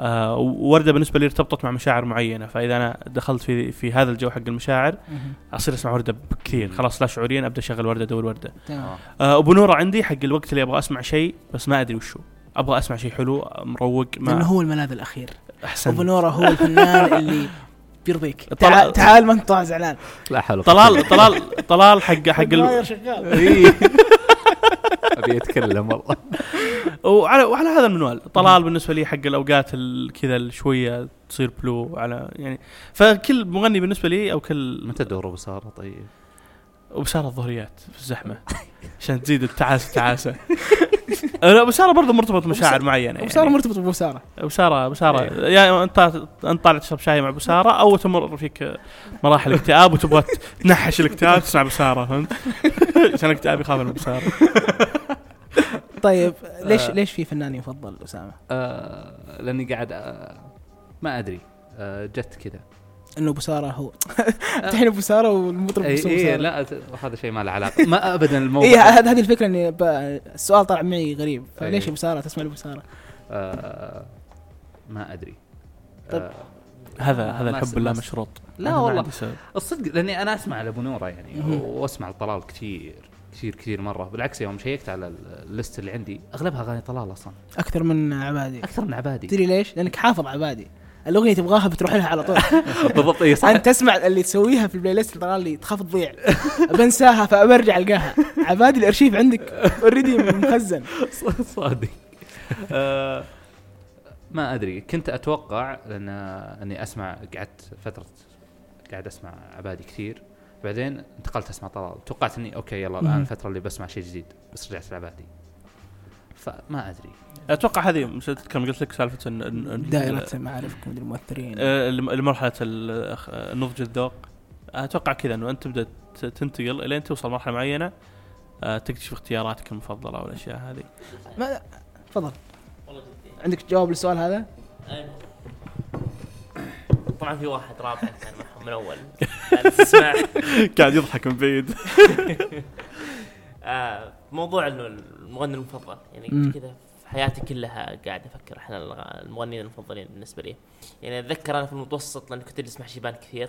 [SPEAKER 2] آه ورده بالنسبه لي ارتبطت مع مشاعر معينه فاذا انا دخلت في في هذا الجو حق المشاعر
[SPEAKER 1] مهم.
[SPEAKER 2] اصير اسمع ورده كثير خلاص لا شعوريا ابدا اشغل ورده ادور ورده
[SPEAKER 1] تمام
[SPEAKER 2] آه، ابو نوره عندي حق الوقت اللي ابغى اسمع شيء بس ما ادري وشو ابغى اسمع شيء حلو مروق
[SPEAKER 1] لانه
[SPEAKER 2] ما
[SPEAKER 1] هو الملاذ الاخير ابو
[SPEAKER 2] احسن
[SPEAKER 1] نوره هو
[SPEAKER 2] (laughs)
[SPEAKER 1] الفنان اللي بيرضيك
[SPEAKER 2] طلع-
[SPEAKER 1] تعال تعال ما انت طالع زعلان
[SPEAKER 3] لا حول (laughs)
[SPEAKER 2] طلال طلال طلال حق حق ال...
[SPEAKER 1] شغال
[SPEAKER 3] إيه. ابي اتكلم والله
[SPEAKER 2] وعلى وعلى هذا المنوال طلال بالنسبه لي حق الاوقات ال- كذا ال- شويه تصير بلو على يعني فكل مغني بالنسبه لي او كل
[SPEAKER 3] (laughs) متى دوره بسارة طيب؟
[SPEAKER 2] وبشارة الظهريات في
[SPEAKER 3] (laughs)
[SPEAKER 2] الزحمه عشان تزيد التعاسه تعاسه لا بشارة برضه مرتبط مشاعر معينه يعني.
[SPEAKER 1] وساره مرتبط بوساره
[SPEAKER 2] بشارة بشارة
[SPEAKER 3] إيه.
[SPEAKER 2] يا انت انت يعني طالع تشرب شاي مع بشارة او تمر فيك مراحل اكتئاب وتبغى تنحش الاكتئاب تسمع بشارة فهمت؟ عشان الاكتئاب يخاف من بشارة
[SPEAKER 1] طيب
[SPEAKER 2] آه.
[SPEAKER 1] ليش ليش في فنان يفضل اسامه؟
[SPEAKER 3] آه لاني قاعد آه ما ادري آه جت كذا
[SPEAKER 1] انه بوساره
[SPEAKER 3] (laughs)
[SPEAKER 1] هو الحين بوساره والمطرب
[SPEAKER 3] اي
[SPEAKER 1] بيسوي بوسارة.
[SPEAKER 3] إيه لا ت- هذا شيء ما له علاقه ما ابدا الموضوع آه،
[SPEAKER 1] اي هذه هذه الفكره اني ب- السؤال طلع معي غريب فليش
[SPEAKER 3] إيه.
[SPEAKER 1] ابو ساره تسمع لابو ساره؟
[SPEAKER 3] آه ما ادري
[SPEAKER 1] طيب.
[SPEAKER 3] آه
[SPEAKER 2] هذا هذا
[SPEAKER 3] ما
[SPEAKER 2] الحب
[SPEAKER 3] أس-
[SPEAKER 2] اللا
[SPEAKER 3] ما أس-
[SPEAKER 2] مشروط
[SPEAKER 3] لا
[SPEAKER 2] أنا ما
[SPEAKER 3] والله.
[SPEAKER 2] عندي سبب.
[SPEAKER 3] الصدق لاني انا اسمع لابو نوره يعني
[SPEAKER 1] مهم.
[SPEAKER 3] واسمع لطلال كثير كثير كثير مره بالعكس يوم شيكت على ال- الليست اللي عندي اغلبها اغاني طلال اصلا
[SPEAKER 1] اكثر من عبادي
[SPEAKER 3] اكثر
[SPEAKER 1] (laughs)
[SPEAKER 3] من عبادي
[SPEAKER 1] تدري ليش؟ لانك حافظ عبادي الاغنيه تبغاها بتروح لها على طول
[SPEAKER 3] بالضبط اي (laughs) صح
[SPEAKER 1] انت تسمع اللي تسويها في البلاي ليست طلع لي تخاف تضيع بنساها فبرجع القاها عبادي الارشيف عندك اوريدي مخزن
[SPEAKER 3] صادق
[SPEAKER 2] أه،
[SPEAKER 3] آه، ما ادري كنت اتوقع لان اني اسمع قعدت فتره قاعد اسمع عبادي كثير بعدين انتقلت اسمع طلال توقعت اني اوكي يلا الان
[SPEAKER 1] مهم.
[SPEAKER 3] الفتره اللي بسمع شيء جديد بس رجعت لعبادي فما ادري
[SPEAKER 2] اتوقع هذه مش كم قلت لك سالفه إن- إن- إن-
[SPEAKER 1] دائرة معارفكم مدري
[SPEAKER 3] إيه.
[SPEAKER 1] المؤثرين
[SPEAKER 2] آه، لمرحله ال- أخ- آه، نضج الذوق اتوقع كذا انه انت تبدا ت- تنتقل الين توصل مرحله معينه آه، تكتشف اختياراتك المفضله والاشياء هذه
[SPEAKER 1] ما تفضل عندك جواب للسؤال هذا؟
[SPEAKER 9] طبعا أيوة. في واحد رابع كان معهم من اول كان تسمع
[SPEAKER 2] (laughs) قاعد يضحك من (laughs) بعيد
[SPEAKER 9] آه، موضوع انه المغني المفضل
[SPEAKER 1] مم.
[SPEAKER 9] يعني كذا في حياتي كلها قاعد افكر احنا الغ- المغنيين المفضلين بالنسبه لي يعني اتذكر انا في المتوسط لاني كنت اسمع شيبان كثير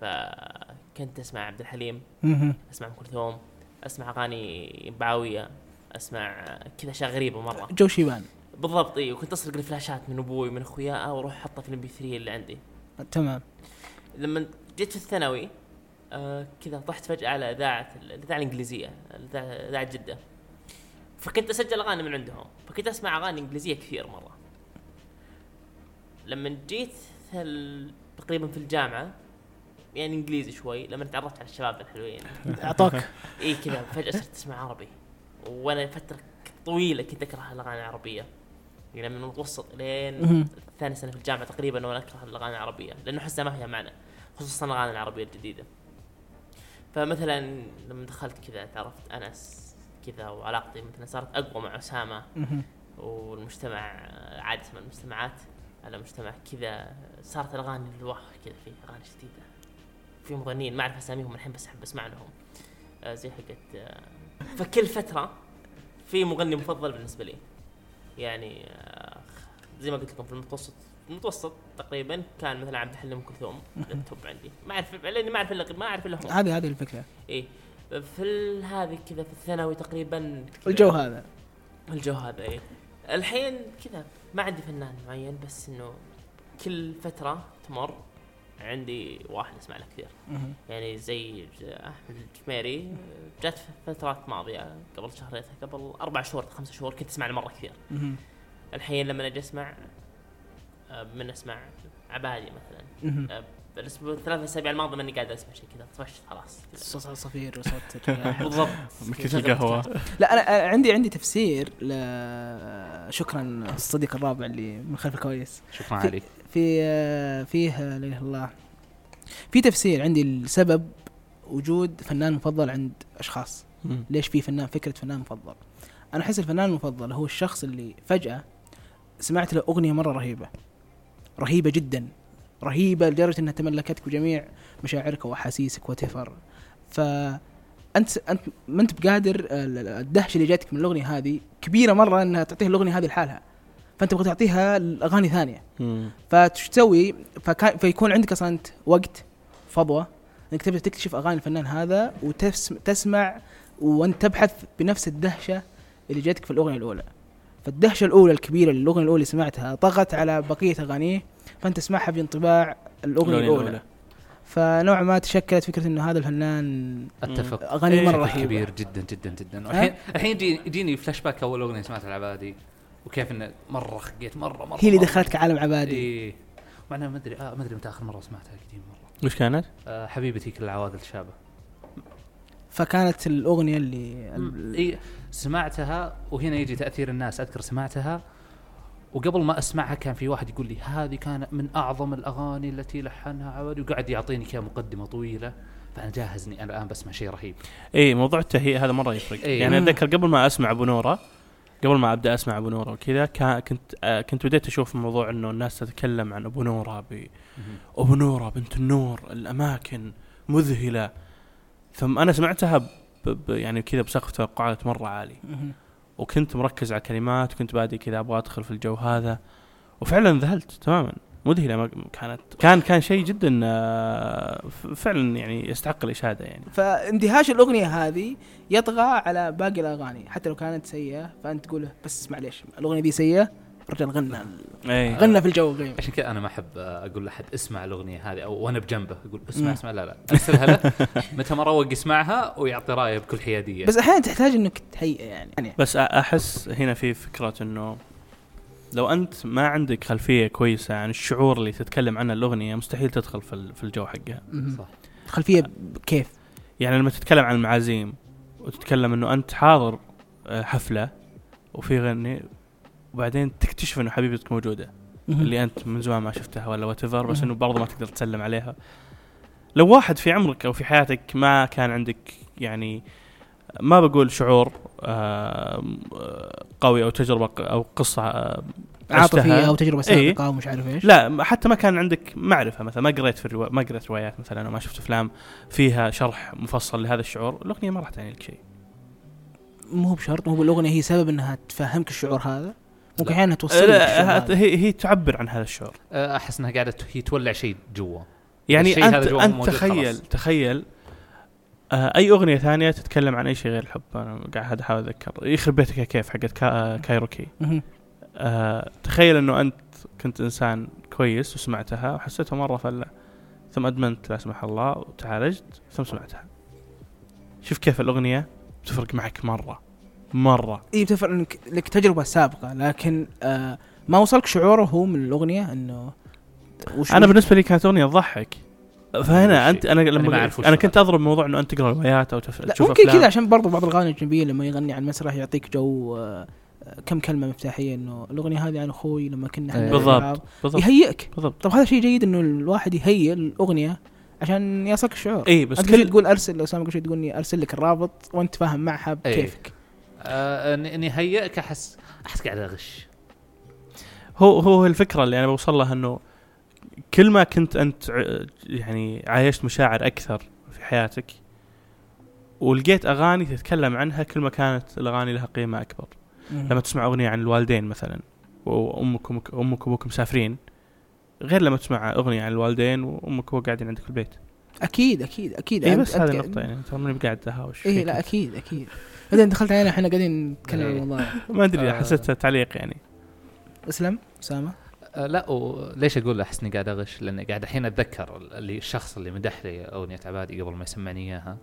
[SPEAKER 9] فكنت اسمع عبد الحليم
[SPEAKER 1] مهم.
[SPEAKER 9] اسمع ام كلثوم اسمع اغاني بعاويه اسمع كذا اشياء غريبه مره
[SPEAKER 1] جو شيبان
[SPEAKER 9] بالضبط اي وكنت اسرق الفلاشات من ابوي من اخويا واروح احطها آه، في الام 3 اللي عندي
[SPEAKER 3] (laughs)
[SPEAKER 1] تمام
[SPEAKER 9] لما جيت في الثانوي آه كذا طحت فجأة على إذاعة الإذاعة الإنجليزية الإذاعة- إذاعة جدة فكنت أسجل أغاني من عندهم فكنت أسمع أغاني إنجليزية كثير مرة لما جيت ال- تقريبا في الجامعة يعني إنجليزي شوي لما تعرفت على الشباب الحلوين
[SPEAKER 1] اعطاك
[SPEAKER 9] إي إيه كذا فجأة صرت أسمع عربي وأنا فترة طويلة كنت أكره الأغاني العربية يعني من المتوسط لين
[SPEAKER 1] مهم.
[SPEAKER 9] ثاني سنه في الجامعه تقريبا وانا اكره الاغاني العربيه لانه احسها ما فيها معنى خصوصا الاغاني العربيه الجديده فمثلا لما دخلت كذا تعرفت انس كذا وعلاقتي مثلا صارت اقوى مع اسامه
[SPEAKER 1] مهم.
[SPEAKER 9] والمجتمع عادة من المجتمعات على مجتمع كذا صارت الاغاني الواقع كذا في اغاني جديده في مغنيين ما اعرف اساميهم الحين بس احب اسمع لهم آه، زي حقت آه، فكل فتره في مغني مفضل بالنسبه لي يعني آه، زي ما قلت لكم في المتوسط المتوسط تقريبا كان مثلا عبد الحليم أم كلثوم التوب عندي ما اعرف لاني ما اعرف الا ما اعرف الا هم
[SPEAKER 1] هذه هذه الفكره
[SPEAKER 9] اي إيه. في ال- هذه كذا في الثانوي تقريبا كذا.
[SPEAKER 1] الجو هذا
[SPEAKER 9] الجو هذا ايه الحين كذا ما عندي فنان معين بس انه كل فترة تمر عندي واحد اسمع له كثير
[SPEAKER 1] مهم.
[SPEAKER 9] يعني زي ج- احمد الجميري جات في فترات ماضية قبل شهرين قبل اربع شهور خمسة شهور كنت اسمع له مرة كثير
[SPEAKER 1] مهم.
[SPEAKER 9] الحين لما اجي اسمع آه، من اسمع عبادي مثلا
[SPEAKER 1] مهم.
[SPEAKER 9] آه، الاسبوع الثلاث اسابيع الماضية ماني قاعد اسمع شيء كذا طفشت خلاص كذا.
[SPEAKER 1] صوت الصفير وصوت (laughs) الرياح.
[SPEAKER 9] بالضبط
[SPEAKER 2] مكيف القهوه
[SPEAKER 1] لا انا أنا عندي عندي تفسير ل شكرا الصديق الرابع اللي من خلف الكواليس
[SPEAKER 3] شكرا عليك
[SPEAKER 1] في آه، فيه آه، لا إله إلا الله في تفسير عندي لسبب وجود فنان مفضل عند اشخاص ليش في فنان فكره فنان مفضل انا احس الفنان المفضل هو الشخص اللي فجاه سمعت له اغنيه مره رهيبه رهيبه جدا رهيبه لدرجه انها تملكتك بجميع مشاعرك واحاسيسك وتفر فانت انت ما انت بقادر آه، ال- ال- الدهشه اللي جاتك من الاغنيه هذه كبيره مره انها تعطيها الاغنيه هذه لحالها فانت تبغى تعطيها الاغاني ثانيه فتش تسوي فكان فيكون عندك اصلا انت وقت فضوى انك تبدا تكتشف اغاني الفنان هذا وتسمع وانت تبحث بنفس الدهشه اللي جاتك في الاغنيه الاولى فالدهشه الاولى الكبيره اللي الاغنيه الاولى اللي سمعتها طغت على بقيه اغانيه فانت تسمعها بانطباع الاغنيه
[SPEAKER 2] الأغنية
[SPEAKER 1] الاولى,
[SPEAKER 2] الأولى.
[SPEAKER 1] فنوعا ما تشكلت فكره انه هذا الفنان
[SPEAKER 3] اتفق
[SPEAKER 1] اغاني مره
[SPEAKER 3] بشكل
[SPEAKER 1] رهيبه
[SPEAKER 3] كبير جدا جدا جدا والحين الحين يجي- يجيني فلاش باك اول اغنيه سمعتها العبادي وكيف انه مره خقيت مره مره
[SPEAKER 1] هي اللي
[SPEAKER 3] مرة. إيه.
[SPEAKER 1] دخلتك عالم عبادي
[SPEAKER 3] اي مع انها ما ادري آه ما ادري متى اخر مره سمعتها قديم مره
[SPEAKER 2] وش كانت؟
[SPEAKER 3] آه حبيبتي كل العواذل شابه
[SPEAKER 1] فكانت الاغنيه اللي ال-
[SPEAKER 3] اي سمعتها وهنا يجي تاثير الناس اذكر سمعتها وقبل ما اسمعها كان في واحد يقول لي هذه كان من اعظم الاغاني التي لحنها عوادي وقاعد يعطيني كذا مقدمه طويله فانا جاهزني انا الان بسمع شيء رهيب
[SPEAKER 2] اي إيه، موضوع التهيئه هذا مره يفرق
[SPEAKER 3] إيه.
[SPEAKER 2] يعني
[SPEAKER 1] مم.
[SPEAKER 2] اتذكر قبل ما اسمع ابو نوره قبل ما ابدا اسمع ابو نوره وكذا كا- كنت آه، كنت بديت اشوف موضوع انه الناس تتكلم عن ابو نوره ب ابو نوره بنت النور الاماكن مذهله ثم انا سمعتها ب... ب... يعني كذا بسقف توقعات مره عالي
[SPEAKER 1] مهم.
[SPEAKER 2] وكنت مركز على الكلمات وكنت بادي كذا ابغى ادخل في الجو هذا وفعلا ذهلت تماما مذهله ما- كانت كان كان شيء جدا آه، ف- فعلا يعني يستحق الاشاده يعني
[SPEAKER 1] فاندهاش الاغنيه هذه يطغى على باقي الاغاني حتى لو كانت سيئه فانت تقول له بس معليش الاغنيه دي سيئه رجل غنى
[SPEAKER 2] اي
[SPEAKER 1] غنى في الجو غير
[SPEAKER 3] عشان كذا انا ما احب اقول لاحد اسمع الاغنيه هذه او وانا بجنبه اقول
[SPEAKER 1] مم.
[SPEAKER 3] اسمع اسمع لا لا ارسلها له (laughs) متى ما روق يسمعها ويعطي رايه بكل حياديه
[SPEAKER 1] بس احيانا تحتاج انك تهيئ يعني, يعني
[SPEAKER 2] بس أ- احس هنا في فكره انه لو انت ما عندك خلفيه كويسه عن الشعور اللي تتكلم عنه الاغنيه مستحيل تدخل في ال- في الجو حقها
[SPEAKER 1] مهم.
[SPEAKER 3] صح.
[SPEAKER 1] الخلفيه كيف
[SPEAKER 2] يعني لما تتكلم عن المعازيم وتتكلم انه انت حاضر آه، حفله وفي غني وبعدين تكتشف انه حبيبتك موجوده
[SPEAKER 1] مهم.
[SPEAKER 2] اللي انت من زمان ما شفتها ولا وات بس
[SPEAKER 1] مهم.
[SPEAKER 2] انه برضه ما تقدر تسلم عليها لو واحد في عمرك او في حياتك ما كان عندك يعني ما بقول شعور آه، آه، قوي او تجربه ق- او قصه آه، عشتها.
[SPEAKER 1] عاطفيه او تجربه
[SPEAKER 2] إيه.
[SPEAKER 1] سابقه ومش عارف ايش
[SPEAKER 2] لا ما- حتى ما كان عندك معرفه مثلا ما قريت في الروا... ما قريت روايات مثلا او ما شفت افلام فيها شرح مفصل لهذا الشعور الاغنيه ما راح تعني لك شيء
[SPEAKER 1] مو بشرط مو بالاغنيه هي سبب انها تفهمك الشعور هذا ممكن
[SPEAKER 3] لا.
[SPEAKER 1] احيانا توصل لك الشعور
[SPEAKER 2] لا،
[SPEAKER 1] هذا.
[SPEAKER 2] هي هي تعبر عن هذا الشعور
[SPEAKER 3] آه، احس انها قاعده هي تولع شيء جوا
[SPEAKER 2] يعني
[SPEAKER 3] الشيء
[SPEAKER 2] انت
[SPEAKER 3] هذا جوا
[SPEAKER 2] انت
[SPEAKER 3] موجود
[SPEAKER 2] تخيل
[SPEAKER 3] خلاص.
[SPEAKER 2] تخيل آه اي اغنيه ثانيه تتكلم عن اي شيء غير الحب انا قاعد احاول اتذكر يخرب بيتك يا كيف حقت كا... آه، كايروكي
[SPEAKER 1] مهم.
[SPEAKER 2] آه تخيل انه انت كنت انسان كويس وسمعتها وحسيتها مره فله ثم ادمنت لا سمح الله وتعالجت ثم سمعتها شوف كيف الاغنيه تفرق معك مره مره
[SPEAKER 1] اي إيه، بتفرق انك لك تجربه سابقه لكن آه ما وصلك شعوره هو من الاغنيه انه وش
[SPEAKER 2] انا بالنسبه لي كانت اغنيه تضحك فهنا
[SPEAKER 3] وش-
[SPEAKER 2] انت انا
[SPEAKER 3] أنا ما
[SPEAKER 2] لما
[SPEAKER 3] أعرف وش
[SPEAKER 2] انا كنت اضرب موضوع انه انت تقرا روايات او تف-
[SPEAKER 1] لا
[SPEAKER 2] تشوف
[SPEAKER 1] ممكن
[SPEAKER 2] أفلام.
[SPEAKER 1] كذا عشان برضو بعض الاغاني الاجنبيه لما يغني عن المسرح يعطيك جو آه آه، كم كلمه مفتاحيه انه الاغنيه هذه عن اخوي لما كنا إحنا
[SPEAKER 3] إيه.
[SPEAKER 1] مع
[SPEAKER 2] بالضبط.
[SPEAKER 1] بعض.
[SPEAKER 2] بالضبط
[SPEAKER 1] يهيئك
[SPEAKER 2] بالضبط
[SPEAKER 1] طب هذا شيء جيد انه الواحد يهيئ الاغنيه عشان يصلك الشعور
[SPEAKER 2] اي إيه، بس
[SPEAKER 1] انت كل شوي
[SPEAKER 2] كل
[SPEAKER 1] تقول ارسل لو سامع كل شوي تقول ارسل لك الرابط وانت فاهم معها
[SPEAKER 2] إيه.
[SPEAKER 1] بكيفك
[SPEAKER 3] آه، إني- اني هيئك احس احس قاعد اغش
[SPEAKER 2] هو هو الفكره اللي انا بوصل لها انه كل ما كنت انت ع- يعني عايشت مشاعر اكثر في حياتك ولقيت اغاني تتكلم عنها كل ما كانت الاغاني لها قيمه اكبر لما تسمع اغنيه عن الوالدين مثلا وامك وأمك- امك وابوك مسافرين غير لما تسمع اغنيه عن الوالدين وامك وابوك قاعدين عندك في البيت
[SPEAKER 1] اكيد اكيد اكيد
[SPEAKER 2] اي
[SPEAKER 1] إيه، أنت-
[SPEAKER 2] بس
[SPEAKER 1] أنت
[SPEAKER 2] هذه
[SPEAKER 1] قاعد-
[SPEAKER 2] النقطه يعني ترى ماني قاعد اهاوش
[SPEAKER 1] اي
[SPEAKER 2] فيك.
[SPEAKER 1] لا اكيد اكيد بعدين دخلت علينا احنا قاعدين نتكلم عن
[SPEAKER 3] إيه.
[SPEAKER 1] الموضوع
[SPEAKER 2] ما ادري
[SPEAKER 3] آه.
[SPEAKER 2] حسيتها تعليق يعني
[SPEAKER 1] اسلم اسامه
[SPEAKER 3] آه، لا وليش اقول احس اني قاعد اغش لان قاعد الحين اتذكر اللي الشخص اللي مدح لي اغنيه عبادي قبل ما يسمعني اياها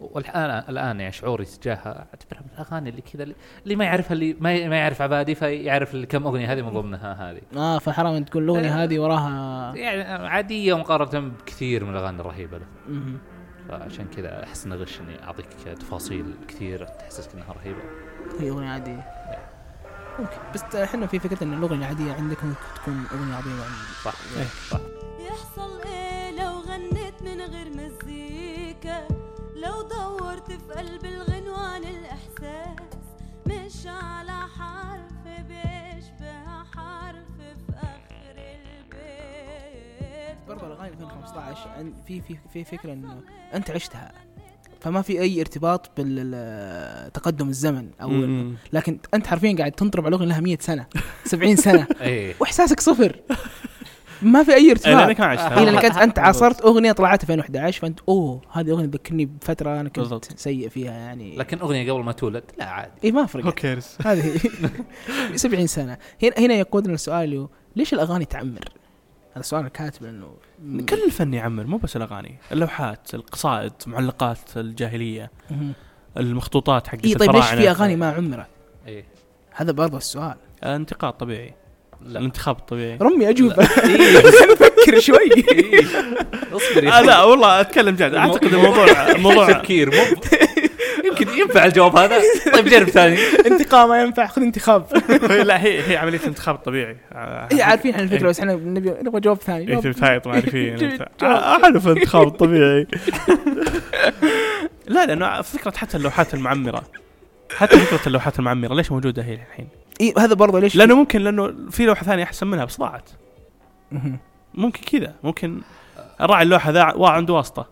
[SPEAKER 3] والان الان يعني شعوري تجاهها اعتبرها من الاغاني اللي كذا اللي- اللي ما يعرفها اللي ما ما يعرف عبادي فيعرف ال- كم اغنيه هذه من ضمنها هذه
[SPEAKER 1] اه فحرام أن تقول الاغنيه
[SPEAKER 3] إيه.
[SPEAKER 1] هذه وراها
[SPEAKER 3] يعني عاديه مقارنه بكثير من الاغاني الرهيبه له
[SPEAKER 1] مهم.
[SPEAKER 3] فعشان كذا احس اني غش اني اعطيك تفاصيل كثير تحسسك انها رهيبه
[SPEAKER 1] هي اغنيه عاديه ممكن بس احنا في فكره ان الاغنيه العاديه عندك ممكن تكون اغنيه عظيمه عندك
[SPEAKER 3] صح صح
[SPEAKER 4] يحصل ايه لو غنيت من غير مزيكا لو دورت في قلب الغنوان الاحساس مش على حرف بيشبه حرف في اخر البيت
[SPEAKER 1] برضه الاغاني 2015 عن- في في في فكره انه انت عشتها فما في اي ارتباط بالتقدم الزمن او
[SPEAKER 2] مم.
[SPEAKER 1] لكن انت حرفيا قاعد تنطرب على الاغنيه لها 100 سنه 70 سنه
[SPEAKER 3] ايه
[SPEAKER 1] واحساسك صفر ما في اي
[SPEAKER 2] إيه،
[SPEAKER 1] ارتباط
[SPEAKER 2] لانك ما
[SPEAKER 1] إيه،
[SPEAKER 2] عشتها
[SPEAKER 1] لانك انت انت عاصرت اغنيه طلعت 2011 فانت اوه هذه اغنيه تذكرني بفتره انا كنت
[SPEAKER 2] بالضبط.
[SPEAKER 1] سيء فيها يعني
[SPEAKER 3] لكن اغنيه قبل ما تولد لا عادي
[SPEAKER 1] اي ما فرقت (laughs)
[SPEAKER 2] كيرز
[SPEAKER 1] هذه 70 سنه هنا هنا يقودنا السؤال ليش الاغاني تعمر؟ هذا سؤال الكاتب انه
[SPEAKER 2] كل الفن يا عمر مو بس الاغاني اللوحات القصائد معلقات الجاهليه
[SPEAKER 1] مهم.
[SPEAKER 2] المخطوطات حقت
[SPEAKER 1] اي طيب ليش
[SPEAKER 2] الفراعنة.
[SPEAKER 1] في اغاني ما عمرت؟
[SPEAKER 3] ايه
[SPEAKER 1] هذا برضه السؤال
[SPEAKER 2] آه، انتقاد طبيعي
[SPEAKER 3] لا.
[SPEAKER 2] الانتخاب الطبيعي
[SPEAKER 1] رمي (laughs) اجوبه
[SPEAKER 3] إيه، بس
[SPEAKER 1] فكر (laughs) شوي
[SPEAKER 3] إيه. اصبر يا
[SPEAKER 2] آه
[SPEAKER 3] أخي.
[SPEAKER 2] لا والله اتكلم جد اعتقد (laughs)
[SPEAKER 3] (laughs)
[SPEAKER 2] الموضوع (laughs) موضوع
[SPEAKER 3] تفكير مو (laughs) يمكن ينفع الجواب هذا طيب جرب ثاني
[SPEAKER 1] انتقام ما ينفع خذ انتخاب
[SPEAKER 2] لا هي هي عمليه انتخاب طبيعي آه،
[SPEAKER 1] إيه، عارفين احنا
[SPEAKER 2] إيه.
[SPEAKER 1] الفكره بس احنا نبي نبغى جواب ثاني
[SPEAKER 2] إيه،
[SPEAKER 1] جواب-
[SPEAKER 2] تبي تحايط
[SPEAKER 1] (laughs)
[SPEAKER 2] ما عارفين
[SPEAKER 1] جبت
[SPEAKER 2] آه، آه، حلو في الانتخاب الطبيعي (laughs) لا لانه فكره حتى اللوحات المعمره حتى فكره اللوحات المعمره ليش موجوده هي الحين؟
[SPEAKER 1] إيه، هذا برضه ليش
[SPEAKER 2] لانه ممكن لانه في لوحه ثانيه احسن منها بس ضاعت
[SPEAKER 1] مهم.
[SPEAKER 2] ممكن كذا ممكن راعي اللوحه ذا وا- عنده واسطه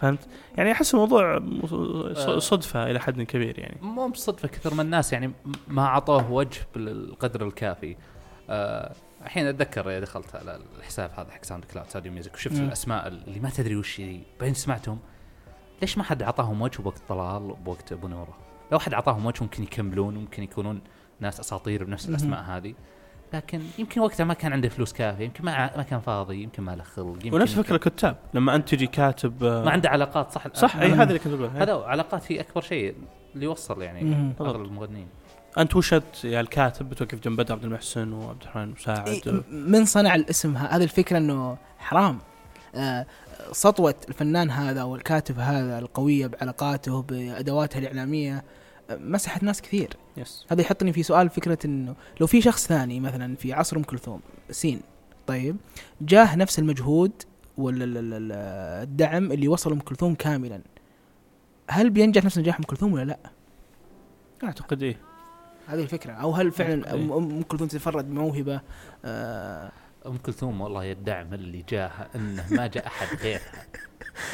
[SPEAKER 2] فهمت؟ يعني احس الموضوع مو- ص- صدفه الى حد كبير يعني
[SPEAKER 3] مو بصدفه كثر من الناس يعني ما اعطوه وجه بالقدر الكافي آه، الحين اتذكر يا دخلت على الحساب هذا حق ساوند كلاود ساوديو ميوزك وشفت
[SPEAKER 1] مم.
[SPEAKER 3] الاسماء اللي ما تدري وش هي بعدين سمعتهم ليش ما حد اعطاهم وجه بوقت طلال وبوقت ابو نوره؟ لو حد اعطاهم وجه ممكن يكملون ممكن يكونون ناس اساطير بنفس
[SPEAKER 1] مهم.
[SPEAKER 3] الاسماء هذه لكن يمكن وقتها ما كان عنده فلوس كافيه يمكن ما ما كان فاضي يمكن ما له خلق يمكن
[SPEAKER 2] ونفس فكره الكتاب لما انت تجي كاتب
[SPEAKER 3] ما عنده علاقات صح
[SPEAKER 2] صح اي
[SPEAKER 3] أنا-
[SPEAKER 2] هذا اللي كنت بقوله
[SPEAKER 3] آه، هذا علاقات هي اكبر شيء اللي يوصل يعني
[SPEAKER 1] مم.
[SPEAKER 3] اغلب المغنيين
[SPEAKER 2] انت وشت يا الكاتب بتوقف جنب بدر عبد المحسن وعبد الرحمن مساعد
[SPEAKER 1] إيه، م- من صنع الاسم ه- هذه الفكره انه حرام آه، سطوه الفنان هذا او الكاتب هذا القويه بعلاقاته بادواته الاعلاميه آه، مسحت ناس كثير
[SPEAKER 2] يس
[SPEAKER 1] هذا يحطني في سؤال فكرة انه لو في شخص ثاني مثلا في عصر ام كلثوم سين طيب جاه نفس المجهود ولا ال- ال- ال- الدعم اللي وصل ام كلثوم كاملا هل بينجح نفس نجاح ام كلثوم ولا لا؟
[SPEAKER 2] اعتقد ايه
[SPEAKER 1] هذه الفكرة او هل فعلا
[SPEAKER 2] إيه.
[SPEAKER 1] ام أم كلثوم تتفرد بموهبة آه
[SPEAKER 3] ام كلثوم والله الدعم اللي جاه انه ما جاء احد غيرها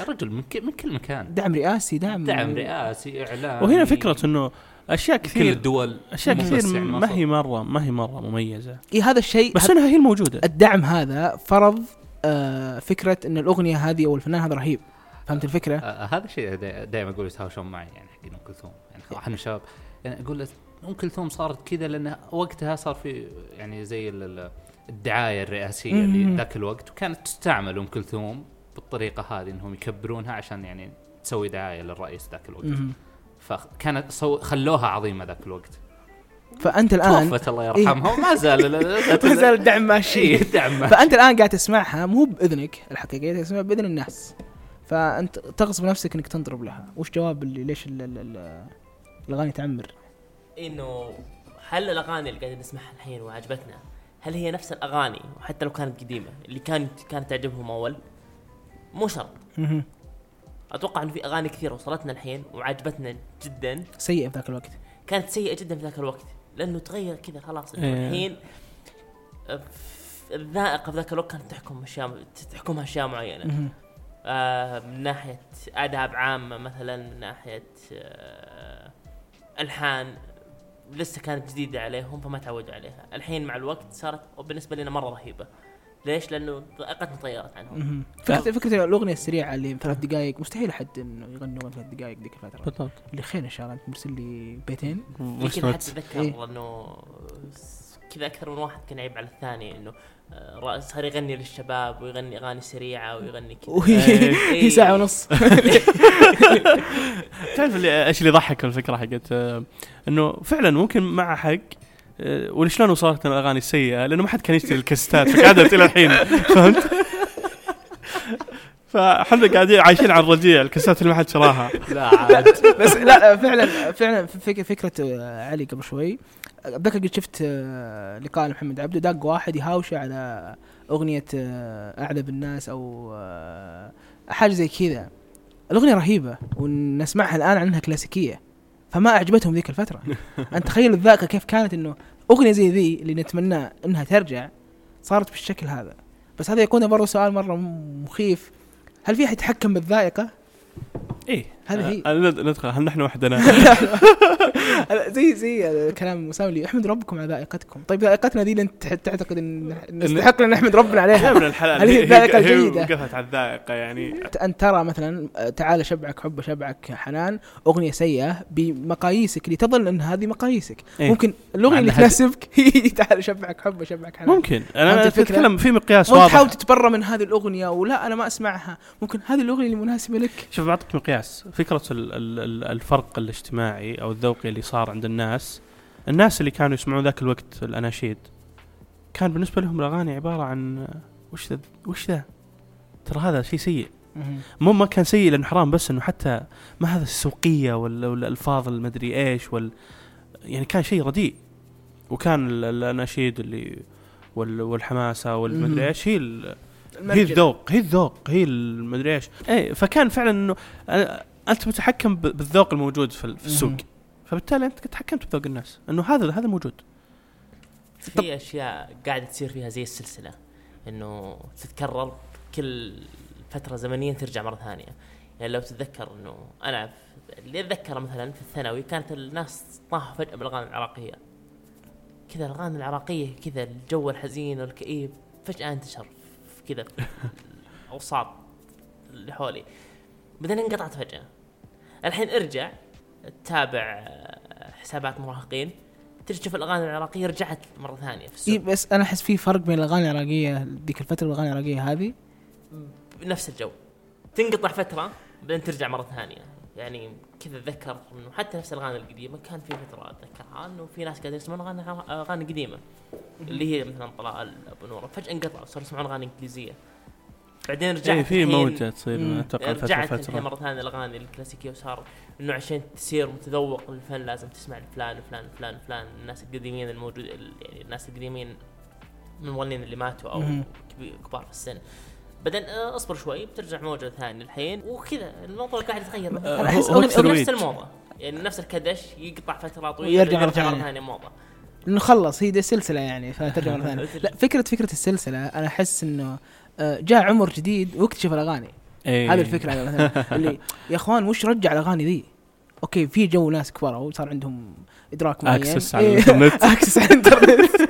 [SPEAKER 3] يا رجل من, ك- من كل مكان
[SPEAKER 1] دعم رئاسي دعم
[SPEAKER 3] دعم رئاسي اعلام
[SPEAKER 2] نعم. وهنا فكره انه اشياء
[SPEAKER 3] كل
[SPEAKER 2] كثير
[SPEAKER 3] الدول
[SPEAKER 2] اشياء
[SPEAKER 3] مو بس
[SPEAKER 2] كثير
[SPEAKER 3] يعني
[SPEAKER 2] ما
[SPEAKER 3] مصر.
[SPEAKER 2] هي مره ما هي مره مميزه
[SPEAKER 1] إيه هذا الشيء
[SPEAKER 2] بس
[SPEAKER 1] هذا
[SPEAKER 2] انها هي الموجوده
[SPEAKER 1] الدعم هذا فرض آه فكرة ان الاغنية هذه او الفنان هذا رهيب فهمت الفكرة؟
[SPEAKER 3] آه، هذا الشيء دائما اقول يتهاوشون معي يعني حق ام كلثوم يعني خلاص احنا شباب يعني اقول له ام كلثوم صارت كذا لان وقتها صار في يعني زي ال- ال- الدعايه الرئاسيه
[SPEAKER 1] مم.
[SPEAKER 3] اللي ذاك الوقت وكانت تستعمل ام كلثوم بالطريقه هذه انهم يكبرونها عشان يعني تسوي دعايه للرئيس ذاك الوقت
[SPEAKER 1] مهم.
[SPEAKER 3] فكانت سو خلوها عظيمه ذاك الوقت
[SPEAKER 1] فانت الان
[SPEAKER 3] توفت الله يرحمها وما زال
[SPEAKER 1] (laughs) إيه. ما زال إيه. الدعم ماشي
[SPEAKER 3] شيء دعمه
[SPEAKER 1] فانت الان قاعد تسمعها مو باذنك الحقيقيه قاعد تسمعها باذن الناس فانت تغصب نفسك انك تنضرب لها وش جواب اللي ليش ال- ال- ال- الاغاني تعمر
[SPEAKER 9] انه هل الاغاني اللي قاعدين نسمعها الحين وعجبتنا هل هي نفس الاغاني وحتى لو كانت قديمه اللي كانت كانت تعجبهم اول؟ مو شرط اتوقع انه في اغاني كثيره وصلتنا الحين وعجبتنا جدا
[SPEAKER 1] سيئه في ذاك الوقت
[SPEAKER 9] كانت سيئه جدا في ذاك الوقت لانه تغير كذا خلاص إنه
[SPEAKER 2] إيه.
[SPEAKER 9] الحين آه، ف- الذائقه في ذاك الوقت كانت تحكم اشياء تحكمها اشياء معينه
[SPEAKER 1] مهم.
[SPEAKER 9] آه، من ناحية آداب عامة مثلا من ناحية آه، ألحان لسه كانت جديدة عليهم فما تعودوا عليها الحين مع الوقت صارت بالنسبة لنا مرة رهيبة ليش؟ لأنه ذائقتنا تغيرت عنهم
[SPEAKER 1] مهم. فكره فكره الاغنيه السريعه اللي ثلاث دقائق مستحيل حد انه يغني اغنيه ثلاث دقائق ذيك الفتره
[SPEAKER 2] بالضبط
[SPEAKER 1] اللي خير ان شاء الله انت مرسل لي بيتين
[SPEAKER 9] يمكن حتى اتذكر
[SPEAKER 1] إيه.
[SPEAKER 9] انه س- كذا اكثر من واحد كان يعيب على الثاني انه آه، را- صار يغني للشباب ويغني اغاني سريعه ويغني كذا
[SPEAKER 1] وهي
[SPEAKER 9] إيه.
[SPEAKER 1] هي (laughs) ساعه ونص
[SPEAKER 2] تعرف اللي ايش اللي ضحك الفكره حقت آه، انه فعلا ممكن مع حق آه، ولشلون وصلت الاغاني السيئه لانه ما حد كان يشتري الكستات فقعدت الى الحين فهمت؟ (laughs) فاحنا قاعدين عايشين على الرجيع الكستات اللي ما حد شراها
[SPEAKER 3] لا عاد
[SPEAKER 1] (laughs) بس لا لا فعلا فعلا فكره فكره آه، علي قبل شوي اتذكر قد شفت آه، لقاء لمحمد عبده داق واحد يهاوشه على اغنيه آه، اعذب الناس او آه، حاجه زي كذا الاغنيه رهيبه ونسمعها الان عنها كلاسيكيه فما اعجبتهم ذيك الفتره انت تخيل الذاكره كيف كانت انه اغنيه زي ذي اللي نتمنى انها ترجع صارت بالشكل هذا بس هذا يكون برضه سؤال مره مخيف هل في احد يتحكم بالذائقه
[SPEAKER 2] ايه
[SPEAKER 1] إيه، هذه هي
[SPEAKER 2] آه، ند- ندخل هل نحن وحدنا؟
[SPEAKER 1] (laughs) زي زي كلام مسام لي احمد ربكم على ذائقتكم طيب ذائقتنا دي اللي انت تح- تعتقد ان إن نستحق ان نحمد ربنا
[SPEAKER 2] يا
[SPEAKER 1] عليها
[SPEAKER 2] ابن الحلال
[SPEAKER 1] هل هي
[SPEAKER 2] هي- هي-
[SPEAKER 1] الذائقة
[SPEAKER 2] هي
[SPEAKER 1] الجيدة؟
[SPEAKER 2] وقفت على الذائقه يعني
[SPEAKER 1] ان ترى مثلا آه، تعال شبعك حب شبعك حنان اغنيه سيئه بمقاييسك اللي تظن ان هذه مقاييسك
[SPEAKER 2] إيه.
[SPEAKER 1] ممكن
[SPEAKER 3] مع
[SPEAKER 1] الاغنيه اللي
[SPEAKER 3] إنها-
[SPEAKER 1] تناسبك (laughs) هي تعال شبعك حب شبعك حنان
[SPEAKER 2] ممكن انا
[SPEAKER 1] فهمت الفكرة؟
[SPEAKER 2] اتكلم في مقياس
[SPEAKER 1] وانت تحاول
[SPEAKER 2] واضح
[SPEAKER 1] تتبرى من هذه الاغنيه ولا انا ما اسمعها ممكن هذه الاغنيه اللي مناسبه لك
[SPEAKER 2] شوف بعطيك مقياس فكره ال- ال- ال- الفرق الاجتماعي او الذوقي اللي صار عند الناس الناس اللي كانوا يسمعون ذاك الوقت الاناشيد كان بالنسبه لهم الاغاني عباره عن وش ذا وش ذا ترى هذا شيء سيء مو ما كان سيء لانه حرام بس انه حتى ما هذا السوقيه ولا والالفاظ المدري ايش وال يعني كان شيء رديء وكان ال- الاناشيد اللي وال- والحماسه والمدري
[SPEAKER 1] مهم.
[SPEAKER 2] ايش هي ال- هي
[SPEAKER 1] المرجل.
[SPEAKER 2] الذوق هي الذوق هي المدري ايش اي إيه، فكان فعلا انه أنا- انت متحكم ب- بالذوق الموجود في ال- في السوق
[SPEAKER 1] مهم.
[SPEAKER 2] فبالتالي انت تحكمت بذوق الناس انه هذا هذا موجود طب-
[SPEAKER 9] في اشياء قاعده تصير فيها زي السلسله انه تتكرر كل فتره زمنيه ترجع مره ثانيه يعني لو تتذكر انه انا في- اللي اتذكره مثلا في الثانوي كانت الناس طاحوا فجاه بالاغاني العراقيه كذا الاغاني العراقيه كذا الجو الحزين والكئيب فجاه انتشر في كذا (laughs) في الاوساط اللي حولي بعدين انقطعت فجاه الحين ارجع تتابع آه، حسابات مراهقين تجي تشوف الاغاني العراقيه رجعت مره ثانيه في
[SPEAKER 1] إيه
[SPEAKER 9] السوق
[SPEAKER 1] بس انا احس في فرق بين الاغاني العراقيه ذيك الفتره والاغاني العراقيه هذه
[SPEAKER 9] بنفس الجو تنقطع فتره بعدين ترجع مره ثانيه يعني كذا اتذكر انه حتى نفس الاغاني القديمه كان في فتره اتذكرها انه في ناس قاعدين يسمعون اغاني اغاني قديمه اللي هي مثلا طلال ابو نوره فجاه انقطعوا صاروا يسمعون اغاني انجليزيه بعدين رجعت
[SPEAKER 2] إيه، في
[SPEAKER 9] الحين-
[SPEAKER 2] موجه تصير
[SPEAKER 1] مم.
[SPEAKER 2] اتوقع فتره
[SPEAKER 9] يعني رجعت الحين
[SPEAKER 2] فتره
[SPEAKER 9] مره ثانيه الاغاني الكلاسيكيه وصار انه عشان تصير متذوق للفن لازم تسمع لفلان وفلان وفلان وفلان الناس القديمين الموجود ال- يعني الناس القديمين من المغنيين اللي ماتوا او
[SPEAKER 1] مهم.
[SPEAKER 9] كبي- كبار في السن بعدين آه، اصبر شوي بترجع موجه ثانيه الحين وكذا الموضوع قاعد يتغير
[SPEAKER 2] آه،
[SPEAKER 1] أنا
[SPEAKER 2] هو-
[SPEAKER 1] أحس
[SPEAKER 2] هو
[SPEAKER 1] أغنية-
[SPEAKER 9] نفس
[SPEAKER 2] ترويج.
[SPEAKER 9] نفس الموضه يعني نفس الكدش يقطع فتره طويله
[SPEAKER 1] ويرجع مرة
[SPEAKER 9] مرة
[SPEAKER 1] ثانية.
[SPEAKER 9] ثانيه موضه
[SPEAKER 1] انه خلص هي دي السلسله يعني فترجع
[SPEAKER 2] (laughs)
[SPEAKER 1] مره ثانيه لا فكره فكره السلسله انا احس انه آه، جاء عمر جديد واكتشف الاغاني
[SPEAKER 2] إيه.
[SPEAKER 1] هذه الفكره أنا مثلا اللي يا اخوان وش رجع الاغاني ذي؟ اوكي في جو ناس كبروا وصار عندهم ادراك معين
[SPEAKER 2] اكسس على
[SPEAKER 1] إيه، (laughs)
[SPEAKER 2] الانترنت
[SPEAKER 1] اكسس على الانترنت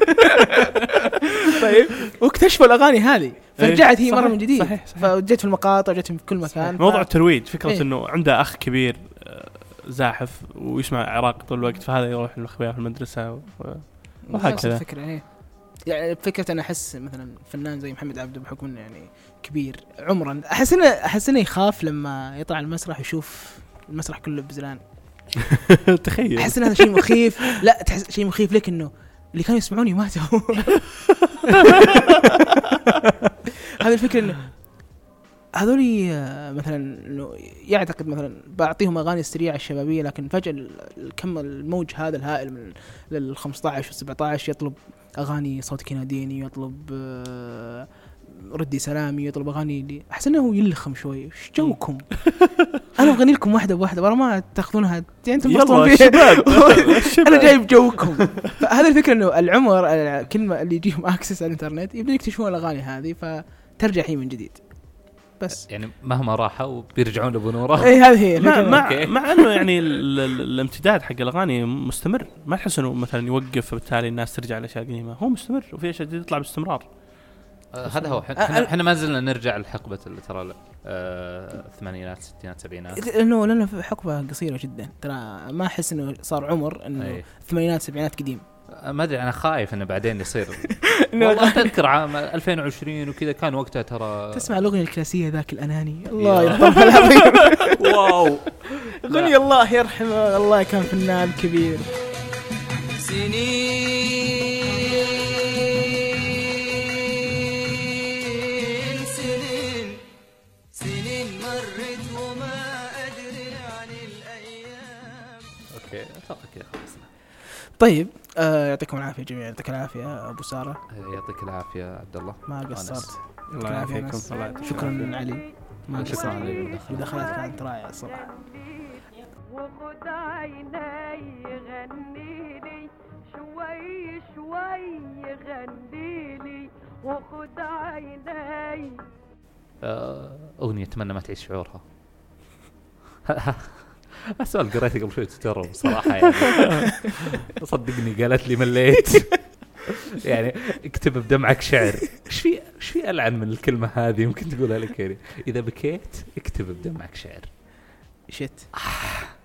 [SPEAKER 1] طيب واكتشفوا الاغاني هذه فرجعت هي
[SPEAKER 2] إيه،
[SPEAKER 1] مره
[SPEAKER 2] صحيح،
[SPEAKER 1] من جديد
[SPEAKER 2] صحيح، صحيح.
[SPEAKER 1] فجت في المقاطع جت في كل مكان ف-
[SPEAKER 2] موضوع الترويج فكره
[SPEAKER 1] إيه.
[SPEAKER 2] انه عنده اخ كبير آه، زاحف ويسمع عراق طول الوقت فهذا يروح للاخويا في المدرسه و... (laughs)
[SPEAKER 1] نفس
[SPEAKER 2] وهكذا.
[SPEAKER 1] الفكره ايه يعني فكرة انا احس مثلا فنان زي محمد عبده بحكم انه يعني كبير عمرا احس انه احس انه يخاف لما يطلع المسرح يشوف المسرح كله بزلان
[SPEAKER 2] تخيل
[SPEAKER 1] احس ان هذا شيء مخيف لا تحس شيء مخيف لك انه اللي كانوا يسمعوني ماتوا هذه الفكره انه هذول آه، مثلا انه يعتقد مثلا بعطيهم اغاني السريعه الشبابيه لكن فجاه ال- الكم الموج هذا الهائل من لل 15 و 17 يطلب اغاني صوتك يناديني يطلب آه، ردي سلامي يطلب اغاني اللي احس انه يلخم شوي ايش جوكم؟ انا بغني لكم واحده بواحده ورا ما تاخذونها يعني انتم
[SPEAKER 2] يلا
[SPEAKER 1] تنبسطون فيها (laughs)
[SPEAKER 2] الشباب
[SPEAKER 1] انا
[SPEAKER 2] الشباب.
[SPEAKER 1] جايب جوكم فهذا الفكره انه العمر آه، كلمه اللي يجيهم اكسس على الانترنت يبدون يكتشفون الاغاني هذه فترجع هي من جديد بس
[SPEAKER 3] يعني مهما راحوا بيرجعون لابو نوره
[SPEAKER 1] اي هذه هي
[SPEAKER 2] مع
[SPEAKER 1] الفكرة.
[SPEAKER 2] مع
[SPEAKER 3] أوكي.
[SPEAKER 2] مع انه يعني ال- ال- الامتداد حق الاغاني مستمر ما تحس انه مثلا يوقف فبالتالي الناس ترجع لاشياء قديمه هو مستمر وفي اشياء جديده تطلع باستمرار
[SPEAKER 3] آه، هذا هو
[SPEAKER 1] آه،
[SPEAKER 3] احنا احنا ما زلنا نرجع لحقبه اللي ترى آه، الثمانينات ستينات سبعينات
[SPEAKER 1] لانه لانه في حقبه قصيره جدا ترى ما احس انه صار عمر انه
[SPEAKER 3] أي.
[SPEAKER 1] الثمانينات سبعينات قديم
[SPEAKER 3] آه، ما ادري انا خايف انه
[SPEAKER 1] (laughs)
[SPEAKER 3] بعدين يصير
[SPEAKER 1] نعم.
[SPEAKER 3] والله اتذكر عام 2020 وكذا كان وقتها ترى
[SPEAKER 1] تسمع الاغنيه الكلاسيه ذاك الاناني
[SPEAKER 3] (laughs)
[SPEAKER 1] الله يرحمه العظيم
[SPEAKER 3] واو
[SPEAKER 1] اغنيه الله يرحمه الله كان فنان كبير
[SPEAKER 7] سنين سنين سنين مرت وما أدري عن الأيام
[SPEAKER 3] اوكي اتوقع كذا خلصنا
[SPEAKER 1] طيب آه يعطيكم العافيه جميعا يعطيك العافيه ابو ساره
[SPEAKER 3] آه، يعطيك العافيه عبد الله
[SPEAKER 1] ما
[SPEAKER 3] أنس.
[SPEAKER 1] قصرت
[SPEAKER 2] الله
[SPEAKER 1] يعافيك،
[SPEAKER 2] يعافيكم
[SPEAKER 1] أنس.
[SPEAKER 2] الله يعطيك
[SPEAKER 1] شكرا علي ما
[SPEAKER 3] شكراً
[SPEAKER 1] قصرت
[SPEAKER 3] على المداخلة.
[SPEAKER 1] المداخلات كانت رائعه الصراحه
[SPEAKER 4] وخد عيني غنيلي شوي شوي غنيلي وخد عيني
[SPEAKER 3] (laughs) آه، اغنيه اتمنى ما تعيش شعورها السؤال قريته قبل شوي تويتر بصراحه يعني (laughs) صدقني قالت لي مليت (laughs) يعني اكتب بدمعك شعر ايش في ايش في العن من الكلمه هذه ممكن تقولها لك يعني اذا بكيت اكتب بدمعك شعر
[SPEAKER 1] شت